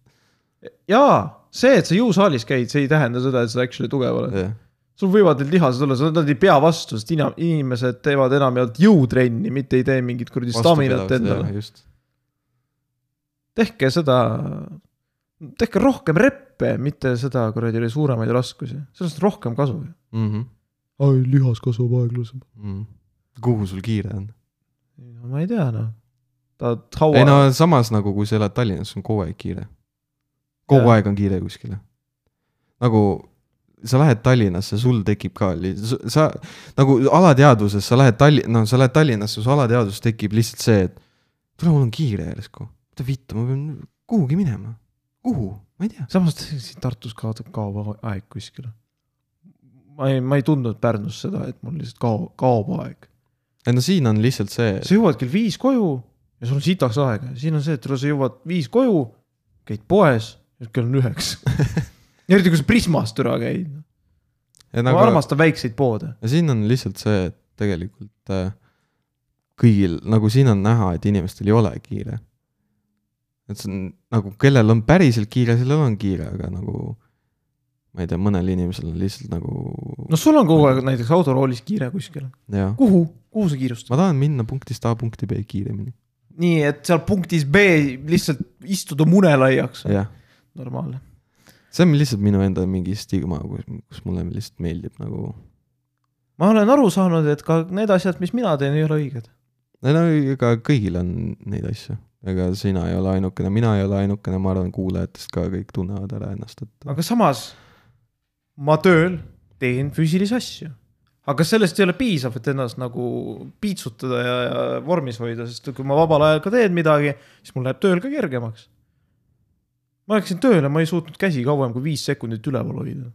jaa , see , et sa jõusaalis käid , see ei tähenda seda , et sa actually tugev oled .
jah ,
sul võivad need lihased olla , nad ei pea vastu , sest ina- inimesed teevad enamjaolt jõutrenni , mitte ei tee mingit kuradi staminat endale .
just ,
tehke seda , tehke rohkem reppe , mitte seda kuradi suuremaid raskusi , sellest on rohkem kasu .
Mhm.
ai , lihas kasvab aeglasemalt .
kuhu sul kiire on ?
ma ei tea noh , tahad haua
ei no , samas nagu , kui sa elad Tallinnas , on kogu aeg kiire . kogu
Jaa.
ja. aeg on kiire kuskile . nagu sa lähed Tallinnasse , sul tekib ka , sa nagu alateadvuses , sa lähed Talli- , no sa lähed Tallinnasse , su alateadvus tekib lihtsalt see , et tule , mul on kiire järsku . mida vittu , ma pean kuhugi minema . kuhu , ma ei tea .
samas siin Tartus kaotab , kaob aeg kuskile . ma ei , ma ei tundnud Pärnus seda , et mul lihtsalt kaob , kaob aeg .
ei no siin on lihtsalt see ,
sa jõuad kell viis koju ja sul on sitaks aega , siin on see , et sa jõuad viis koju , käid poes , kell on üheksa . eriti kui sa Prismas türa käid nagu... . ma
nagu,
armastan väikseid poode .
ja siin on lihtsalt see , et tegelikult äh, kõigil nagu siin on näha , et inimestel ei ole kiire . et see on nagu , kellel on päriselt kiire , sellel on kiire , aga nagu ma ei tea , mõnel inimesel on lihtsalt nagu
no sul on kogu aeg näiteks autoroolis kiire kuskile .
jah ,
kuhu , kuhu sa kiirustad ?
ma tahan minna punktist A punkti B kiiremini ,
nii , et seal punktis B lihtsalt istuda munelaiaks .
jah .
normaalne .
see on lihtsalt minu enda mingi stigma , kus , kus mulle lihtsalt meeldib nagu ,
ma olen aru saanud , et ka need asjad , mis mina teen , ei ole õiged .
ei no ega kõigil on neid asju , ega sina ei ole ainukene , mina ei ole ainukene , ma arvan , kuulajatest ka kõik tunnevad ära ennast , et
aga samas ma tööl teen füüsilisi asju . aga sellest ei ole piisav , et ennast nagu piitsutada ja, ja vormis hoida , sest kui ma vabal ajal ka teen midagi , siis mul läheb tööl ka kergemaks . ma läksin tööle , ma ei suutnud käsi kauem kui viis sekundit üleval hoida .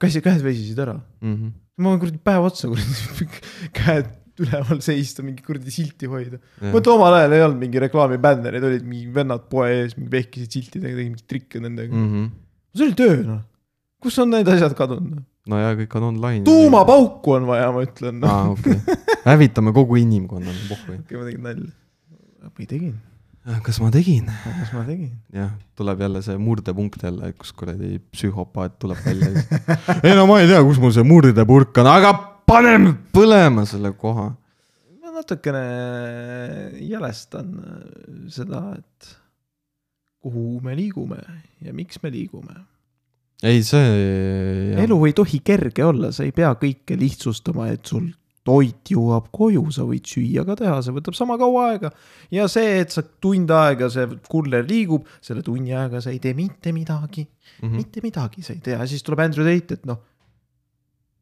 käsi , käed vesisid ära .
mm . -hmm
ma võin kuradi päev otsa kuradi käed üleval seista , mingi kuradi silti hoida .
Jah.
vot omal ajal ei olnud mingi reklaamibännereid , olid mingi vennad poe ees , mingi vehkisid siltidega , tegid mingeid trikke nendega .
mm . -hmm.
see oli töö noh , kus on need asjad kadunud ?
no ja kõik on online .
tuumapauku on vaja , ma ütlen noh .
aa , okei okay. . hävitame kogu inimkonna , pohhui .
okei , ma tegin nalja . või tegin ,
Äh, kas ma tegin ?
kas ma tegin ?
jah , tuleb jälle see murdepunkt jälle , kus kuradi psühhopaat tuleb välja . ei no ma ei tea , kus mul see murdepurk on , aga paneme põlema selle koha .
ma natukene jälestan äh, seda , et kuhu me liigume ja miks me liigume .
ei , see .
elu ei tohi kerge olla , sa ei pea kõike lihtsustama , et sul toit jõuab koju , sa võid süüa ka teha , see võtab sama kaua aega . ja see , et sa tund aega see kuller liigub , selle tunni ajaga sa ei tee mitte midagi .
mm . -hmm.
mitte midagi sa ei tea , siis tuleb Andrew Tate , et noh .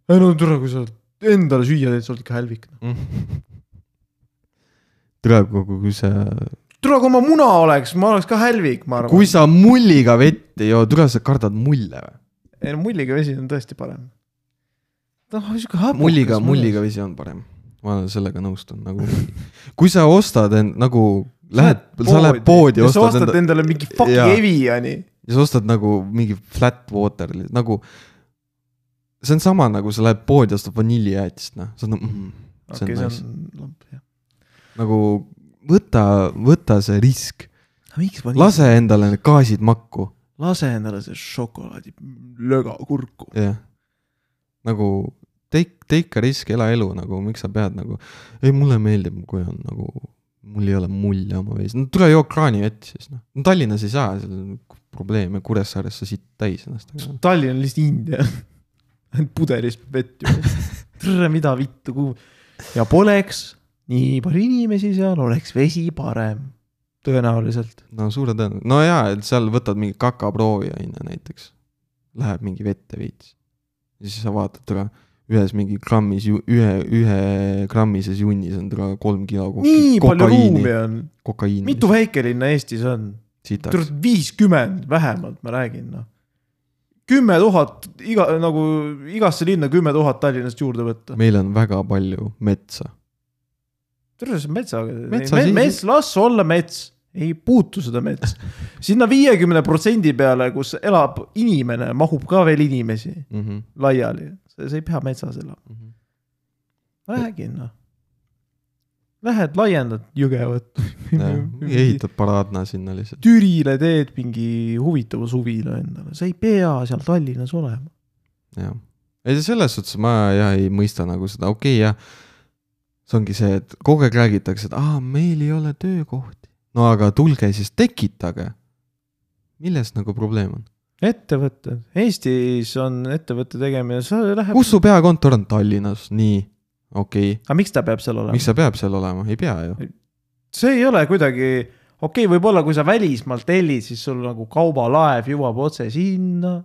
noh."
Mhm.
ei no tule , kui sa endale süüa teed , sa oled ikka hälvik .
Mm -hmm. tulevikku , kui sa ,
tule , kui ma muna oleks , ma oleks ka hälvik , ma arvan
kui . sa mulliga vett ei joo , tule , sa kardad mulle või ?
ei no mulliga vesi on tõesti parem . noh , sihuke hapukas .
mulliga , mulliga . vesi on parem . ma sellega nõustun , nagu kui sa ostad end nagu , lähed , sa lähed poodi ,
ostad . sa
ostad
ostad
enda
endale mingi fucking
Jaa.
Eviani .
ja sa ostad nagu mingi flat water , nagu . see on sama nagu sa lähed poodi , ostad vaniljijäätist , noh , sa oled nagu mm, , see
okei ,
on
see
nice ,
on lamp jah .
nagu võta , võta see risk ,
aga miks ma nii ,
lase endale need gaasid makku ,
lase endale see šokolaadi löga kurku .
jah . nagu take , take a risk , ela elu nagu , miks sa pead nagu , ei mulle meeldib , kui on nagu , mul ei ole mulje oma vees , no tule joo kraani vett siis noh , no Tallinnas ei saa , seal on probleeme , Kuressaares sa siit täis ennast , aga
Tallinn on lihtsalt India . ainult pudelist vett ju . tere , mida vittu , kuhu . ja poleks nii palju inimesi seal , oleks vesi parem . tõenäoliselt .
no suure tõenäosusega , no jaa , et seal võtad mingi kakaproovi on ju näiteks . Läheb mingi vette veits . ja siis sa vaatad täna ühes mingi grammis , ühe , ühe grammises junnis on täna kolm kilo koki-
nii palju ruumi on .
kokaiini .
mitu väikelinna Eestis on ?
sitaks
tuleb viiskümmend vähemalt , ma räägin noh . kümme tuhat iga nagu igasse linna kümme tuhat Tallinnast juurde võtta .
meil on väga palju metsa .
terve see metsaga ,
Metsa siis-
mets , las olla mets , ei puutu seda mets . sinna viiekümne protsendi peale , kus elab inimene , mahub ka veel inimesi
Mm -hmm.
laiali , sa sa ei pea metsas elama ,
mm -hmm.
ma räägin noh . Lähed laiendad Jõgevat
ja, . ehitad paraadna sinna lihtsalt .
Türile teed mingi huvitava suvila endale , sa ei pea seal Tallinnas olema .
jah , ei selles suhtes ma jah ei mõista nagu seda , okei okay, jah . see ongi see , et kogu aeg räägitakse , et aa , meil ei ole töökohti . no aga tulge siis tekitage . milles nagu probleem on ?
ettevõtted , Eestis on ettevõtte tegemine , sa läheb ,
kus su peakontor on ? Tallinnas , nii , okei okay. .
aga miks ta peab seal olema
miks ? ta peab seal olema , ei pea ju .
see ei ole kuidagi , okei okay, , võib-olla kui sa välismaalt tellid , siis sul nagu kaubalaev jõuab otse sinna .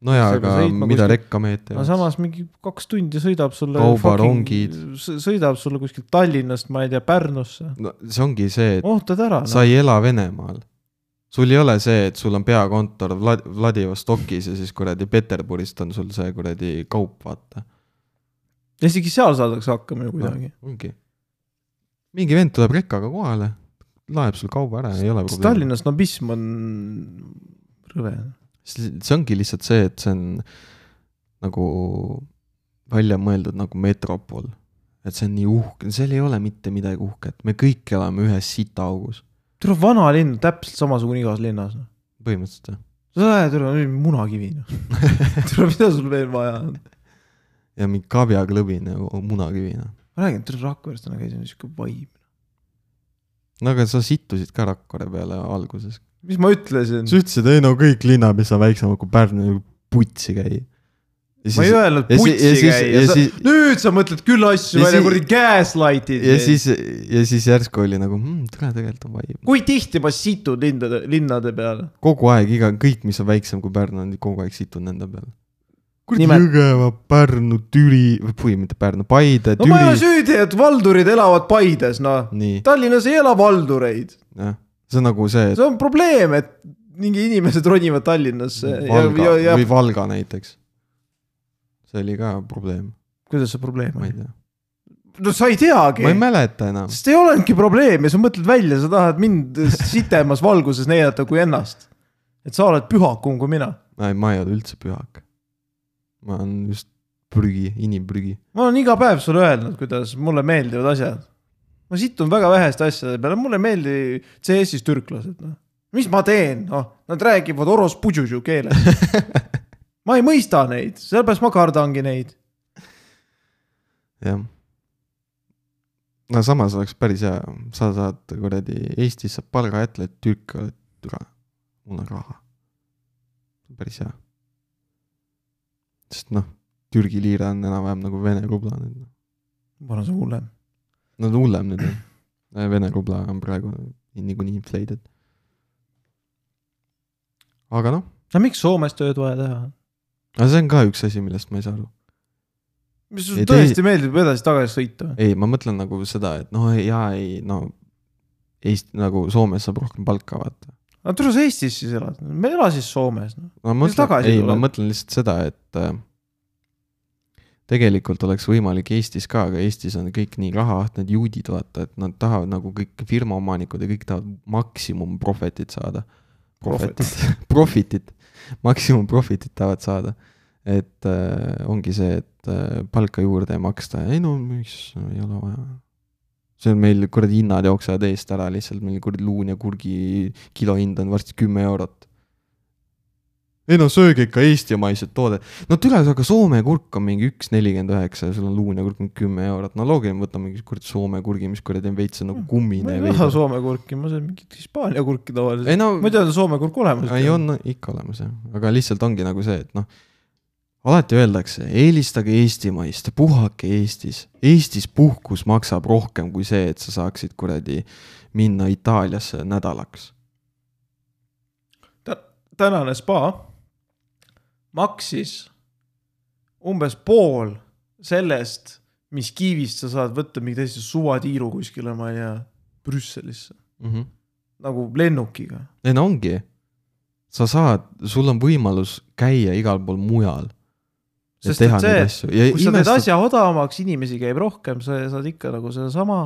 no jaa ,
sa pead
aga
sõitma
mida
kuskil-
rekkamehed
aga
teevad ?
samas mingi kaks tundi sõidab sulle .
Kaubarongid. .
sõidab sulle kuskilt Tallinnast , ma ei tea , Pärnusse ,
no see ongi see , et
ootad ära noh. no.
sa . ei ela Venemaal . sul ei ole see , et sul on peakontor Vlad- , Vladivostokis ja siis kuradi Peterburist on sul see kuradi kaup , vaata .
isegi seal saadakse hakkama ju kuidagi no. .
ongi . mingi vend tuleb rekkaga kohale , laeb sul kauba ära , ei ole probleemi .
Tallinna snobism on rõve .
see ongi lihtsalt see , et see on nagu välja mõeldud nagu metropol . et see on nii uhke , seal ei ole mitte midagi uhket , me kõik elame ühes sitaaugus ,
tule vanalinn , täpselt samasugune igas linnas noh. no. .
põhimõtteliselt jah .
sa lähed , tule munakivi noh . tule , mida sul veel vaja on ?
ja mingi kabjaklõbine munakivina .
ma räägin , et Rakveres täna käisin , sihuke vibe .
no aga sa sittusid ka Rakvere peale alguses .
mis ma ütlesin ?
sa ütlesid , ei no kõik linnad , mis on väiksemad kui Pärnu , putsi käia .
ma ei öelnud
ja si-
putsi
ja siis-
käia
ja ,
sa
siis- ,
nüüd sa mõtled küll asju
ja
välja ,
siis-
kuradi gaslight'id .
ja siis , ja siis järsku oli nagu mmm, , tule tegelikult on vibe .
kui tihti ma situn lindade , linnade peale ?
kogu aeg iga , kõik , mis on väiksem kui Pärnu , on kogu aeg situn nende peale . kuradi
Nimelt-
Jõgeva , Pärnu , Türi , või mitte Pärnu , Paide ,
no ma ei ole
Türi .
süüdi , et valdurid elavad Paides , noh .
nii ,
Tallinnas ei ela valdureid ,
jah , see on nagu see , et
see on probleem , et mingi inimesed ronivad Tallinnasse ja ,
Valga
ja ,
ja,
ja
või Valga näiteks . see oli ka probleem ,
kuidas see probleem
ma ei
on ?
tea ,
no sa ei teagi
ma ei mäleta enam .
sest ei olnudki probleemi , sa mõtled välja , sa tahad mind sitemas valguses näidata kui ennast . et sa oled pühakum kui mina .
ei , ma ei ole üldse pühak . ma olen just prügi , inimprügi .
ma olen iga päev sulle öelnud , kuidas mulle meeldivad asjad . ma situn väga väheste asjade peale , mulle ei meeldi CS-is türklased , noh . mis ma teen , noh , nad räägivad oros pudžužu keeles . ma ei mõista neid , sellepärast ma kardangi neid .
jah . no samas oleks päris hea , sa saad kuradi , Eestis saab palga jätta , et Türk oled türa , mul on raha . päris hea . sest noh , Türgi liira on enam-vähem nagu Vene rubla nüüd .
ma arvan , see on hullem .
no ta on hullem nüüd . Vene rubla on praegu niikuinii inflated . aga noh ,
no miks Soomes tööd vaja teha on ?
aga see on ka üks asi , millest ma ei saa aru .
mis
Ei,
sulle
ta
tõesti meeldib edasi-tagasi sõita ?
ei , ma mõtlen nagu seda , et noh , jaa , ei no Eest- , nagu Soomes saab rohkem palka , vaata .
aga tule sa Eestis siis elad , me ei ela siis Soomes noh. no. .
ma
Mis
mõtlen ,
tagasi
ei ,
tuleb?
ma mõtlen lihtsalt seda , et äh, tegelikult oleks võimalik Eestis ka , aga Eestis on kõik nii rahaahted need juudid , vaata , et nad tahavad nagu kõik firmaomanikud ja kõik tahavad maksimum profit'it saada . Profit'it , profit'it , maksimum profit'it tahavad saada . et äh, ongi see , et äh, palka juurde ei maksta , ei no miks , ei ole vaja see on meil kuradi hinnad jooksevad eest ära lihtsalt , meil kuradi luun ja kurgi kilohind on varsti kümme eurot . ei no sööge ikka eestimaised tooded . no tule , aga Soome kurk on mingi üks nelikümmend üheksa ja sul on luun ja kurk mingi kümme eurot , no loogiline , võta mingi kuradi Soome kurgi , mis kuradi on veits nagu
Hmm. ma
kummine
ei
või
taha . Soome kurki , ma söön mingit Hispaania kurki tavaliselt .
ei no
ma ei tea , on Soome kurk olemas .
ei , on ikka olemas jah , aga lihtsalt ongi nagu see , et noh , alati öeldakse , eelistage eestimaist , puhake Eestis . Eestis puhkus maksab rohkem kui see , et sa saaksid kuradi minna Itaaliasse nädalaks .
tänane spa maksis umbes pool sellest , mis kivist sa saad võtta mingi täiesti suvatiiru kuskile , ma ei tea , Brüsselisse , nagu lennukiga .
ei no ongi , sa saad , sul on võimalus käia igal pool mujal . ja
Sest
teha
et see,
neid asju ja
kui sa teed
imestad ,
asja odavamaks , inimesi käib rohkem , sa saad ikka nagu sedasama ,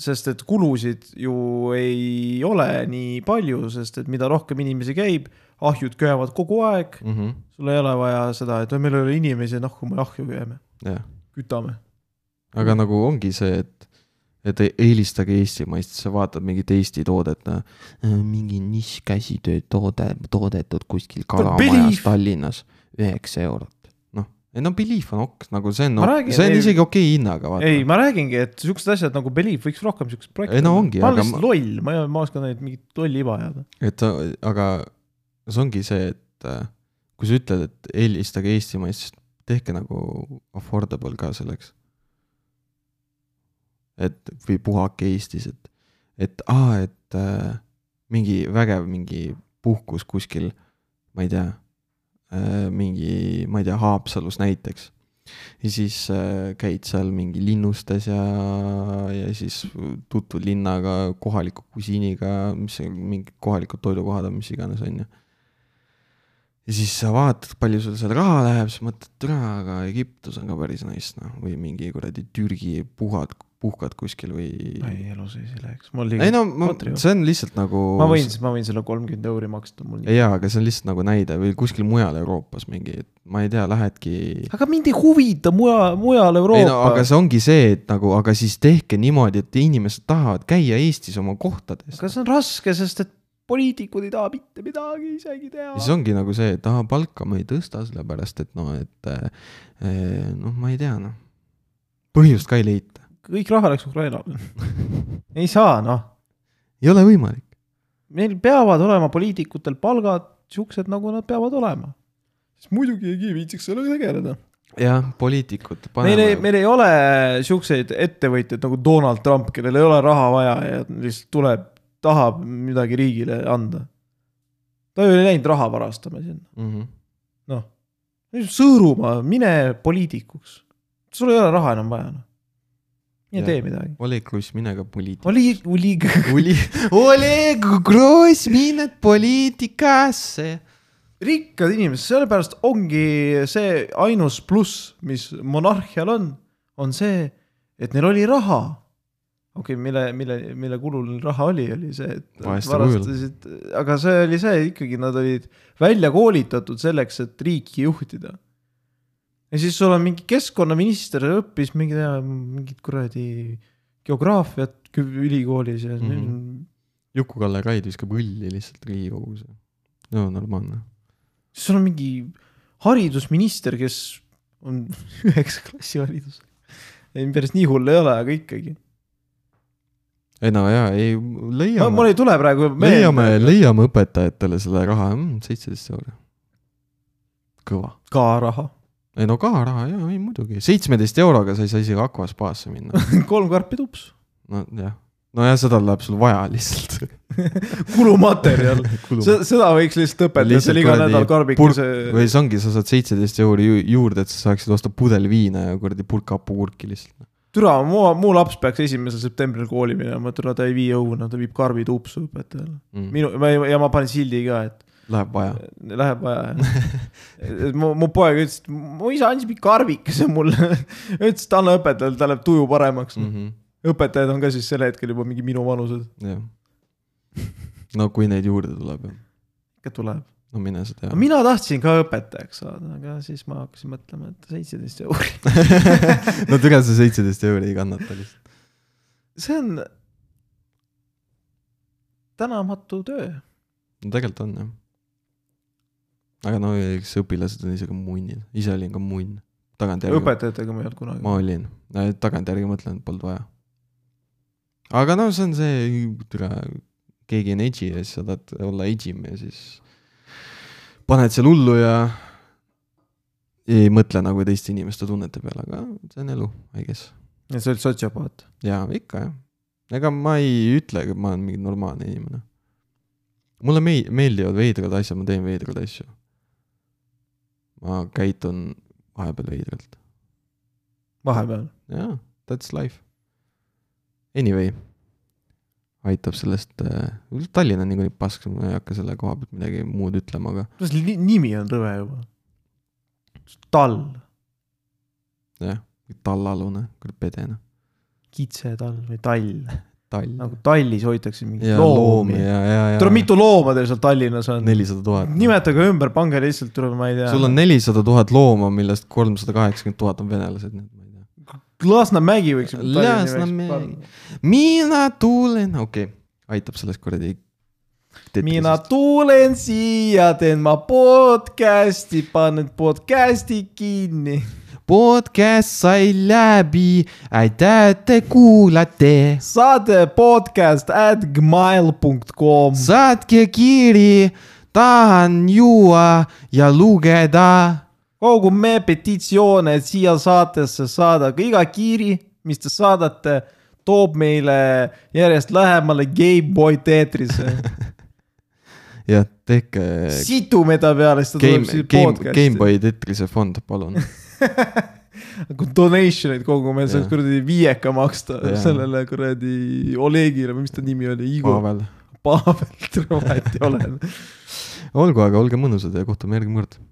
sest et kulusid ju ei ole nii palju , sest et mida rohkem inimesi käib , ahjud köevad kogu aeg ,
Mhm.
sul ei ole vaja seda , et "Oi, meil ei ole inimesi , noh , kui me ahju köeme ,
jah ,
kütame . Mm.
aga nagu ongi see , et et ei- eelistage eestimaist , sa vaatad mingit Eesti toodet , mingi nišš käsitöö toode , toodetud kuskil kalamajas
Belief.
Tallinnas , üheksa eurot . noh , ei no Belief on ok , nagu see on
Ma , räägin,
see on
ei-
isegi okei hinnaga , vaata .
ei , ma räägingi , et siuksed asjad nagu Belief võiks rohkem siukseid projekte .
Ei no ongi,
ma
aga
olen lihtsalt loll , ma ei , ma oskan neid mingit lolli iba ajada .
et sa- aga see ongi see , et äh, kui sa ütled , et eelistage eestimaist , siis tehke nagu affordable ka selleks . et või puhake Eestis , et , et aa , et äh, mingi vägev mingi puhkus kuskil , ma ei tea äh, , mingi , ma ei tea , Haapsalus näiteks ja siis äh, käid seal mingi linnustes ja , ja siis tutvud linnaga , kohaliku kusiiniga , mis see mingid kohalikud toidukohad on , mis iganes , on ju . ja siis sa vaatad , palju sul seal raha läheb , siis mõtled , türa , aga Egiptus on ka päris nice , noh , või mingi kuradi Türgi puhad , puhkad kuskil või .
ei , elu sees ei läheks , mul liiga
ei . no ma ,
Patriot.
see on lihtsalt nagu .
ma võin , ma võin selle kolmkümmend euri maksta , mul nii .
jaa , aga see on lihtsalt nagu näide või kuskil mujal Euroopas mingi , ma ei tea , lähedki .
aga mind ei huvita muja , mujal
ei no
Euroopa
aga . see ongi see , et nagu , aga siis tehke niimoodi , et inimesed tahavad käia Eestis oma kohtades .
aga see on raske , sest et poliitikud ei taha mitte midagi isegi teha
ja . siis ongi nagu see , et aa , palka me ei tõsta , sellepärast et noh , et eh, eh, noh , ma ei tea , noh . põhjust ka ei leita .
kõik raha läks Ukrainale . ei saa , noh ,
ei ole võimalik .
meil peavad olema poliitikutel palgad siuksed , nagu nad peavad olema . siis muidugi ei viitsiks sellega tegeleda .
jah , poliitikud .
meil ei , meil ei ole siukseid ettevõtjaid nagu Donald Trump , kellel ei ole raha vaja ja lihtsalt tuleb , tahab midagi riigile anda . ta ju ei läinud raha varastama sinna ,
meil... .
noh . sõõruma , mine poliitikuks . sul ei ole raha enam vaja , noh . mine
Jah.
tee midagi .
Oleg Kruss , mine ka poliitikasse .
oli , oli ,
Oli... Oleg Kruss , mine poliitikasse
rikkad inimesed , sellepärast ongi see ainus pluss , mis monarhial on , on see , et neil oli raha . okei okay, , mille , mille , mille kulul neil raha oli , oli see , et
Vaestel
varastasid , aga see oli see ikkagi , nad olid välja koolitatud selleks , et riiki juhtida . ja siis sul on mingi keskkonnaminister õppis mingi , mingit kuradi geograafiat kü- ülikoolis ja mm -hmm.
Mhm. Juku-Kalle Raid viskab õlli lihtsalt Riigikogus . no normaalne .
siis sul on mingi haridusminister , kes on üheksa klassi haridus . ei , päris nii hull ei ole , aga ikkagi .
ei no jaa , ei
mul
leiame ,
ei tule praegu
leiame
meelde ,.
leiame õpetajatele selle raha , seitseteist euri . kõva .
ka raha ,
ei no ka raha jaa , ei muidugi , seitsmeteist euroga sa ei saa isegi Aqua spaasse minna .
kolm karpi tups .
no jah , nojah , seda läheb sul vaja lihtsalt .
kulumaterjal , seda võiks lihtsalt õpetada ,
Lihtsalt
seal iga
kuradi
nädal karbikese
või see ongi , sa saad seitseteist euri ju- juurde , et sa saaksid osta pudel viina ja kuradi pulk hapukurki lihtsalt .
türa , mu , mu laps peaks esimesel septembril kooli minema , türa ta ei vii õuna , ta viib karbid upsu õpetajale . minu , ja ma panen sildi ka , et
Mm. Läheb vaja .
Läheb vaja , jah . mu , mu poeg ütles , et mu isa andis mingi karbikese mulle . ütles , et anna õpetajale , tal läheb tuju paremaks
Mhm.
mm . -hmm. õpetajad on ka siis sel hetkel juba mingi minu vanused .
jah . no kui neid juurde tuleb ,
ikka tuleb .
no mine sa tea .
mina tahtsin ka õpetajaks saada , aga siis ma hakkasin mõtlema , et seitseteist euri .
no tegelikult see seitseteist euri ei kannata lihtsalt .
see on tänamatu töö .
no tegelikult on jah . aga no eks õpilased on ise ka munnid , ise olin ka munn . tagantjärgi ,
õpetajatega ma ei olnud kunagi .
ma olin , tagantjärgi mõtlen , et polnud vaja . aga no see on see , türa , keegi on edgy ja siis sa tahad olla edgym ja siis paned seal hullu ja ei mõtle nagu teiste inimeste tunnete peale , aga see on elu , I guess .
sa olid sotsiopaat .
jaa , ikka jah . ega ma ei ütle , et ma olen mingi normaalne inimene . mulle mei- , meeldivad veidrad asjad , ma teen veidrad asju . ma käitun vahepeal veidralt .
vahepeal .
jaa , that's life . Anyway , aitab sellest äh, , Tallinn on niikuinii pask , ma ei hakka selle koha pealt midagi muud ütlema , aga
kuidas li- nimi on rõve juba ? tall ,
jah , tallalune , kurat pedene ,
kitsetall või tall .
tall .
nagu tallis hoitakse mingeid
ja loomi
loomi .
ja , ja , ja .
tule , mitu looma teil seal Tallinnas on ?
nelisada tuhat .
nimetage ümber , pange lihtsalt , tule , ma ei tea .
sul on nelisada tuhat looma , millest kolmsada kaheksakümmend tuhat on venelased , nii et ma ei tea .
Lasnamägi võiks .
Lasnamägi. mina tulen , okei okay. , aitab sellest kuradi .
mina tulen siia , teen ma podcast'i , panen podcast'i kinni .
podcast sai läbi , aitäh , et te kuulate .
saade podcast at gmail punkt kom .
saatke kiri , tahan juua ja lugeda .
kogume petitsioone , et siia saatesse saada , iga kiri , mis te saadate , toob meile järjest lähemale Gameboy Tetrise .
jah , tehke
situme ta peale , siis ta tuleb
Game ,
siia
Game ,
podcast'i .
Gameboy Tetrise fond , palun .
kui donation'id kogume , saad
Jah.
kuradi viieka maksta
Jah.
sellele kuradi Olegile või mis ta nimi oli , Igor
Pavel ,
Pavel , tere , vahet ei ole .
olgu , aga olge mõnusad ja kohtume järgmine kord .